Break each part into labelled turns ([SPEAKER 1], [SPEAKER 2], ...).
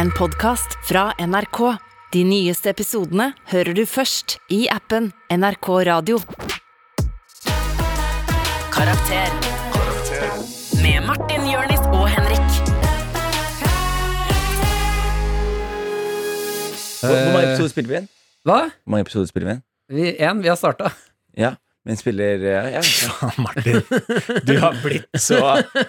[SPEAKER 1] En podcast fra NRK. De nyeste episodene hører du først i appen NRK Radio. Karakter. Med Martin, Jørnis og Henrik.
[SPEAKER 2] Hvor, hvor mange episoder spiller vi igjen?
[SPEAKER 3] Hva?
[SPEAKER 2] Eh, Hvor mange episoder spiller vi igjen?
[SPEAKER 3] Vi, en, vi har starta.
[SPEAKER 2] Ja, men spiller eh, ja, ja.
[SPEAKER 4] Faen, Martin. Du har blitt så,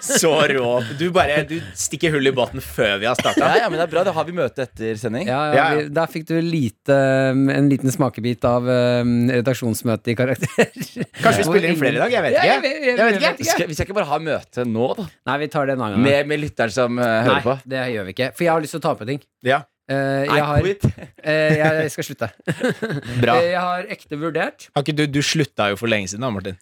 [SPEAKER 4] så rå. Du bare du stikker hull i båten før vi har starta.
[SPEAKER 2] Ja, ja, men det er bra. Da har vi møte etter sending.
[SPEAKER 3] Ja, ja,
[SPEAKER 4] Ja, ja.
[SPEAKER 3] vi, der fikk du lite, um, en liten smakebit av um, redaksjonsmøtet i Karakter.
[SPEAKER 4] Kanskje vi spiller inn flere i dag? Jeg vet
[SPEAKER 3] Ja, jeg
[SPEAKER 4] ikke.
[SPEAKER 3] vet- jeg
[SPEAKER 4] Jeg vet
[SPEAKER 3] vet
[SPEAKER 4] ikke.
[SPEAKER 2] Skal, vi skal ikke bare ha møte nå, da?
[SPEAKER 3] Nei, vi tar det en annen gang.
[SPEAKER 2] Med, med lytteren som eh, hører
[SPEAKER 3] Nei,
[SPEAKER 2] på?
[SPEAKER 3] det gjør vi ikke. For jeg har lyst til å ta på ting.
[SPEAKER 4] Ja.
[SPEAKER 3] Eh,
[SPEAKER 2] I
[SPEAKER 3] jeg, har,
[SPEAKER 2] quit.
[SPEAKER 3] eh, jeg skal slutte.
[SPEAKER 4] Bra.
[SPEAKER 3] Eh, jeg har ekte vurdert.
[SPEAKER 4] Har ikke du, du slutta jo for lenge siden, da, Martin.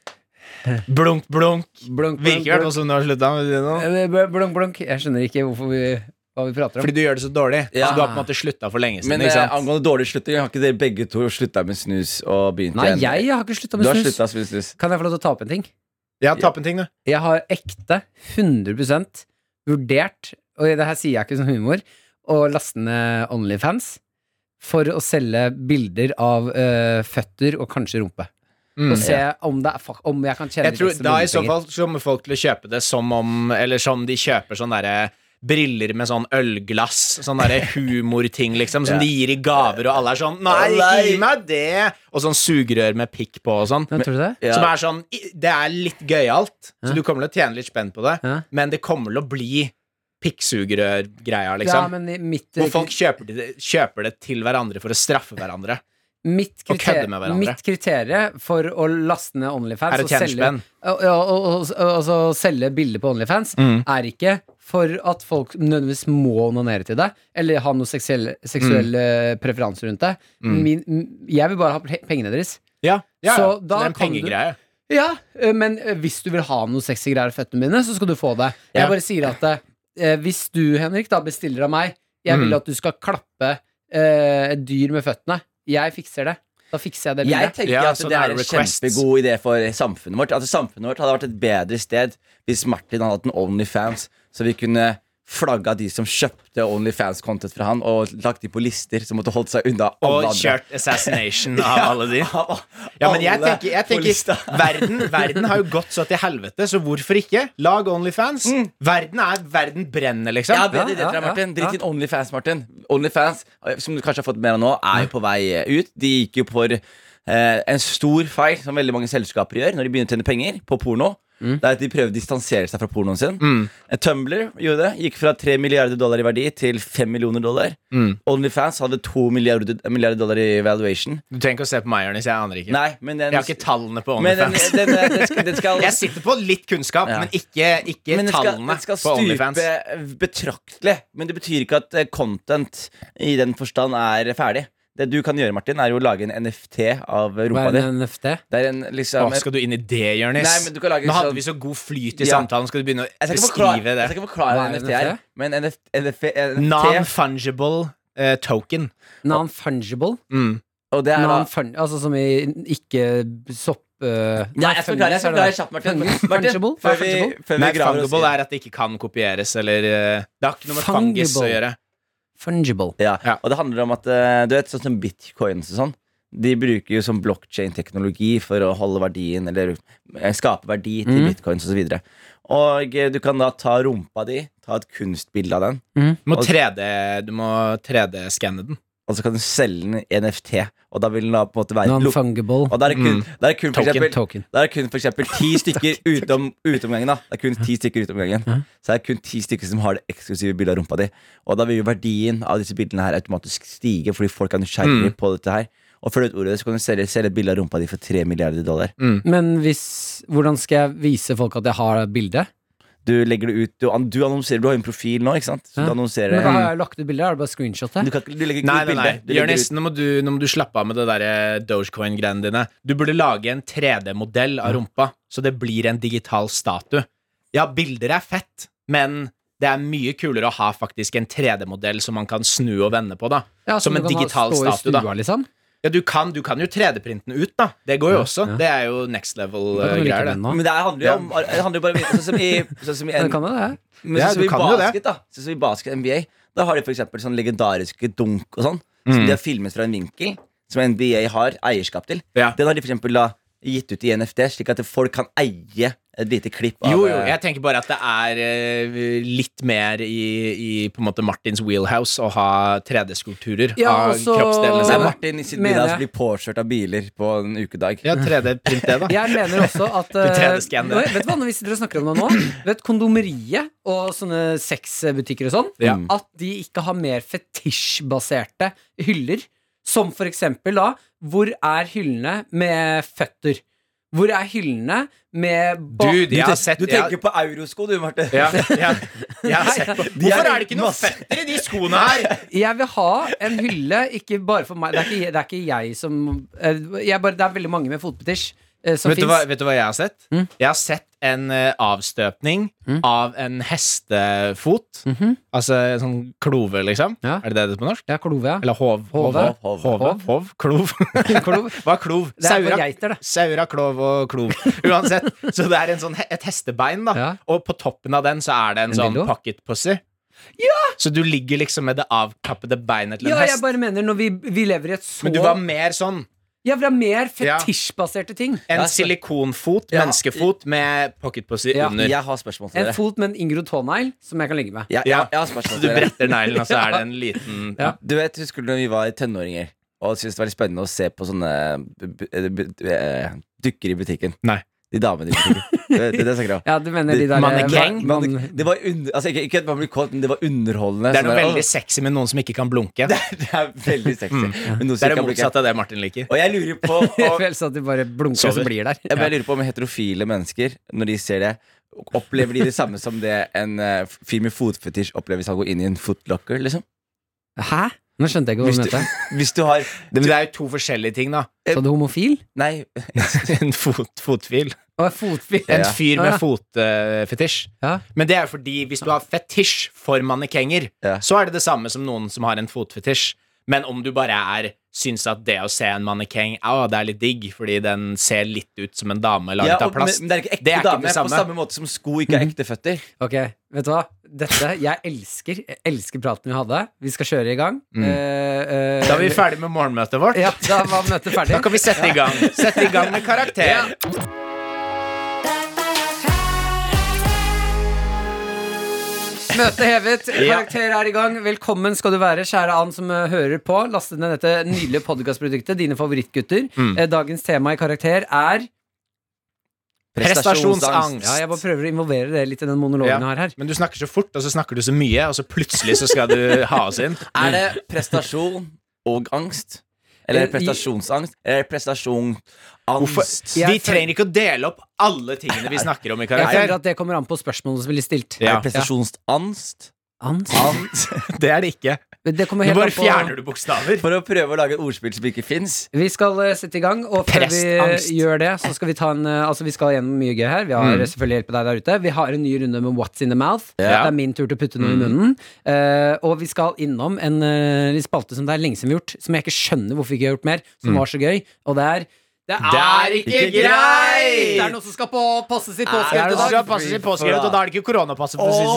[SPEAKER 4] Blunk, blunk.
[SPEAKER 3] Blunk, blunk,
[SPEAKER 4] Virker i hvert
[SPEAKER 3] blunk.
[SPEAKER 4] fall som du har slutta. med det nå.
[SPEAKER 3] Eh, bl- blunk, blunk. Jeg skjønner ikke hvorfor vi, hva vi prater om.
[SPEAKER 4] Fordi du gjør det så dårlig.
[SPEAKER 2] Ja.
[SPEAKER 4] Så du har på en måte slutta for lenge siden.
[SPEAKER 2] Men
[SPEAKER 4] ikke
[SPEAKER 2] eh,
[SPEAKER 4] sant?
[SPEAKER 2] angående dårlig slutting, har ikke dere begge to slutta med snus og begynt
[SPEAKER 3] Nei,
[SPEAKER 2] igjen?
[SPEAKER 3] jeg har ikke slutta
[SPEAKER 2] Du
[SPEAKER 3] med
[SPEAKER 2] har
[SPEAKER 3] snus.
[SPEAKER 2] slutta med snus.
[SPEAKER 3] Kan jeg få lov til å ta opp en ting?
[SPEAKER 4] Ja, tapp en ting, du.
[SPEAKER 3] Jeg har ekte 100 vurdert, og det her sier jeg ikke som humor, å laste ned Onlyfans for å selge bilder av eh, føtter og kanskje rumpe.
[SPEAKER 4] Mm.
[SPEAKER 3] Og se om, det er, fuck, om jeg kan tjene
[SPEAKER 4] Jeg
[SPEAKER 3] litt
[SPEAKER 4] tror,
[SPEAKER 3] ekstra
[SPEAKER 4] da i så
[SPEAKER 3] penger.
[SPEAKER 4] fall så kommer folk til å kjøpe det som om Eller som de kjøper sånn derre Briller med sånn ølglass, sånn derre humorting, liksom, som de gir i gaver, og alle er sånn Nei, gi meg det! Og sånn sugerør med pikk på og sånn.
[SPEAKER 3] Ja, tror du det?
[SPEAKER 2] Ja.
[SPEAKER 4] Som er sånn i- Det er litt gøyalt, så du kommer til å tjene litt spenn på det,
[SPEAKER 3] Ja.
[SPEAKER 4] men det kommer til å bli pikksugerør-greia,
[SPEAKER 3] Ja,
[SPEAKER 4] liksom.
[SPEAKER 3] men i mitt,
[SPEAKER 4] Hvor folk kjøper det, kjøper det til hverandre for å straffe hverandre.
[SPEAKER 3] mitt,
[SPEAKER 4] og kødder med
[SPEAKER 3] kriterie,
[SPEAKER 4] hverandre.
[SPEAKER 3] mitt kriterie for å laste ned Onlyfans
[SPEAKER 4] Er å
[SPEAKER 3] og
[SPEAKER 4] tjene
[SPEAKER 3] selge,
[SPEAKER 4] spenn.
[SPEAKER 3] og, og, og, og, altså, selge bilder på Onlyfans
[SPEAKER 4] Mm.
[SPEAKER 3] er ikke for at folk nødvendigvis må onanere til deg, eller ha noen seksuelle,
[SPEAKER 4] Mm.
[SPEAKER 3] seksuelle preferanser eh, rundt deg. Min, m- jeg vil bare ha pe- pengene deres.
[SPEAKER 4] Ja, ja, ja.
[SPEAKER 3] Så
[SPEAKER 4] Så
[SPEAKER 3] da
[SPEAKER 4] det er en
[SPEAKER 3] kan du-
[SPEAKER 4] pengegreie.
[SPEAKER 3] Ja, eh, men eh, hvis du vil ha noen sexy greier i føttene mine, så skal du få det. Jeg
[SPEAKER 4] Ja.
[SPEAKER 3] bare sier at eh, hvis du, Henrik, da bestiller av meg Jeg
[SPEAKER 4] Mm.
[SPEAKER 3] vil at du skal klappe eh, et dyr med føttene. Jeg fikser det. Da fikser jeg det
[SPEAKER 2] Jeg
[SPEAKER 3] bildet.
[SPEAKER 2] tenker
[SPEAKER 4] Ja,
[SPEAKER 2] at
[SPEAKER 4] sånn
[SPEAKER 2] det
[SPEAKER 4] er
[SPEAKER 2] er en
[SPEAKER 4] requests.
[SPEAKER 2] kjempegod idé for samfunnet vårt. Altså, samfunnet vårt hadde vært et bedre sted hvis Martin hadde hatt en Onlyfans, så vi kunne flagga de som kjøpte Onlyfans-content fra han, og lagt de på lister som måtte holdt seg unna alle
[SPEAKER 4] Og
[SPEAKER 2] andre.
[SPEAKER 4] kjørt assassination av alle de. Ja, men jeg
[SPEAKER 2] Alle
[SPEAKER 4] tenker, jeg
[SPEAKER 2] på lista.
[SPEAKER 4] tenker verden, verden har jo gått så til helvete, så hvorfor ikke? Lag Onlyfans. Verden er Verden brenner, liksom.
[SPEAKER 2] Mm. Ja, bedre
[SPEAKER 3] Ja,
[SPEAKER 2] idé til
[SPEAKER 3] ja,
[SPEAKER 2] deg, Martin.
[SPEAKER 3] ja.
[SPEAKER 2] Drit i Onlyfans, Martin. Onlyfans, eh, som du kanskje har fått med deg nå, er jo på vei eh, ut. De gikk jo for eh, en stor feil, som veldig mange selskaper gjør når de begynner å tjene penger på porno.
[SPEAKER 4] Mm.
[SPEAKER 2] Det er at De prøver å distansere seg fra pornoen sin. Eh, Tumblr gjorde det. Gikk fra 3 milliarder dollar i verdi til 5 millioner dollar. Onlyfans hadde 2 milliarder, milliarder dollar i valuation.
[SPEAKER 4] Du trenger ikke å se på meg, Jonis. Jeg aner ikke.
[SPEAKER 2] Nei, men den
[SPEAKER 4] Jeg har ikke tallene på
[SPEAKER 2] men den,
[SPEAKER 4] Onlyfans.
[SPEAKER 2] den, den, den skal, den skal
[SPEAKER 4] Jeg sitter på litt kunnskap,
[SPEAKER 2] Ja.
[SPEAKER 4] men ikke, ikke
[SPEAKER 2] men den skal,
[SPEAKER 4] tallene
[SPEAKER 2] den skal
[SPEAKER 4] på Onlyfans.
[SPEAKER 2] stupe betraktelig. Men det betyr ikke at eh, content i den forstand er ferdig. Det du kan gjøre, Martin, er jo å lage en NFT av
[SPEAKER 3] Hva
[SPEAKER 2] rumpa
[SPEAKER 3] er
[SPEAKER 2] di.
[SPEAKER 3] en NFT?
[SPEAKER 2] Det er en
[SPEAKER 4] Å,
[SPEAKER 2] liksom
[SPEAKER 4] skal du inn i det, Jonis?
[SPEAKER 2] Nei, men du kan lage
[SPEAKER 4] Nå hadde
[SPEAKER 2] sånn-
[SPEAKER 4] vi så god flyt i
[SPEAKER 2] Ja.
[SPEAKER 4] samtalen. Skal du begynne å
[SPEAKER 2] Jeg skal ikke
[SPEAKER 4] beskrive
[SPEAKER 2] forklare, jeg skal
[SPEAKER 4] det?
[SPEAKER 2] ikke forklare
[SPEAKER 3] Hva
[SPEAKER 2] hva
[SPEAKER 3] er
[SPEAKER 2] NFT er,
[SPEAKER 3] NFT?
[SPEAKER 2] men NFT, eh, NFT
[SPEAKER 4] Non-fungible eh, token.
[SPEAKER 3] Non-fungible?
[SPEAKER 4] Mm.
[SPEAKER 2] Og det er da
[SPEAKER 3] Non -fun altså som i ikke sopp... Uh,
[SPEAKER 2] Nei, jeg skal forklare jeg skal forklare kjapt, Martin. Martin
[SPEAKER 3] Fungible?
[SPEAKER 2] før vi,
[SPEAKER 3] Fungible?
[SPEAKER 2] før vi
[SPEAKER 4] Nei,
[SPEAKER 2] graver oss
[SPEAKER 4] fungible
[SPEAKER 2] inn.
[SPEAKER 4] er at det ikke kan kopieres, eller eh, Det har ikke noe med fangis å
[SPEAKER 3] Fungible.
[SPEAKER 4] gjøre.
[SPEAKER 3] Fungible.
[SPEAKER 2] ja.
[SPEAKER 4] Ja.
[SPEAKER 2] Og det handler om at eh, Du vet, sånn som bitcoins og sånn. De bruker jo sånn blockchain-teknologi for å holde verdien, eller eh, skape verdi til
[SPEAKER 4] Mm.
[SPEAKER 3] Mhm.
[SPEAKER 2] bitcoins osv. Og, så videre. og eh, du kan da ta rumpa di, ta et kunstbilde av den,
[SPEAKER 4] Du må
[SPEAKER 2] Og-
[SPEAKER 4] 3D Du må 3D-skanne den.
[SPEAKER 2] og så kan du selge den i NFT, og da vil den da på en måte være lukket.
[SPEAKER 3] Non-fungible
[SPEAKER 2] Og da er det kun, da er det kun for
[SPEAKER 4] Mm. Token,
[SPEAKER 2] eksempel
[SPEAKER 3] token.
[SPEAKER 2] da er det kun for eksempel ti stykker utom, utom gangen, da. Det er kun ti stykker utom gangen. Så er det kun ti stykker som har det eksklusive bildet av rumpa di. Og da vil jo verdien av disse bildene her automatisk stige, fordi folk er
[SPEAKER 3] Mm.
[SPEAKER 2] nysgjerrige på dette her. Og følg ut ordet, så kan du selge, selge et bilde av rumpa di for 3 milliarder dollar.
[SPEAKER 3] Men hvis Hvordan skal jeg vise folk at jeg har bildet?
[SPEAKER 2] Du legger det ut, du, an- du annonserer, du har jo en profil nå, ikke sant? Så
[SPEAKER 3] Ja.
[SPEAKER 2] du annonserer
[SPEAKER 3] Men hva har jeg lagt ut bilder? Er det bare screenshot?
[SPEAKER 2] Du,
[SPEAKER 3] her?
[SPEAKER 2] kan, ikke- du legger ikke
[SPEAKER 4] Nei,
[SPEAKER 2] ut
[SPEAKER 4] nei, nei.
[SPEAKER 2] bilder. Du legger
[SPEAKER 4] Jonis,
[SPEAKER 2] ut-
[SPEAKER 4] nå, må du- nå må du slappe av med det der eh, Dogecoin-greiene dine. Du burde lage en 3D-modell av rumpa, så det blir en digital statue. Ja, bilder er fett, men det er mye kulere å ha faktisk en 3D-modell som man kan snu og vende på, da.
[SPEAKER 3] Ja,
[SPEAKER 4] som
[SPEAKER 3] du
[SPEAKER 4] en
[SPEAKER 3] kan ha-
[SPEAKER 4] digital
[SPEAKER 3] stå i
[SPEAKER 4] statue, da.
[SPEAKER 3] stua, Liksom.
[SPEAKER 4] Ja, du kan, du kan jo 3D-printe den ut, da. Det går jo også.
[SPEAKER 3] ja.
[SPEAKER 4] Det er jo next
[SPEAKER 3] Da kan du like
[SPEAKER 4] level-greier,
[SPEAKER 3] den
[SPEAKER 4] det.
[SPEAKER 3] nå.
[SPEAKER 2] Men det her handler jo om Det handler jo bare om Sånn som i, sånn som i
[SPEAKER 3] Ja,
[SPEAKER 2] en,
[SPEAKER 3] det kan jo det.
[SPEAKER 2] Men
[SPEAKER 4] Ja,
[SPEAKER 2] sånn som
[SPEAKER 4] du
[SPEAKER 2] i
[SPEAKER 4] kan jo det.
[SPEAKER 2] basket, da. Sånn som i basket NBA, Da har de for eksempel sånn legendariske dunk og sånn,
[SPEAKER 4] Mm.
[SPEAKER 2] som de har filmet fra en vinkel, som NBA har eierskap til.
[SPEAKER 4] Ja.
[SPEAKER 2] Den har de for eksempel da gitt ut i NFT, slik at folk kan eie et lite klipp av
[SPEAKER 4] Jo, jo,
[SPEAKER 2] eh,
[SPEAKER 4] jeg tenker bare at det er eh, litt mer i, i på en måte Martins wheelhouse å ha 3D-skulpturer
[SPEAKER 3] Ja,
[SPEAKER 4] av
[SPEAKER 3] også-
[SPEAKER 4] kroppsdelene
[SPEAKER 2] Nei,
[SPEAKER 4] sine.
[SPEAKER 2] Martin i sitt
[SPEAKER 3] Mener
[SPEAKER 2] middag
[SPEAKER 3] jeg.
[SPEAKER 2] blir påkjørt av biler på en ukedag.
[SPEAKER 4] Ja, 3D-print det, da.
[SPEAKER 3] Jeg mener også at eh,
[SPEAKER 4] 3D-scan det.
[SPEAKER 3] nå- Vet du hva, når vi sitter og snakker om det nå Vet kondomeriet og sånne sexbutikker og sånn
[SPEAKER 4] Ja.
[SPEAKER 3] At de ikke har mer fetisjbaserte hyller Som for eksempel da Hvor er hyllene med føtter? Hvor er hyllene med ba-
[SPEAKER 4] Dude, jeg
[SPEAKER 2] ten-
[SPEAKER 4] har sett
[SPEAKER 2] du
[SPEAKER 4] jeg-
[SPEAKER 2] tenker på eurosko, du, Martin.
[SPEAKER 4] ja, ja, jeg har sett på.
[SPEAKER 2] De er
[SPEAKER 4] Hvorfor er det ikke noe
[SPEAKER 2] masse-
[SPEAKER 4] føtter i de skoene her?
[SPEAKER 3] Jeg vil ha en hylle, ikke bare for meg Det er ikke, det er ikke jeg som eh, jeg bare, Det er veldig mange med fotpetisj eh, Som
[SPEAKER 4] Vet du, hva,
[SPEAKER 3] finnes
[SPEAKER 4] vet du hva jeg har sett?
[SPEAKER 3] Mm.
[SPEAKER 4] Jeg har sett en eh, avstøpning av en hestefot.
[SPEAKER 3] Mhm.
[SPEAKER 4] Altså en sånn klove, liksom.
[SPEAKER 3] Ja.
[SPEAKER 4] Er det det det heter på norsk?
[SPEAKER 3] Ja, klove ja.
[SPEAKER 4] Eller hov.
[SPEAKER 3] Hove.
[SPEAKER 4] Hove.
[SPEAKER 2] Hov.
[SPEAKER 4] Hove. Hov. Klov.
[SPEAKER 3] Klov.
[SPEAKER 4] Hva er klov?
[SPEAKER 3] Det er for
[SPEAKER 4] Saura.
[SPEAKER 3] geiter det
[SPEAKER 4] Saura, klov og klov. Uansett. Så det er en sånn, he- et hestebein, da.
[SPEAKER 3] Ja.
[SPEAKER 4] Og på toppen av den så er det en,
[SPEAKER 3] En
[SPEAKER 4] sånn
[SPEAKER 3] dildo?
[SPEAKER 4] pocket pussy. Så du ligger liksom med det avkappede beinet til en
[SPEAKER 3] Ja, jeg
[SPEAKER 4] hest.
[SPEAKER 3] bare mener når vi, vi lever i et så
[SPEAKER 4] Men du var mer sånn
[SPEAKER 3] Jeg vil ha mer
[SPEAKER 4] Ja.
[SPEAKER 3] fetisjbaserte ting.
[SPEAKER 4] en
[SPEAKER 2] Ja, så-
[SPEAKER 4] silikonfot,
[SPEAKER 2] Ja.
[SPEAKER 4] menneskefot, med pocket pussy
[SPEAKER 3] Ja.
[SPEAKER 4] under.
[SPEAKER 2] Jeg har spørsmål til
[SPEAKER 3] En
[SPEAKER 2] dere.
[SPEAKER 3] fot med en inngrodd tånegl som jeg kan ligge med.
[SPEAKER 2] Jeg, jeg,
[SPEAKER 4] Ja.
[SPEAKER 2] jeg har spørsmål til
[SPEAKER 4] Du
[SPEAKER 2] dere.
[SPEAKER 4] bretter neglen, og så er det en liten
[SPEAKER 3] Ja.
[SPEAKER 2] Du vet, Husker du når vi var tenåringer og syntes det var litt spennende å se på sånne bu- bu- eh, bu- eh, dukker i butikken?
[SPEAKER 4] Nei.
[SPEAKER 2] De damene i butikken. det, det, det snakker jeg om.
[SPEAKER 3] Ja, du mener de der eh,
[SPEAKER 4] Mannekeng?
[SPEAKER 2] Men
[SPEAKER 3] Man,
[SPEAKER 2] det- det var under, altså, ikke, ikke at man blir kåt, men det var underholdende.
[SPEAKER 4] Det er noe
[SPEAKER 2] Sånn der,
[SPEAKER 4] veldig sexy med noen som ikke kan blunke. Det
[SPEAKER 2] «Å, det er veldig sexy. Men noe som ikke
[SPEAKER 4] er det
[SPEAKER 2] kan
[SPEAKER 4] motsatte av det Martin liker.
[SPEAKER 2] bruke- Og jeg lurer på
[SPEAKER 3] jeg
[SPEAKER 2] om,
[SPEAKER 3] føler sånn at de bare blunker og så
[SPEAKER 4] Sover.
[SPEAKER 3] blir der.
[SPEAKER 2] jeg, bare lurer på om heterofile mennesker, når de ser det Opplever de det samme som det en eh, fyr med fotfetisj opplever hvis han går inn i en footlocker? Liksom?
[SPEAKER 3] Hæ? Nå skjønte jeg ikke hva
[SPEAKER 2] Hvis
[SPEAKER 3] du
[SPEAKER 2] du,
[SPEAKER 3] mente.
[SPEAKER 2] hvis du har
[SPEAKER 4] Det, det er jo to forskjellige ting, da.
[SPEAKER 3] Sa du homofil?
[SPEAKER 2] Nei,
[SPEAKER 4] En fot, fotfil.
[SPEAKER 3] Å, fotfil.
[SPEAKER 2] Ja.
[SPEAKER 4] En fyr med
[SPEAKER 3] Ja.
[SPEAKER 4] fotfetisj.
[SPEAKER 3] Ja.
[SPEAKER 4] Men det er jo fordi hvis du har fetisj for mannekenger,
[SPEAKER 2] Ja.
[SPEAKER 4] så er det det samme som noen som har en fotfetisj. Men om du bare er syns at det å se en mannekeng å, det er litt digg, fordi den ser litt ut som en dame
[SPEAKER 2] ja,
[SPEAKER 4] laget
[SPEAKER 2] og,
[SPEAKER 4] av
[SPEAKER 2] men,
[SPEAKER 4] plast.
[SPEAKER 2] men det er ikke ekte
[SPEAKER 4] Det er ikke
[SPEAKER 2] dame
[SPEAKER 4] det samme. Mhm.
[SPEAKER 2] på samme måte som sko ikke er ekte føtter.
[SPEAKER 3] Ok, vet du hva? Dette, Jeg elsker jeg elsker praten vi hadde. Vi skal kjøre i gang. Eh, eh,
[SPEAKER 4] Da er vi ferdig med morgenmøtet vårt.
[SPEAKER 3] Ja, da var møtet ferdig.
[SPEAKER 4] Da kan vi sette i gang. Sette i gang med karakter.
[SPEAKER 3] Møtet hevet,
[SPEAKER 4] Ja.
[SPEAKER 3] karakter er i gang. Velkommen skal du være, kjære Ann som eh, hører på. Laste ned dette nydelige podcastproduktet, dine favorittgutter.
[SPEAKER 4] Mm.
[SPEAKER 3] Eh, Dagens tema i karakter er
[SPEAKER 4] Prestasjonsangst.
[SPEAKER 3] Ja, jeg bare prøver å involvere det litt i den monologen jeg
[SPEAKER 4] Ja.
[SPEAKER 3] har her.
[SPEAKER 4] Men du snakker så fort, og så snakker du så mye, og så plutselig så skal du ha oss inn.
[SPEAKER 2] Er det
[SPEAKER 4] Mm.
[SPEAKER 2] prestasjon og angst? Eller er det prestasjonsangst? Eller er det prestasjonsangst?
[SPEAKER 3] Jeg
[SPEAKER 4] De
[SPEAKER 3] føl-
[SPEAKER 4] trenger ikke å dele opp alle tingene vi snakker om i
[SPEAKER 3] Jeg føler
[SPEAKER 4] karakter.
[SPEAKER 3] at det kommer an på spørsmålene som blir stilt.
[SPEAKER 4] Ja.
[SPEAKER 2] Er det prestasjonsangst?
[SPEAKER 3] Ans.
[SPEAKER 2] Angst?
[SPEAKER 4] Det er det ikke.
[SPEAKER 3] Det kommer helt
[SPEAKER 4] Nå bare
[SPEAKER 3] an på
[SPEAKER 4] fjerner du bokstaver.
[SPEAKER 2] For å prøve å lage et ordspill som ikke fins.
[SPEAKER 3] vi skal eh, sette i gang, og før vi eh,
[SPEAKER 4] Prestangst. Mm.
[SPEAKER 3] gjør det, så skal vi ta en eh, Altså, vi skal gjennom mye gøy her. Vi har eh, selvfølgelig hjelp av deg der ute. Vi har en ny runde med What's in the mouth.
[SPEAKER 4] Ja. Mm.
[SPEAKER 3] Det er min tur til å putte noe i munnen. Eh, og vi skal innom en eh, litt spalte som det er lenge siden vi har gjort, som jeg ikke skjønner hvorfor vi ikke har gjort mer, som var så gøy, og det er Det
[SPEAKER 4] Mm. er ikke
[SPEAKER 3] Det
[SPEAKER 4] greit!
[SPEAKER 3] er noen som skal på, passe sitt
[SPEAKER 4] Det er
[SPEAKER 3] påskrift
[SPEAKER 4] noe
[SPEAKER 3] i dag.
[SPEAKER 4] som skal passe i påskrevet, og da er det ikke koronapasset, for å si det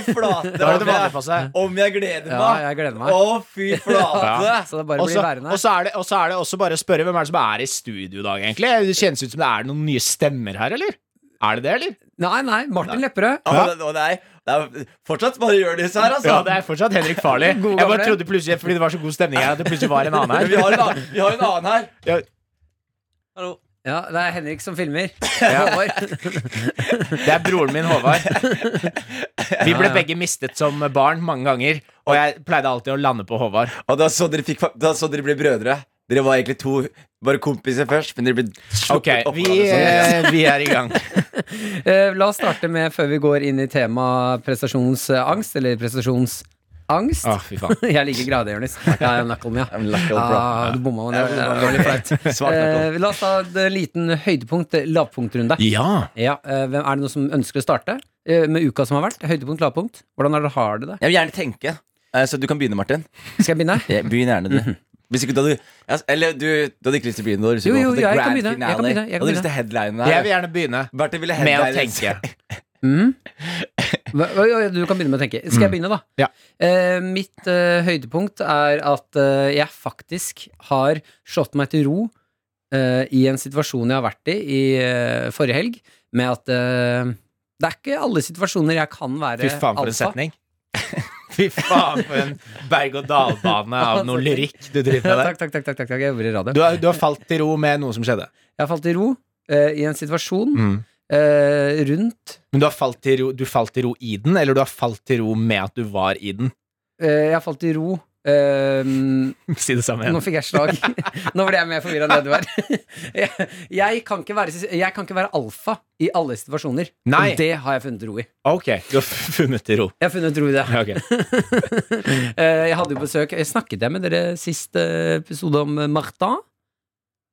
[SPEAKER 4] sånn.
[SPEAKER 2] flate!
[SPEAKER 4] Da er det det vanlige passet.
[SPEAKER 2] Om jeg gleder
[SPEAKER 3] Ja, jeg gleder meg.
[SPEAKER 2] Å, fy
[SPEAKER 4] Ja.
[SPEAKER 3] Så det bare
[SPEAKER 4] Og
[SPEAKER 3] blir
[SPEAKER 4] så og
[SPEAKER 3] værende.
[SPEAKER 4] så er, det- og så er det også bare å spørre hvem er det som er i studio i dag, egentlig? Det kjennes ut som det er noen nye stemmer her, eller? Er det det, eller?
[SPEAKER 3] Nei, nei. Martin Lepperød.
[SPEAKER 2] Å, det, å, nei. det er fortsatt bare gjør det her, altså.
[SPEAKER 4] Ja, det er fortsatt Henrik Farli. Jeg
[SPEAKER 3] God
[SPEAKER 4] bare
[SPEAKER 3] gamle.
[SPEAKER 4] trodde plutselig, fordi det var så god stemning her, at det plutselig var en annen
[SPEAKER 2] Men vi
[SPEAKER 4] her.
[SPEAKER 2] har en annen, vi har en annen her.
[SPEAKER 4] Ja,
[SPEAKER 2] Hallo.
[SPEAKER 3] Ja, det er Henrik som filmer. Håvard.
[SPEAKER 4] Det er broren min, Håvard. Vi ble begge mistet som barn mange ganger, og jeg pleide alltid å lande på Håvard.
[SPEAKER 2] Og da så dere, fikk, da så dere ble brødre. Dere var egentlig to bare kompiser først, men dere ble
[SPEAKER 4] Ok,
[SPEAKER 2] sluppet opp.
[SPEAKER 4] vi,
[SPEAKER 2] av det sånn.
[SPEAKER 4] eh, vi er i gang.
[SPEAKER 3] Eh, La oss starte med, før vi går inn i temaet prestasjonsangst, eller prestasjonsangst.
[SPEAKER 4] Å, fy faen.
[SPEAKER 3] Jeg liker grader, Jonis. Ja, jeg er knuckle, Ah. ja.
[SPEAKER 2] I'm lucky, old bro.
[SPEAKER 3] Ah, du bomma med det. Det var litt flaut.
[SPEAKER 2] Svak knuckle.
[SPEAKER 3] Eh, La oss ta en liten høydepunkt, eh, lavpunktrunde.
[SPEAKER 4] Ja.
[SPEAKER 3] Ja, eh, hvem- er det noen som ønsker å starte eh, med uka som har vært? Høydepunkt, lavpunkt. Hvordan er det, har dere det?
[SPEAKER 2] Jeg vil gjerne tenke, eh, så du kan begynne, Martin. Mhm.
[SPEAKER 3] Skal jeg begynne?
[SPEAKER 2] Ja, Begynn gjerne, du. Hvis ikke, da du, ja, eller du, du hadde ikke lyst til å begynne? da hadde du lyst til å gå
[SPEAKER 3] Jo, jo,
[SPEAKER 2] for the
[SPEAKER 3] jeg kan
[SPEAKER 2] grand
[SPEAKER 3] begynne, jeg kan
[SPEAKER 2] finale.
[SPEAKER 3] begynne, jeg kan
[SPEAKER 2] Hadde du lyst til headline
[SPEAKER 4] Jeg vil
[SPEAKER 2] her?
[SPEAKER 4] gjerne begynne
[SPEAKER 2] Bertil ville
[SPEAKER 4] med å
[SPEAKER 2] headline.
[SPEAKER 4] tenke.
[SPEAKER 3] Mm. Hva- hva- Du kan begynne med å tenke. Skal jeg begynne, da?
[SPEAKER 4] Mm. Ja.
[SPEAKER 3] Eh, mitt eh, høydepunkt er at eh, jeg faktisk har slått meg til ro eh, i en situasjon jeg har vært i i eh, forrige helg, med at eh, det er ikke alle situasjoner jeg kan være
[SPEAKER 4] Fy faen, for en
[SPEAKER 3] alfa.
[SPEAKER 4] setning. Fy faen, for en berg-og-dal-bane av noe lyrikk du
[SPEAKER 3] altså,
[SPEAKER 4] driver
[SPEAKER 3] Ja,
[SPEAKER 4] med der.
[SPEAKER 3] takk, takk, takk, takk, takk, takk. Jeg jobber i radio.
[SPEAKER 4] Du har, du har falt til ro med noe som skjedde.
[SPEAKER 3] Jeg har falt til ro eh, i en situasjon
[SPEAKER 4] Mm.
[SPEAKER 3] eh, rundt
[SPEAKER 4] Men du har falt til ro, du falt til ro i den, eller du har falt til ro med at du var i den?
[SPEAKER 3] eh, Jeg har falt til ro eh,
[SPEAKER 4] Si det samme
[SPEAKER 3] Nå
[SPEAKER 4] igjen.
[SPEAKER 3] fikk jeg slag. Nå ble jeg mer forvirra enn det du er. Jeg, jeg, kan ikke være, jeg kan ikke være alfa i alle situasjoner.
[SPEAKER 4] Nei.
[SPEAKER 3] Og det har jeg funnet ro i.
[SPEAKER 4] Ok, du har f- funnet til ro.
[SPEAKER 3] Jeg har funnet ro i det.
[SPEAKER 4] Ja, ok.
[SPEAKER 3] Eh, Jeg hadde jo besøk jeg Snakket jeg med dere sist eh, episode om eh, Martha?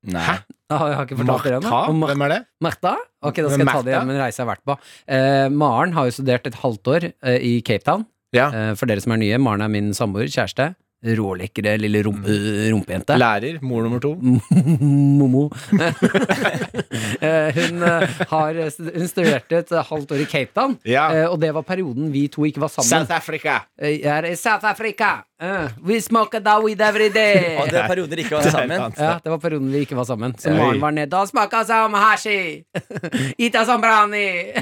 [SPEAKER 2] Nei.
[SPEAKER 4] Hæ?
[SPEAKER 3] Jeg har jeg har ikke fortalt dere
[SPEAKER 4] Martha?
[SPEAKER 3] ennå. Om Mar-
[SPEAKER 4] Hvem er det?
[SPEAKER 3] Martha? Ok, da skal jeg ta det
[SPEAKER 4] Martha?
[SPEAKER 3] gjennom en reise jeg har vært på. Eh, Maren har jo studert et halvt år eh, i Cape Town.
[SPEAKER 4] Ja.
[SPEAKER 3] Eh, for dere som er nye, Maren er min samboer, kjæreste. Rålekre lille rump
[SPEAKER 4] Mm.
[SPEAKER 3] rumpejente.
[SPEAKER 4] Lærer. Mor nummer to.
[SPEAKER 3] Momo. Eh, hun, eh, har, stud- hun studerte et eh, halvt år i Cape Town,
[SPEAKER 4] Ja.
[SPEAKER 3] eh, og det var perioden vi to ikke var sammen.
[SPEAKER 4] Africa.
[SPEAKER 3] Eh, Jeg er i South Africa! Eh, we smoke da weed every day!
[SPEAKER 2] Og det er perioder ikke å være sammen.
[SPEAKER 3] Ja, det var perioden vi ikke var sammen. Så
[SPEAKER 4] Oi.
[SPEAKER 3] Maren var nede og smaka som hashi! Ita som brani!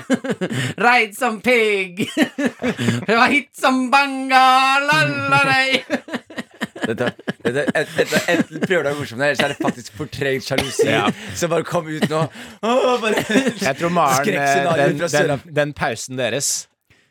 [SPEAKER 3] Reid som pigg! Det var hit som banga! Lalalei!
[SPEAKER 2] Dette, dette, et, dette, enten prøver du å være morsom, eller så er det faktisk fortrengt sjalusi
[SPEAKER 4] Ja.
[SPEAKER 2] som bare kom ut nå. Åh, bare.
[SPEAKER 4] Jeg tror Maren eh,
[SPEAKER 2] Skrekkscenario
[SPEAKER 4] den,
[SPEAKER 2] fra
[SPEAKER 4] den,
[SPEAKER 2] Sør-Afrika.
[SPEAKER 4] den pausen deres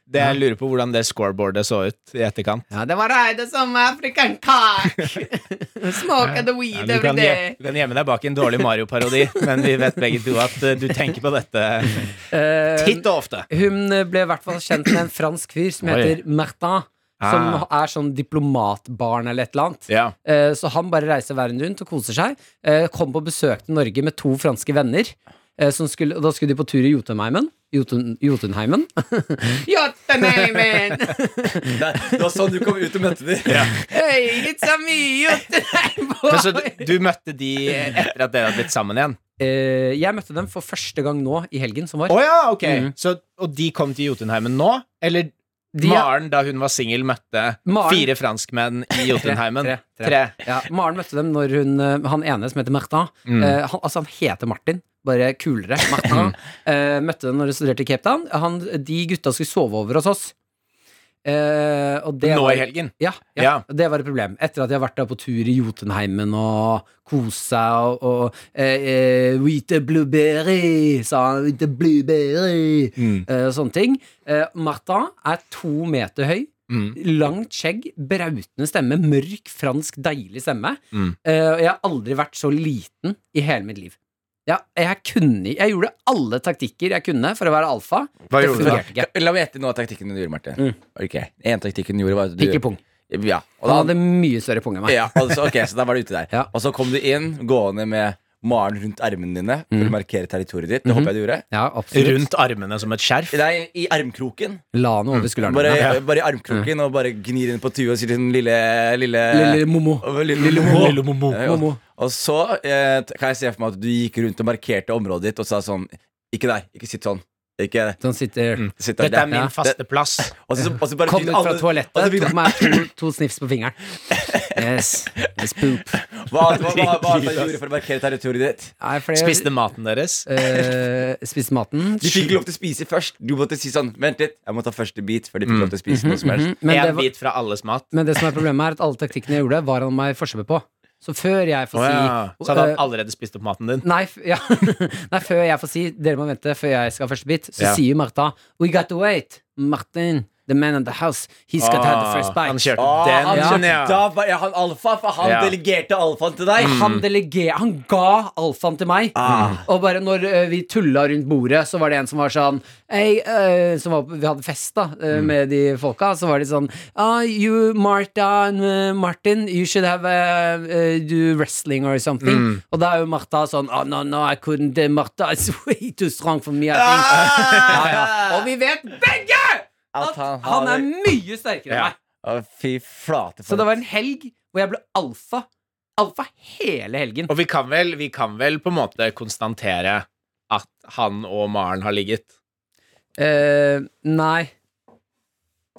[SPEAKER 4] det Jeg lurer på hvordan det scoreboardet så ut i etterkant.
[SPEAKER 3] Ja, det var Reide som African cock! Smoke the weed
[SPEAKER 4] du,
[SPEAKER 3] every
[SPEAKER 4] kan,
[SPEAKER 3] day!
[SPEAKER 4] gje- du kan gjemme deg bak en dårlig Mario-parodi, men vi vet begge to at eh, du tenker på dette
[SPEAKER 3] Eh,
[SPEAKER 4] titt og ofte.
[SPEAKER 3] hun eh, ble i hvert fall kjent med en fransk fyr som
[SPEAKER 4] Oi.
[SPEAKER 3] heter Martin. Som
[SPEAKER 4] Ah.
[SPEAKER 3] er sånn diplomatbarn eller et eller annet.
[SPEAKER 4] Ja.
[SPEAKER 3] Eh, Så han bare reiser verden rundt og koser seg. Eh, Kom på besøk til Norge med to franske venner. eh, Som skulle, og da skulle de på tur i Jotunheimen. Jotun, Jotunheimen? Jotunheimen!
[SPEAKER 2] Nei, det var sånn du kom ut og møtte dem.
[SPEAKER 3] Hey, it's a me,
[SPEAKER 4] Men så du,
[SPEAKER 3] Jotunheimen!
[SPEAKER 4] du møtte de etter at dere hadde blitt sammen igjen?
[SPEAKER 3] Eh, Jeg møtte dem for første gang nå i helgen som var.
[SPEAKER 4] Å ja, ok
[SPEAKER 3] Mhm.
[SPEAKER 4] så, Og de kom til Jotunheimen nå? Eller
[SPEAKER 3] De-
[SPEAKER 4] Maren, da hun var singel, møtte
[SPEAKER 3] Maren-
[SPEAKER 4] fire franskmenn i Jotunheimen?
[SPEAKER 3] tre, tre. Ja, Maren møtte dem når hun eh, Han ene som heter Martin
[SPEAKER 4] Mm.
[SPEAKER 3] eh, han, Altså han heter Martin Bare kulere Martin eh, Møtte dem når hun studerte i Cape Town han, De gutta skulle sove over hos oss eh, og det
[SPEAKER 4] Nå
[SPEAKER 3] var,
[SPEAKER 4] i helgen?
[SPEAKER 3] ja, ja,
[SPEAKER 4] Ja.
[SPEAKER 3] og det var et problem Etter at jeg har vært der på tur i Jotunheimen Og kosa og, og eh, eh, We eat a blueberry Sa han, we eat a blueberry
[SPEAKER 4] Mm.
[SPEAKER 3] eh, og Sånne ting eh, Martin er to meter høy
[SPEAKER 4] Mm.
[SPEAKER 3] Langt skjegg, brautende stemme, mørk, fransk, deilig stemme.
[SPEAKER 4] Mm.
[SPEAKER 3] Eh, og jeg har aldri vært så liten i hele mitt liv. Ja, jeg, kunne, jeg gjorde alle taktikker jeg kunne for å være alfa.
[SPEAKER 4] Hva
[SPEAKER 3] Det
[SPEAKER 4] gjorde du da?
[SPEAKER 3] fungerte ikke.
[SPEAKER 2] La meg gjette noe av taktikken du gjorde, Martin.
[SPEAKER 3] Mm.
[SPEAKER 2] Ok, En taktikken du gjorde, var at
[SPEAKER 3] Pikk i
[SPEAKER 2] du
[SPEAKER 3] pung.
[SPEAKER 2] Ja, og
[SPEAKER 3] Han
[SPEAKER 2] da,
[SPEAKER 3] hadde mye større pung enn meg.
[SPEAKER 2] ja altså, ok, så da var du ute der.
[SPEAKER 3] Ja.
[SPEAKER 2] Og så kom du inn gående med Maren rundt armene dine
[SPEAKER 3] Mm.
[SPEAKER 2] for å markere territoriet ditt. Det
[SPEAKER 3] Mhm.
[SPEAKER 2] håper jeg du gjorde.
[SPEAKER 3] Ja, absolutt.
[SPEAKER 4] Rundt armene som et skjerf?
[SPEAKER 2] Nei, i armkroken.
[SPEAKER 3] La han over
[SPEAKER 2] Mm.
[SPEAKER 3] skulderen.
[SPEAKER 2] Bare,
[SPEAKER 3] min, ja.
[SPEAKER 2] bare i armkroken og bare gnir inn på tuet og sier til den lille Lille,
[SPEAKER 3] Lille Momo.
[SPEAKER 2] og- lille, Momo.
[SPEAKER 4] Lille Momo.
[SPEAKER 2] Ja, og-
[SPEAKER 3] Momo.
[SPEAKER 2] Og så eh, t- kan jeg se for meg at du gikk rundt og markerte området ditt og sa sånn Ikke der. Ikke sitt sånn. Ikke
[SPEAKER 3] Så han sitter
[SPEAKER 2] sitt der.
[SPEAKER 4] Dette er
[SPEAKER 3] Ja.
[SPEAKER 4] min faste plass.
[SPEAKER 2] Og så, og så bare
[SPEAKER 3] Kom
[SPEAKER 2] fikk
[SPEAKER 3] ut fra
[SPEAKER 2] Mm. alle-
[SPEAKER 3] toalettet,
[SPEAKER 2] og så fikk
[SPEAKER 3] tok meg to, to snips på fingeren. Yes. yes poop.
[SPEAKER 2] Hva, hva, hva, hva, hva gjorde for å markere territoriet ditt?
[SPEAKER 3] Nei, for det-
[SPEAKER 4] Spiste maten deres.
[SPEAKER 3] eh, Spiste maten.
[SPEAKER 2] De fikk lov til å spise først. Du måtte si sånn Vent litt, jeg må ta første bit før de fikk lov til å spise noe som helst.
[SPEAKER 3] Men det
[SPEAKER 4] en
[SPEAKER 3] var-
[SPEAKER 4] bit fra alles mat.
[SPEAKER 3] Men det som er problemet er at alle taktikkene jeg gjorde, var han meg forskjell på. Så før jeg får
[SPEAKER 4] Å,
[SPEAKER 3] si
[SPEAKER 4] ja. Så hadde
[SPEAKER 3] Eh,
[SPEAKER 4] han allerede spist opp maten din.
[SPEAKER 3] Nei, f ja. Nei, før jeg får si Dere må vente før jeg skal ha første bit. Så
[SPEAKER 4] Ja.
[SPEAKER 3] sier Martha We got to wait. Martin, the man in the house, he's got to have the
[SPEAKER 4] Ah,
[SPEAKER 3] first bite.
[SPEAKER 4] han kjørte
[SPEAKER 2] Å,
[SPEAKER 4] den.
[SPEAKER 2] han,
[SPEAKER 4] ja.
[SPEAKER 2] skjønte- Da var jeg han alfa, for han
[SPEAKER 4] Ja.
[SPEAKER 2] delegerte alfaen til deg.
[SPEAKER 3] Han deleger Han ga alfaen til meg. Og bare når eh, vi tulla rundt bordet, så var det en som var sånn hey, eh, som var, Vi hadde fest da eh, med de folka, så var de sånn ah, You, Martha and eh, Martin, you should have eh, eh, do wrestling or something. Og da er jo Martha sånn oh, No, no, I couldn't. eh, Martha is way too strong for me. I think. Ja, ja. Og vi vet begge at
[SPEAKER 2] han
[SPEAKER 3] han
[SPEAKER 2] har-
[SPEAKER 3] er mye sterkere enn
[SPEAKER 4] Ja.
[SPEAKER 3] meg.
[SPEAKER 2] Å, fy flate.
[SPEAKER 3] Så det var en helg hvor jeg ble alfa. Alfa hele helgen.
[SPEAKER 4] Og vi kan, vel, vi kan vel på en måte konstatere at han og Maren har ligget.
[SPEAKER 3] Eh, nei.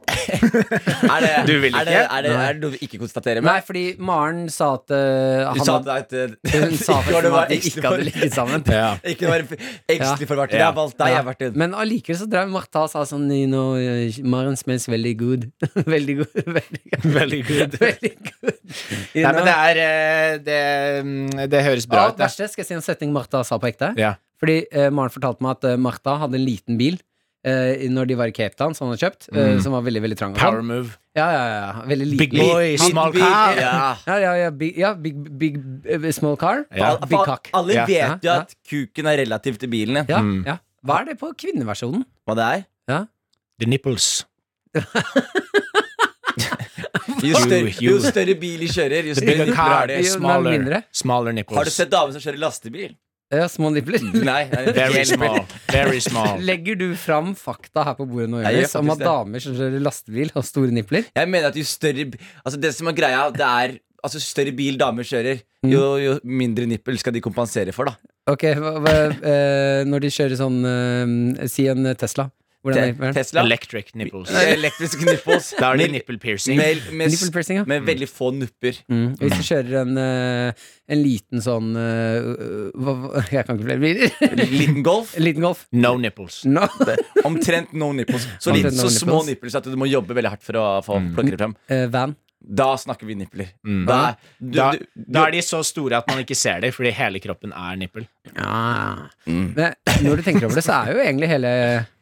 [SPEAKER 2] Er det,
[SPEAKER 4] Du vil
[SPEAKER 2] Er det,
[SPEAKER 4] ikke?
[SPEAKER 2] er det, er det noe vi ikke konstaterer
[SPEAKER 3] Nei,
[SPEAKER 2] med?
[SPEAKER 3] fordi Maren sa at eh,
[SPEAKER 2] Du
[SPEAKER 3] han
[SPEAKER 2] sa
[SPEAKER 3] hadde,
[SPEAKER 2] at
[SPEAKER 3] hun sa
[SPEAKER 2] Ikke var
[SPEAKER 3] først
[SPEAKER 2] det
[SPEAKER 3] at
[SPEAKER 2] bare
[SPEAKER 3] de
[SPEAKER 2] ekstra
[SPEAKER 3] ikke hadde
[SPEAKER 2] for-
[SPEAKER 3] ligget sammen.
[SPEAKER 4] Ja.
[SPEAKER 2] Ikke være engstelig for Martin.
[SPEAKER 4] Ja.
[SPEAKER 2] Jeg har valgt deg, jeg har vært en.
[SPEAKER 3] Men allikevel så drev Martha og sa sånn you know, eh, Maren smells veldig good. veldig good. Veldig good.
[SPEAKER 4] Veldig good.
[SPEAKER 3] Veldig good. You
[SPEAKER 4] Nei, men
[SPEAKER 3] know?
[SPEAKER 4] det er eh, Det, mm, det høres bra
[SPEAKER 3] Og det
[SPEAKER 4] ut, det.
[SPEAKER 3] verste skal jeg si en setning Martha sa på ekte.
[SPEAKER 4] Ja.
[SPEAKER 3] Fordi eh, Maren fortalte meg at eh, Martha hadde en liten bil eh, når de var i Cape Town, som hun hadde kjøpt, eh, som var veldig veldig trang. og sånn.
[SPEAKER 4] Power move.
[SPEAKER 3] Ja, ja, ja. Veldig liten.
[SPEAKER 4] Big boy,
[SPEAKER 2] Liten
[SPEAKER 4] small
[SPEAKER 2] bil.
[SPEAKER 4] car.
[SPEAKER 2] Ja.
[SPEAKER 3] Ja, ja, ja, big, ja big, big, eh, small car.
[SPEAKER 4] Ja.
[SPEAKER 2] For-
[SPEAKER 3] Big
[SPEAKER 2] for
[SPEAKER 3] cock.
[SPEAKER 2] Alle
[SPEAKER 4] Ja.
[SPEAKER 2] vet jo
[SPEAKER 3] Ja.
[SPEAKER 2] at kuken er relativ til bilen. ja.
[SPEAKER 3] Ja, ja. Hva er det på kvinneversjonen?
[SPEAKER 2] Hva det er?
[SPEAKER 4] The nipples.
[SPEAKER 2] Jo større,
[SPEAKER 4] Jo, jo.
[SPEAKER 2] jo større bil de kjører, jo
[SPEAKER 4] The
[SPEAKER 2] større
[SPEAKER 4] bigger
[SPEAKER 2] nipler
[SPEAKER 4] car,
[SPEAKER 2] har de.
[SPEAKER 3] det-
[SPEAKER 4] smaller,
[SPEAKER 3] mindre.
[SPEAKER 4] smaller nipples.
[SPEAKER 2] Har du sett damer som kjører lastebil?
[SPEAKER 3] Ja, Eh, små nippler.
[SPEAKER 2] Nei. nei,
[SPEAKER 4] Very
[SPEAKER 2] helt-
[SPEAKER 4] small. Very small.
[SPEAKER 3] Legger du fram fakta her på bordet nå,
[SPEAKER 2] Jeg gjør
[SPEAKER 3] Jonis, om
[SPEAKER 2] faktisk
[SPEAKER 3] at
[SPEAKER 2] det.
[SPEAKER 3] damer som kjører lastebil, har store nippler?
[SPEAKER 2] Jeg mener at jo større bi- Altså det som er greia, det er Altså jo større bil damer kjører, jo, jo mindre nippel skal de kompensere for, da.
[SPEAKER 3] Ok, hva, hva, eh, når de kjører sånn eh, Si en Tesla. Hvordan er
[SPEAKER 2] Te
[SPEAKER 3] nippelen?
[SPEAKER 2] Tesla.
[SPEAKER 4] Electric nipples.
[SPEAKER 2] Elektriske nipples.
[SPEAKER 4] Da er det
[SPEAKER 2] Med-
[SPEAKER 4] nipple piercing.
[SPEAKER 2] med, med,
[SPEAKER 3] Nipple piercing, ja.
[SPEAKER 2] med veldig få nupper.
[SPEAKER 3] Mm. Hvis du kjører en, eh, en liten sånn eh, hva, hva- Jeg kan ikke flere biler.
[SPEAKER 2] Liten golf.
[SPEAKER 3] en liten Golf.
[SPEAKER 4] No nipples.
[SPEAKER 3] No.
[SPEAKER 2] Omtrent no nipples. Så,
[SPEAKER 3] Omtrent
[SPEAKER 2] liten,
[SPEAKER 3] no
[SPEAKER 2] så små
[SPEAKER 3] nipples.
[SPEAKER 2] nipples at du må jobbe veldig hardt for å få plukke det frem.
[SPEAKER 3] Eh, van.
[SPEAKER 2] Da snakker vi nippler.
[SPEAKER 4] Mm.
[SPEAKER 2] Da, du,
[SPEAKER 4] Da,
[SPEAKER 2] du,
[SPEAKER 4] da er de så store at man ikke ser dem, fordi hele kroppen er nippel.
[SPEAKER 3] Ja.
[SPEAKER 4] Mm.
[SPEAKER 3] Men når du tenker over det, så er jo egentlig hele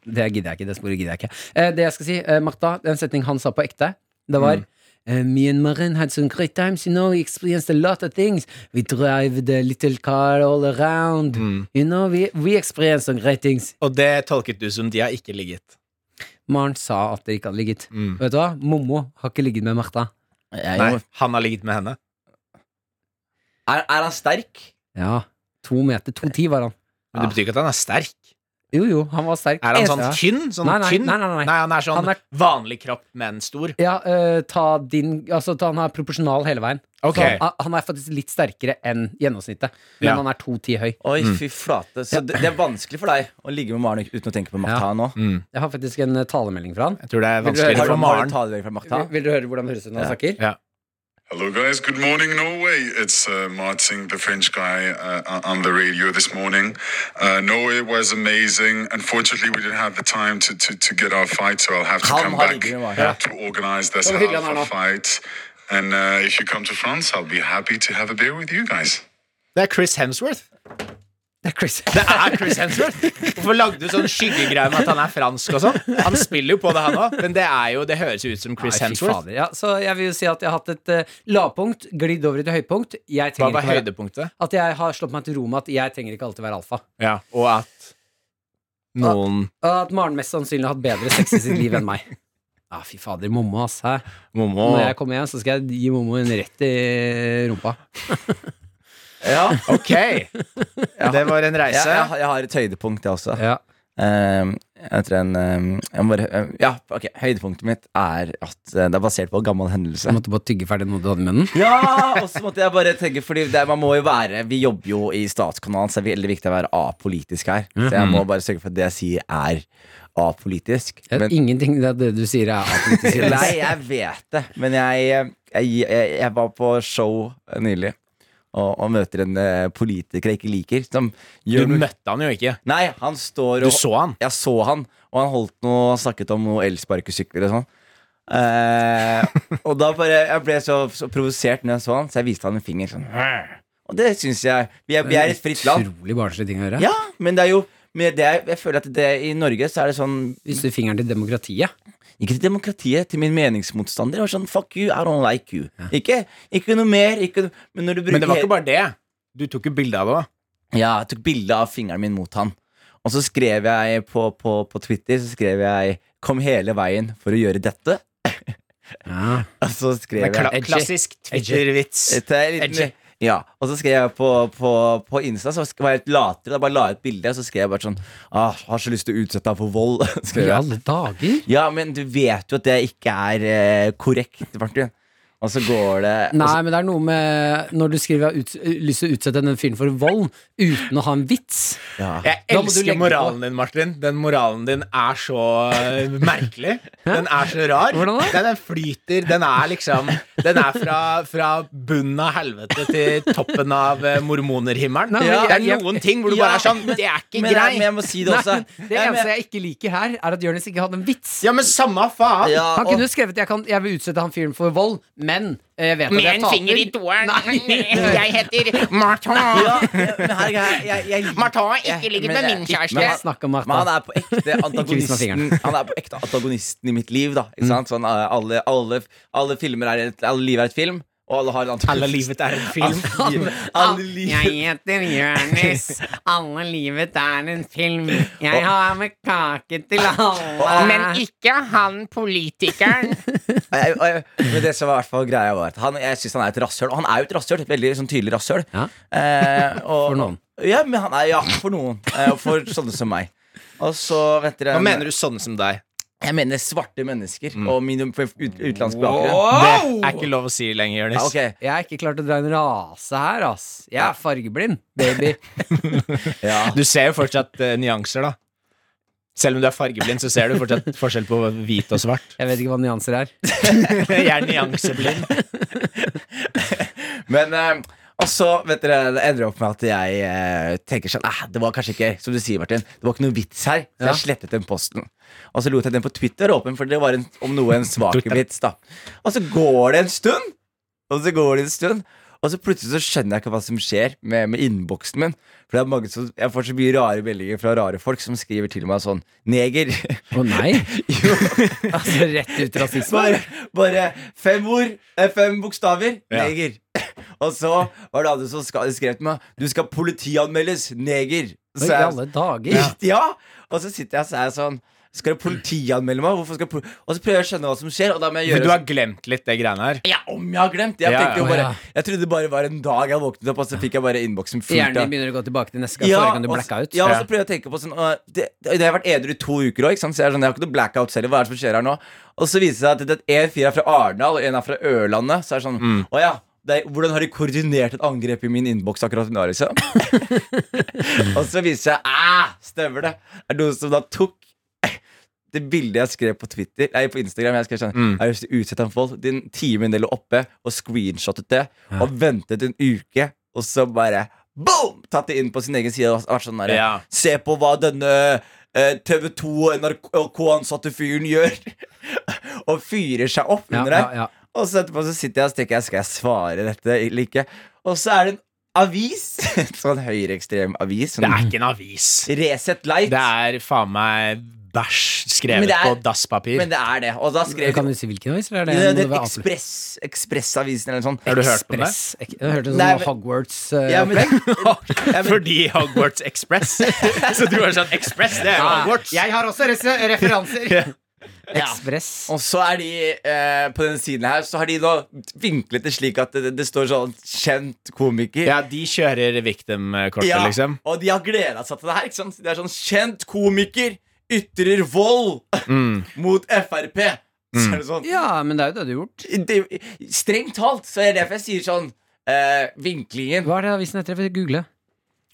[SPEAKER 3] Det gidder jeg ikke. Det sporet gidder jeg ikke. Eh, det jeg skal si, eh, Martha, den setning han sa på ekte, det var
[SPEAKER 4] Mm.
[SPEAKER 3] eh, Me and Maren had some great times, you know. We experienced a lot of things. We drive the little car all around.
[SPEAKER 4] Mm.
[SPEAKER 3] You know, we, we experienced some great things.
[SPEAKER 4] Og det tolket du som de har ikke ligget.
[SPEAKER 3] Maren sa at det ikke hadde ligget. Vet du hva? Mommo har ikke ligget med Martha.
[SPEAKER 2] Jeg
[SPEAKER 4] Nei,
[SPEAKER 2] må-
[SPEAKER 4] han har ligget med henne.
[SPEAKER 2] er, er han sterk?
[SPEAKER 3] Ja, to meter. To ti var han.
[SPEAKER 4] Men det betyr ikke at han er sterk.
[SPEAKER 3] Jo, jo, han var sterk.
[SPEAKER 4] Er han sånn
[SPEAKER 3] Ja.
[SPEAKER 4] tynn? Sånn
[SPEAKER 3] Nei, nei,
[SPEAKER 4] tynn?
[SPEAKER 3] nei, nei, nei.
[SPEAKER 4] han er sånn
[SPEAKER 3] Han er-
[SPEAKER 4] vanlig kropp, men stor.
[SPEAKER 3] Ja, eh, ta din Altså, ta, han er proporsjonal hele veien.
[SPEAKER 4] Ok.
[SPEAKER 3] Så han, han er faktisk litt sterkere enn gjennomsnittet, men
[SPEAKER 4] Ja.
[SPEAKER 3] han er 2,10 høy.
[SPEAKER 2] Oi,
[SPEAKER 4] Mm.
[SPEAKER 2] fy flate. Så det, det er vanskelig for deg å ligge med Maren uten å tenke på Martha nå.
[SPEAKER 3] Jeg har faktisk en eh, talemelding fra han.
[SPEAKER 4] Jeg tror Mm. det er
[SPEAKER 3] Vil du-
[SPEAKER 4] vanskeligere
[SPEAKER 2] Har du, har du
[SPEAKER 4] for Maren.
[SPEAKER 2] tale deg fra Martha?
[SPEAKER 3] Vil, vil du høre hvordan det høres ut når han snakker?
[SPEAKER 4] Ja.
[SPEAKER 5] Hello, guys. Good morning, Norway. It's uh, Martin, the French guy, uh, on the radio this morning. Uh, Norway was amazing. Unfortunately, we didn't have the time to, to, to get our fight, so I'll have to
[SPEAKER 2] Come
[SPEAKER 5] come
[SPEAKER 2] on,
[SPEAKER 5] back
[SPEAKER 2] give me one.
[SPEAKER 5] to organize this
[SPEAKER 3] Come on, give me one.
[SPEAKER 5] half fight. And uh, if you come to France, I'll be happy to have a beer with you guys.
[SPEAKER 4] Det er Chris Hemsworth.
[SPEAKER 3] Det er Chris.
[SPEAKER 4] Det er Chris Hemsworth Hvorfor lagde du sånn skyggegreie med at han er fransk og sånn? Han spiller jo på det, han òg, men det er jo Det høres jo ut som
[SPEAKER 3] Nei,
[SPEAKER 4] Chris
[SPEAKER 3] fy
[SPEAKER 4] Hemsworth.
[SPEAKER 3] fader. Ja, så jeg vil jo si at jeg har hatt et eh, lavpunkt, glidd over i et høypunkt. Jeg
[SPEAKER 4] Hva
[SPEAKER 3] trenger
[SPEAKER 4] var
[SPEAKER 3] ikke være,
[SPEAKER 4] høydepunktet?
[SPEAKER 3] at jeg har slått meg til ro med at jeg trenger ikke alltid være alfa.
[SPEAKER 4] Ja, og at noen
[SPEAKER 3] Og at Maren mest sannsynlig har hatt bedre sex i sitt liv enn meg. Ja, fy fader, mamma, ass. Hæ?
[SPEAKER 4] Mommo
[SPEAKER 3] Når jeg kommer hjem, så skal jeg gi mamma en rett i rumpa.
[SPEAKER 2] Ja.
[SPEAKER 4] Ok! Det var en
[SPEAKER 2] Jeg,
[SPEAKER 4] reise.
[SPEAKER 2] jeg, har- jeg har et høydepunkt, jeg også.
[SPEAKER 3] Ja.
[SPEAKER 2] Ehm, jeg tror en ehm, jeg må bare, ehm, Ja, ok, høydepunktet mitt er at eh, det er basert på en gammel hendelse.
[SPEAKER 3] Jeg måtte bare tygge ferdig noe du hadde i munnen.
[SPEAKER 2] Ja, og så måtte jeg bare tenke Fordi det, man må jo være Vi jobber jo i statskanalen Så det er veldig viktig å være apolitisk her Så jeg
[SPEAKER 4] Mhm.
[SPEAKER 2] må bare sørge for at det jeg sier er apolitisk
[SPEAKER 3] Jeg
[SPEAKER 2] Men-
[SPEAKER 3] vet Ingenting av det du sier, er apolitisk.
[SPEAKER 2] Nei, jeg vet det Men jeg, jeg, jeg, jeg var på show nylig og, og møter en eh, politiker jeg ikke liker Som gjør
[SPEAKER 4] Du
[SPEAKER 2] noe-
[SPEAKER 4] møtte han jo ikke.
[SPEAKER 2] Nei, han står
[SPEAKER 4] Du
[SPEAKER 2] og
[SPEAKER 4] så han.
[SPEAKER 2] Jeg så han Og han holdt noe Han snakket om noe elsparkesykler og sånn eh, Og da bare Jeg ble så, så provosert når jeg så han Så jeg viste han en finger sånn Og det synes jeg Vi er, vi er i et fritt land
[SPEAKER 3] Utrolig barnslig ting å gjøre.
[SPEAKER 2] Ja, men det er jo men det, er- jeg føler at det, i Norge så er det sånn
[SPEAKER 3] Viste fingeren til demokratiet.
[SPEAKER 2] Ikke til demokratiet, til min meningsmotstander Det var sånn, fuck you, I don't like you Ikke, ikke noe mer ikke, noe- Men når du bruker
[SPEAKER 4] Men det var
[SPEAKER 2] hele-
[SPEAKER 4] ikke bare det. Du tok jo bilde av det òg.
[SPEAKER 2] Ja, jeg tok bilde av fingeren min mot han. Og så skrev jeg på, på, på Twitter Så skrev jeg 'Kom hele veien for å gjøre dette'.
[SPEAKER 3] Ja.
[SPEAKER 2] Og så skrev jeg
[SPEAKER 4] Kla
[SPEAKER 3] Edgy.
[SPEAKER 4] klassisk Twitter-vits.
[SPEAKER 2] Et, eh, liten, ja, og så skrev jeg på, på, på Insta, så sk- var jeg litt latere. Da bare la jeg ut bilde, og så skrev jeg bare sånn ah, 'Har så lyst til å utsette deg for vold'. skrev
[SPEAKER 3] I
[SPEAKER 2] jeg.
[SPEAKER 3] alle dager!
[SPEAKER 2] Ja, men du vet jo at det ikke er eh, korrekt, Martin. Og så går det og så-
[SPEAKER 3] Nei, men det er noe med når du skriver at jeg har ut, lyst til å utsette den fyren for vold uten å ha en vits.
[SPEAKER 2] ja.
[SPEAKER 4] Jeg
[SPEAKER 3] Da må du legge
[SPEAKER 4] elsker
[SPEAKER 3] på.
[SPEAKER 4] moralen din, Martin. Den moralen din er så eh, merkelig. Den er så rar.
[SPEAKER 3] Hvordan da?
[SPEAKER 4] Nei, Den flyter. Den er liksom Den er fra, fra bunnen av helvete til toppen av eh, mormonerhimmelen.
[SPEAKER 3] Nei,
[SPEAKER 4] Ja,
[SPEAKER 3] men
[SPEAKER 4] det er
[SPEAKER 3] jeg-
[SPEAKER 4] noen ting hvor du
[SPEAKER 2] Ja,
[SPEAKER 4] bare er sånn
[SPEAKER 2] men-
[SPEAKER 4] Det er ikke
[SPEAKER 2] men, nei,
[SPEAKER 4] grei.
[SPEAKER 2] men jeg må si det også.
[SPEAKER 3] Nei, det
[SPEAKER 2] Nei, men-
[SPEAKER 3] eneste jeg ikke liker her, er at Jonis ikke hadde en vits.
[SPEAKER 4] Ja, men samme faen.
[SPEAKER 2] Ja,
[SPEAKER 3] Han
[SPEAKER 2] og-
[SPEAKER 3] kunne jo skrevet jeg, kan, 'Jeg vil utsette han fyren for vold', men eh, jeg vet at jeg taper.
[SPEAKER 6] toeren.
[SPEAKER 3] Nei.
[SPEAKER 6] heter Martin.
[SPEAKER 2] ja, men herregud, jeg, jeg, jeg
[SPEAKER 6] Martin,
[SPEAKER 2] jeg- men jeg-
[SPEAKER 3] Men
[SPEAKER 2] Men
[SPEAKER 3] han-
[SPEAKER 2] han-
[SPEAKER 3] Snakk om Martha.
[SPEAKER 2] Men han er på ekte
[SPEAKER 3] vis meg
[SPEAKER 2] antagonisten
[SPEAKER 3] fingeren. Mm.
[SPEAKER 2] Han er på ekte antagonisten i mitt liv, da. Ikke sant? Sånn, eh, alle, alle, alle filmer er et, Alle liv er et film, og alle har en antagonist.
[SPEAKER 4] Alle livet er en film.
[SPEAKER 2] Alle, alle liv.
[SPEAKER 6] heter Jonis. Alle livet er en film. Jeg har med kake til alle. Men ikke han politikeren.
[SPEAKER 2] Og jeg, og jeg, men det som var i hvert fall greia, var at han, jeg syns han er et rasshøl. Og han er jo et rasshøl. et Veldig sånn tydelig rasshøl.
[SPEAKER 3] Ja.
[SPEAKER 2] Eh, og-
[SPEAKER 3] For noen.
[SPEAKER 2] Ja, men han er, ja, for noen. Eh, og for sånne som meg. Og så, vet dere
[SPEAKER 4] Hva mener du sånne som deg?
[SPEAKER 2] Jeg mener svarte mennesker og min ut, utenlandsk bakgrunn.
[SPEAKER 4] Det er ikke lov å si lenger,
[SPEAKER 2] Ja,
[SPEAKER 4] Jonis.
[SPEAKER 2] ok.
[SPEAKER 3] Jeg har ikke klart å dra en rase her, ass. Jeg er fargeblind, baby.
[SPEAKER 2] Ja.
[SPEAKER 4] Du ser jo fortsatt eh, nyanser, da. Selv om du er fargeblind, så ser du fortsatt forskjell på hvit og svart.
[SPEAKER 3] Jeg vet ikke hva nyanser er.
[SPEAKER 4] Jeg er nyanseblind.
[SPEAKER 2] Men eh, og så vet dere, det ender opp med at jeg eh, tenker sånn eh, Det var kanskje ikke som du sier, Martin Det var ikke noe vits her. Så jeg slettet den posten. Og så lot jeg den på Twitter åpen, for det var en, om noe en svak
[SPEAKER 4] Twitter.
[SPEAKER 2] vits. da Og så går det en stund, og så går det en stund. Og så plutselig så skjønner jeg ikke hva som skjer med, med innboksen min. For det er mange som, Jeg får så mye rare meldinger fra rare folk som skriver til meg sånn Neger.
[SPEAKER 3] Å nei!
[SPEAKER 2] jo,
[SPEAKER 3] Altså, rett ut rasisme.
[SPEAKER 2] bare, bare fem ord, eh, fem bokstaver.
[SPEAKER 4] Ja.
[SPEAKER 2] Neger. Og så var det andre som ska- skrev til meg Du skal politianmeldes, neger.
[SPEAKER 3] Oi,
[SPEAKER 2] Så
[SPEAKER 3] I
[SPEAKER 2] jeg,
[SPEAKER 3] alle dager.
[SPEAKER 2] ja. Og så sitter jeg og så er jeg sånn Skal du politianmelde meg? Hvorfor skal jeg poli-" Og så prøver jeg å skjønne hva som skjer. Og da må jeg
[SPEAKER 4] Men
[SPEAKER 2] gjøre sånn,
[SPEAKER 4] du har glemt litt det greiene her.
[SPEAKER 2] ja, om jeg har glemt! Jeg,
[SPEAKER 4] Ja, ja.
[SPEAKER 2] tenkte jo
[SPEAKER 3] Å,
[SPEAKER 2] bare,
[SPEAKER 3] ja.
[SPEAKER 2] jeg trodde det bare var en dag jeg våknet opp, og så fikk jeg bare innboksen fullt
[SPEAKER 3] Hjernen
[SPEAKER 2] av
[SPEAKER 3] din begynner å gå tilbake til neste gang. forrige gang du
[SPEAKER 2] og
[SPEAKER 3] blacka
[SPEAKER 2] så-
[SPEAKER 3] ut.
[SPEAKER 2] Ja, og
[SPEAKER 4] Ja.
[SPEAKER 2] så prøver jeg å tenke på sånn øh, det, det har vært edru i to uker òg, så jeg, er sånn, jeg har ikke noe blackout selv. Hva er det som skjer her nå? Og så viser det seg at det- en fyr er fra Arendal, og en er fra Ørlandet. Så er det sånn, å ja det er, Hvordan har de koordinert et angrep i min innboks akkurat nå, liksom? og så viser jeg Æh, stemmer det! Er det noen som da tok det bildet jeg skrev på Twitter Nei, på Instagram. Jeg skrev sånn Jeg har lyst til å utsette ham for vold. Din time lå oppe, og screenshottet det. Og ventet en uke, og så bare boom! Tatt det inn på sin egen side og vært sånn der
[SPEAKER 4] Ja.
[SPEAKER 2] Se på hva denne eh, TV2 og NRK-ansatte fyren gjør. og fyrer seg opp
[SPEAKER 3] Ja,
[SPEAKER 2] under det.
[SPEAKER 3] ja, ja.
[SPEAKER 2] Og så etterpå så sitter jeg og så tenker jeg, Skal jeg svare dette eller ikke? Og så er det en avis. sånn høyreekstrem avis.
[SPEAKER 4] Det
[SPEAKER 2] Sånn
[SPEAKER 4] er ikke en avis.
[SPEAKER 2] Resett Light.
[SPEAKER 4] Det er faen meg bæsj skrevet
[SPEAKER 2] Men det er-
[SPEAKER 4] på dasspapir.
[SPEAKER 2] men det er det. Og da skrev
[SPEAKER 3] Kan du si hvilken avis? Eller er det,
[SPEAKER 2] Det,
[SPEAKER 3] må
[SPEAKER 2] det,
[SPEAKER 3] det være Apple?
[SPEAKER 2] ekspress, Ekspressavisen eller noe sånt.
[SPEAKER 4] Har du hørt på det?
[SPEAKER 3] Press. Ek- Jeg
[SPEAKER 2] Nei,
[SPEAKER 3] hørte sånn
[SPEAKER 2] men-
[SPEAKER 3] Hogwarts
[SPEAKER 2] Ja,
[SPEAKER 3] uh,
[SPEAKER 2] men, ja, men,
[SPEAKER 4] Fordi Hogwarts Express. Så du var sånn Express, det er jo Hogwarts.
[SPEAKER 3] Jeg har også referanser.
[SPEAKER 4] Ja.
[SPEAKER 3] Ekspress.
[SPEAKER 2] og så er de eh, på den siden her Så har de nå vinklet det slik at det, det står sånn kjent komiker.
[SPEAKER 4] Ja, de kjører victim-kortet,
[SPEAKER 2] Ja,
[SPEAKER 4] liksom.
[SPEAKER 2] Og de har gleda seg til det her. Ikke sant? Det er sånn kjent komiker ytrer vold
[SPEAKER 4] Mm.
[SPEAKER 2] mot Frp. Så er det sånn
[SPEAKER 3] Ja, men det er jo det du har gjort.
[SPEAKER 2] det, Strengt talt så er det derfor jeg sier sånn eh, Vinklingen
[SPEAKER 3] Hva er det avisen heter? Jeg vil google.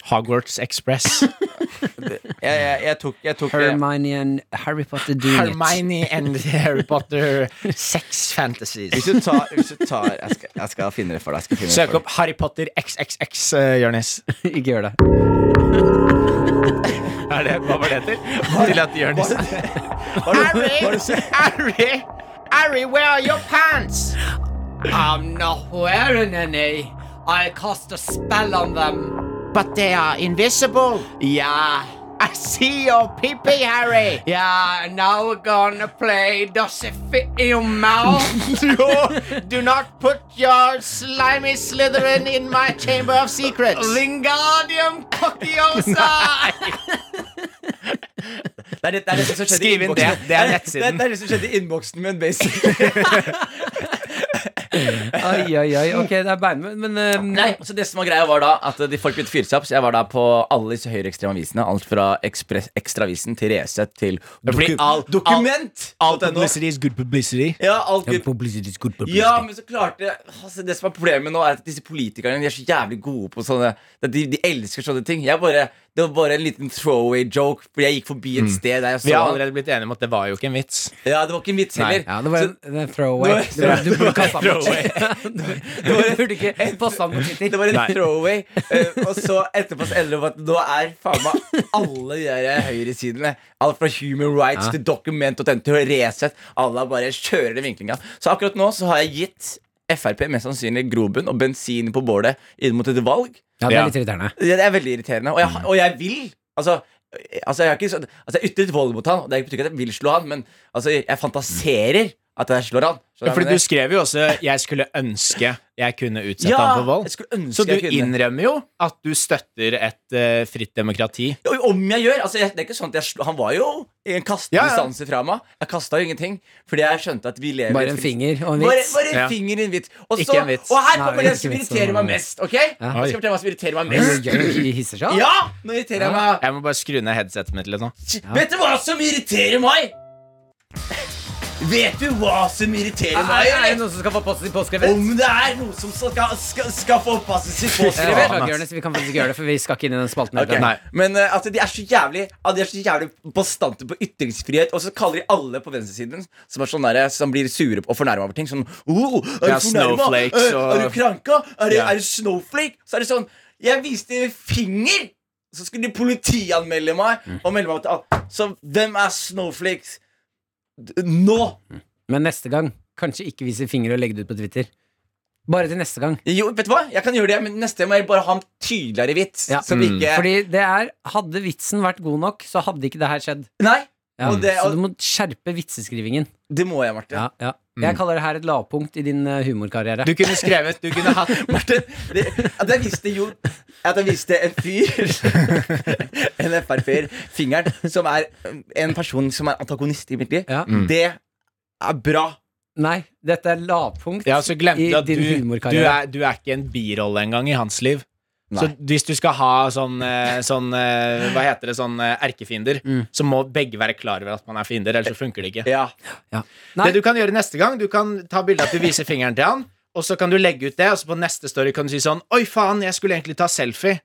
[SPEAKER 4] Hogwarts Express.
[SPEAKER 2] Jeg, jeg, jeg tok, jeg tok det.
[SPEAKER 3] Hermione and Harry Potter doing it.
[SPEAKER 4] and Harry Potter sex fantasies.
[SPEAKER 2] Hvis du tar, hvis du tar jeg, skal, jeg skal finne det for deg. Jeg skal finne det for
[SPEAKER 4] Søk
[SPEAKER 2] deg.
[SPEAKER 4] opp Harry Potter XXX, uh, Jonis.
[SPEAKER 3] Ikke gjør det.
[SPEAKER 4] Er det, hva var det til? Til at Jonis
[SPEAKER 2] Har du- har du sett-
[SPEAKER 4] Harry! Harry, where are your pants?
[SPEAKER 3] I'm not wearing any. I cast a spell on them.
[SPEAKER 4] But they are invisible.
[SPEAKER 3] Yeah.
[SPEAKER 4] I see your pee-pee, Harry.
[SPEAKER 3] Yeah, and now we're gonna play Does it fit in your mouth?
[SPEAKER 4] Do not put your slimy Slytherin in my chamber of secrets.
[SPEAKER 3] Wingardium Cockyosa!
[SPEAKER 2] Det er det, det, er det som skjedde i
[SPEAKER 4] Skriv inn det.
[SPEAKER 2] innboksen.
[SPEAKER 4] Det er
[SPEAKER 2] Det,
[SPEAKER 4] nettsiden.
[SPEAKER 2] det er det som skjedde i innboksen min, basic.
[SPEAKER 3] Ai, ai, ai. Ok, det er beinmøtt, men eh,
[SPEAKER 2] Nei, så det som var greia var da at de folk begynte å fyre seg opp. Så jeg var da på alle disse høyreekstreme avisene. Alt fra Ekspress- Ekstravisen til Resett til
[SPEAKER 4] blir all-
[SPEAKER 2] Dokument!
[SPEAKER 4] All
[SPEAKER 2] .no.
[SPEAKER 4] publicity is good publicity.
[SPEAKER 2] Ja, alt
[SPEAKER 3] Publicity is good publicity.
[SPEAKER 2] Ja, men så klarte altså, Det som er problemet nå, er at disse politikerne De er så jævlig gode på sånne De, de elsker sånne ting. Jeg bare, det var bare en liten throwaway joke, for jeg gikk forbi et sted der jeg
[SPEAKER 4] Vi
[SPEAKER 2] så
[SPEAKER 4] har
[SPEAKER 2] han.
[SPEAKER 4] allerede blitt enige om at det var jo ikke en vits.
[SPEAKER 2] Ja, det var ikke en vits heller.
[SPEAKER 3] Ja, det var en,
[SPEAKER 2] Så-
[SPEAKER 3] det er en throwaway.
[SPEAKER 2] Det
[SPEAKER 3] Du,
[SPEAKER 2] var-
[SPEAKER 3] du burde kasta den
[SPEAKER 4] throwaway.
[SPEAKER 3] Du burde ikke posta den på
[SPEAKER 2] det
[SPEAKER 3] Twitter.
[SPEAKER 2] var en
[SPEAKER 4] Nei.
[SPEAKER 2] throwaway. eh, og så etterpå så ender det med at nå er faen meg alle de der høyresidene, alt fra Human Rights til Dokument og til Resett, alle bare kjører den vinklinga. Så akkurat nå så har jeg gitt Frp mest sannsynlig grobunn og bensin på bålet inn mot et valg.
[SPEAKER 3] Ja, det er litt irriterende.
[SPEAKER 2] Ja, det er veldig irriterende. Og
[SPEAKER 4] Mm.
[SPEAKER 2] jeg, og jeg vil Altså, altså jeg har ikke sånn Altså, jeg ytret vold mot han. og Det er ikke betyr ikke at jeg vil slå han, men altså, jeg fantaserer at jeg slår han. Skjønner du hva
[SPEAKER 4] Ja,
[SPEAKER 2] jeg
[SPEAKER 4] fordi
[SPEAKER 2] mener?
[SPEAKER 4] du skrev jo også 'jeg skulle ønske jeg kunne utsette
[SPEAKER 2] ja,
[SPEAKER 4] ham for vold'.
[SPEAKER 2] Jeg skulle ønske
[SPEAKER 4] Så du
[SPEAKER 2] jeg kunne.
[SPEAKER 4] innrømmer jo at du støtter et eh, fritt demokrati.
[SPEAKER 2] Og Om jeg gjør! Altså, jeg, det er ikke sånn at jeg slo, Han var jo i en kastende
[SPEAKER 4] Ja, ja.
[SPEAKER 2] distanse fra meg. Jeg kasta jo ingenting, fordi jeg skjønte at vi lever i
[SPEAKER 3] Bare
[SPEAKER 2] et
[SPEAKER 3] en
[SPEAKER 2] fri-
[SPEAKER 3] finger og en
[SPEAKER 2] Bare,
[SPEAKER 3] vits.
[SPEAKER 2] bare en
[SPEAKER 4] Ja.
[SPEAKER 2] finger i en vits. Og,
[SPEAKER 4] Ikke
[SPEAKER 2] så-
[SPEAKER 4] en vits.
[SPEAKER 2] og her
[SPEAKER 3] Nei,
[SPEAKER 2] kommer det
[SPEAKER 3] ikke
[SPEAKER 2] som
[SPEAKER 3] vits,
[SPEAKER 2] irriterer meg
[SPEAKER 3] men-
[SPEAKER 2] mest. Ok? Jeg skal
[SPEAKER 4] Oi.
[SPEAKER 2] fortelle hva som irriterer meg
[SPEAKER 3] Men
[SPEAKER 2] mest.
[SPEAKER 3] du gjør- du hisser seg opp?
[SPEAKER 2] Ja! Nå irriterer jeg meg.
[SPEAKER 4] Jeg må bare skru ned headsetet mitt litt nå.
[SPEAKER 2] Vet du hva som irriterer meg? Vet du hva som irriterer
[SPEAKER 3] Er,
[SPEAKER 2] meg?
[SPEAKER 3] er det
[SPEAKER 2] eller?
[SPEAKER 3] noen som skal få posten sin påskrevet?
[SPEAKER 2] Om det er noe som skal, skal, skal få passet sitt
[SPEAKER 3] Eh,
[SPEAKER 2] påskrevet?
[SPEAKER 3] Beklager, Jonis, vi kan faktisk ikke gjøre det, for vi skal ikke inn i den spalten. her.
[SPEAKER 2] Ok,
[SPEAKER 4] Nei.
[SPEAKER 2] Men eh, altså, de er så jævlig ah, De er så jævlig bastante på ytringsfrihet, og så kaller de alle på venstresiden som, er sånn der, som blir sure og fornærma over ting, sånn oh, er
[SPEAKER 4] Ja,
[SPEAKER 2] du fornærma?
[SPEAKER 4] snowflakes
[SPEAKER 2] Eh,
[SPEAKER 4] og-
[SPEAKER 2] Er du kranka? Er, det,
[SPEAKER 4] Ja.
[SPEAKER 2] er du snowflake? Så er det sånn Jeg viste finger! Så skulle de politianmelde meg.
[SPEAKER 4] Mm.
[SPEAKER 2] Og melde meg til alt. Så hvem er snowflakes? D- Nå!
[SPEAKER 3] Men neste gang, kanskje ikke vise finger og legge det ut på Twitter. Bare til neste gang.
[SPEAKER 2] Jo, vet du hva? Jeg kan gjøre det, men neste gang må jeg bare ha en tydeligere vits.
[SPEAKER 3] Ja.
[SPEAKER 2] Som
[SPEAKER 4] Mm.
[SPEAKER 2] ikke
[SPEAKER 3] Fordi det er, hadde vitsen vært god nok, så hadde ikke det her skjedd.
[SPEAKER 2] Nei!
[SPEAKER 3] Ja,
[SPEAKER 2] Og det-
[SPEAKER 3] så
[SPEAKER 2] og-
[SPEAKER 3] du må skjerpe vitseskrivingen.
[SPEAKER 2] Det må jeg, Martin.
[SPEAKER 3] Ja, ja. Jeg kaller det her et lavpunkt i din eh, humorkarriere.
[SPEAKER 4] Mm. Du kunne skrevet Du kunne hatt
[SPEAKER 2] Martin, det, at jeg visste jo At jeg visste en fyr En FrP-er Fingeren Som er en person som er antagonist i mitt liv
[SPEAKER 3] Ja.
[SPEAKER 2] Det er bra
[SPEAKER 3] Nei, dette er lavpunkt.
[SPEAKER 4] Ja, så glemte
[SPEAKER 3] I
[SPEAKER 4] du at du,
[SPEAKER 3] din
[SPEAKER 4] du,
[SPEAKER 3] humorkarriere.
[SPEAKER 4] er, du er ikke en birolle engang i hans liv. Så hvis du skal ha sånn, eh, sånn eh, Hva heter det? Sånn eh, erkefiender. Så må begge være klar over at man er fiender, ellers så funker det ikke.
[SPEAKER 2] Ja
[SPEAKER 3] Ja. Nei,
[SPEAKER 4] Det du kan gjøre neste gang, du kan ta bilde av at du viser fingeren til han, og så kan du legge ut det, og så på neste story kan du si sånn Oi, faen, jeg skulle egentlig ta selfie.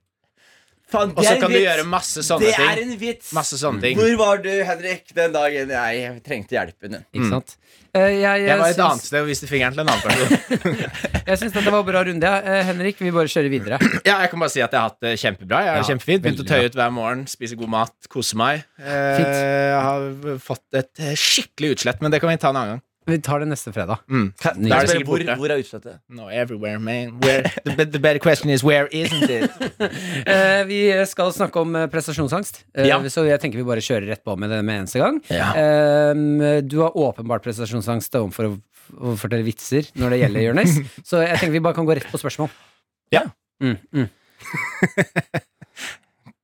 [SPEAKER 2] Faen, det
[SPEAKER 4] Og så
[SPEAKER 2] er en
[SPEAKER 4] kan du
[SPEAKER 2] vits.
[SPEAKER 4] gjøre masse sånne
[SPEAKER 2] Det er
[SPEAKER 4] ting.
[SPEAKER 2] en vits
[SPEAKER 4] Masse sånne ting.
[SPEAKER 2] Hvor var du, Henrik, den dagen jeg trengte hjelpen din?
[SPEAKER 3] Ikke sant? Eh, jeg,
[SPEAKER 4] Mm. Jeg var
[SPEAKER 3] jeg,
[SPEAKER 4] et annet
[SPEAKER 3] syns,
[SPEAKER 4] sted og viste fingeren til en annen person.
[SPEAKER 3] jeg syns dette var en bra runde. Ja. Eh, Henrik, vi bare kjører videre.
[SPEAKER 4] Ja, jeg kan bare si at jeg har hatt det kjempebra. Jeg er
[SPEAKER 3] Ja,
[SPEAKER 4] kjempefint Begynte å
[SPEAKER 3] veldig
[SPEAKER 4] tøye ut hver morgen, spise god mat, kose meg. Eh,
[SPEAKER 3] Fint.
[SPEAKER 4] jeg har fått et eh, skikkelig utslett, men det kan vi ta en annen gang.
[SPEAKER 3] Vi tar det neste fredag.
[SPEAKER 4] Mm.
[SPEAKER 2] Kan, kan
[SPEAKER 3] Nydelig.
[SPEAKER 2] jeg
[SPEAKER 4] Det er
[SPEAKER 2] spørre,
[SPEAKER 4] sikkert
[SPEAKER 2] hvor,
[SPEAKER 4] borte.
[SPEAKER 2] hvor er utslettet?
[SPEAKER 4] No, everywhere, man. Where, the, be- the better question is where isn't it?
[SPEAKER 3] Eh, vi skal snakke om eh, prestasjonsangst, Eh,
[SPEAKER 4] Ja.
[SPEAKER 3] så jeg tenker vi bare kjører rett på med det med eneste gang.
[SPEAKER 2] Ja.
[SPEAKER 3] Eh, du har åpenbart prestasjonsangst overfor å, å fortelle vitser når det gjelder Jonis, så jeg tenker vi bare kan gå rett på spørsmål.
[SPEAKER 4] Ja.
[SPEAKER 3] Mm, mm.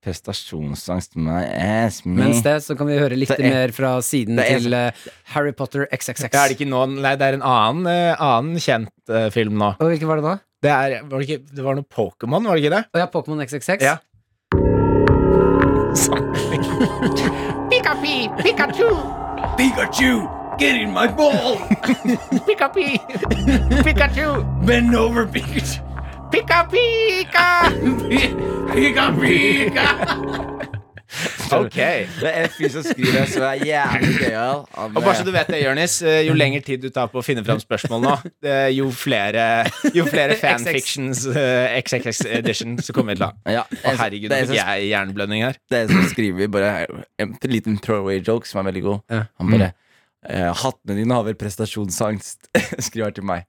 [SPEAKER 2] Prestasjonsangst, my ass, me
[SPEAKER 4] Mm.
[SPEAKER 3] Mens det så kan vi høre litt
[SPEAKER 2] Det er-
[SPEAKER 3] mer fra siden
[SPEAKER 2] det er-
[SPEAKER 3] til eh, Harry Potter XXX.
[SPEAKER 4] Ja, er det ikke noen Nei, det er en annen, eh, annen kjent eh, film nå.
[SPEAKER 3] Og hvilken var det da?
[SPEAKER 4] Det, er, var det, ikke, det var noe Pokémon, var det ikke det?
[SPEAKER 3] Å ja, Pokémon XXX.
[SPEAKER 4] Ja.
[SPEAKER 6] Pikapi, Pikachu,
[SPEAKER 2] Pikachu, get in my ball
[SPEAKER 6] Pikapi, Pikachu,
[SPEAKER 2] Bend over, Pikachu
[SPEAKER 6] Pika Pika.
[SPEAKER 2] Pika, pika
[SPEAKER 4] Ok.
[SPEAKER 2] Det er en fyr som skriver som er jævlig gøyal. Han,
[SPEAKER 4] Og bare så du vet det, Jørnis, eh, jo lengre tid du tar på å finne fram spørsmål nå, det- jo flere, jo flere fanfictions eh, XXX edition så kommer vi til å ha.
[SPEAKER 2] ja,
[SPEAKER 4] Å, herregud,
[SPEAKER 2] det
[SPEAKER 4] nå
[SPEAKER 2] er
[SPEAKER 4] fikk jeg jernblødning her.
[SPEAKER 2] det er en som skriver bare en liten throwaway joke som er veldig god.
[SPEAKER 3] Ja.
[SPEAKER 2] Han bare eh, Hattene dine har vel prestasjonsangst, skriver han til meg.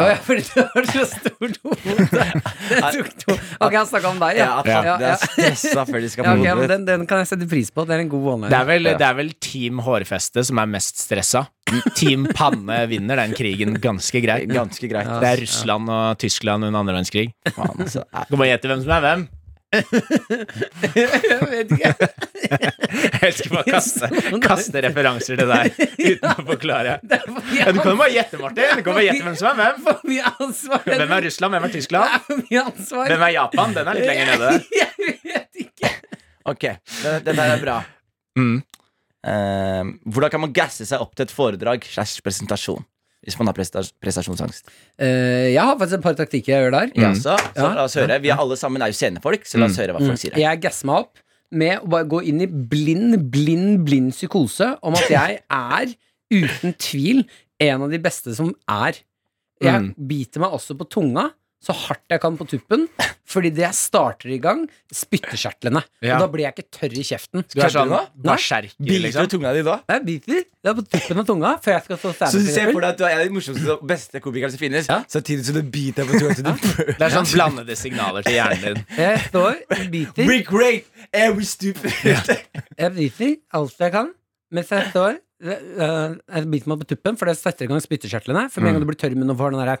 [SPEAKER 3] Å ja, fordi du har så stort hode. Det tok to. Ok, han snakka om deg,
[SPEAKER 2] Ja,
[SPEAKER 3] ja.
[SPEAKER 2] at hattene er stressa før de skal på
[SPEAKER 3] Ja, ok, men
[SPEAKER 2] hodet.
[SPEAKER 3] den, den kan jeg sette pris på. Det er en god one
[SPEAKER 4] Det er, vel, det er vel Team Hårfeste som er mest stressa. Team Panne vinner den krigen ganske greit.
[SPEAKER 2] Ganske greit.
[SPEAKER 4] Det er Russland og Tyskland under andre verdenskrig.
[SPEAKER 2] Faen, altså.
[SPEAKER 4] Kan bare gjette hvem som er hvem.
[SPEAKER 3] Jeg vet ikke.
[SPEAKER 4] Jeg elsker bare å kaste, kaste referanser til deg uten å forklare. Ja, du kan jo bare gjette, Martin. Du kan bare gjette hvem som er hvem.
[SPEAKER 3] For mye ansvar.
[SPEAKER 4] Hvem er Russland? Hvem er
[SPEAKER 3] Det
[SPEAKER 4] Tyskland?
[SPEAKER 3] er for mye ansvar.
[SPEAKER 4] Hvem er Japan? Den er litt lenger nede.
[SPEAKER 3] Jeg vet ikke.
[SPEAKER 2] Ok, det, det der er bra. Eh, hvordan kan man gasse seg opp til et foredrag slash presentasjon? Hvis man har presta prestasjonsangst.
[SPEAKER 3] Eh, jeg har faktisk et par taktikker jeg gjør der.
[SPEAKER 2] Ja, så, så
[SPEAKER 3] Ja. Mm.
[SPEAKER 2] la oss høre. Vi er alle sammen er jo scenefolk, så la oss høre hva folk sier. her.
[SPEAKER 3] Jeg gasser meg opp med å bare gå inn i blind, blind, blind psykose om at jeg er uten tvil en av de beste som er. Jeg biter meg også på tunga så hardt jeg kan på tuppen, fordi det jeg starter i gang, spyttekjertlene.
[SPEAKER 4] Ja.
[SPEAKER 3] Og da blir jeg ikke tørr i kjeften.
[SPEAKER 4] Du er sånn
[SPEAKER 3] Nei.
[SPEAKER 4] berserker,
[SPEAKER 2] Biter
[SPEAKER 4] liksom.
[SPEAKER 2] du tunga di da?
[SPEAKER 3] Jeg biter. Det er på tuppen av tunga før jeg skal stå
[SPEAKER 2] Så du
[SPEAKER 3] standup.
[SPEAKER 2] ser
[SPEAKER 3] for
[SPEAKER 2] for
[SPEAKER 3] eksempel.
[SPEAKER 2] deg at du er en av de morsomste og beste komikerne som finnes,
[SPEAKER 3] Ja.
[SPEAKER 2] samtidig som du biter deg på tunga til du blør.
[SPEAKER 4] Det er sånn blandede signaler til hjernen din.
[SPEAKER 3] Jeg står, biter,
[SPEAKER 2] We great and we stupid.
[SPEAKER 3] jeg biter alt jeg kan, mens jeg står øh, Jeg biter meg på tuppen, for det setter i gang spyttekjertlene. For med en gang du blir tørr i munnen og får den derre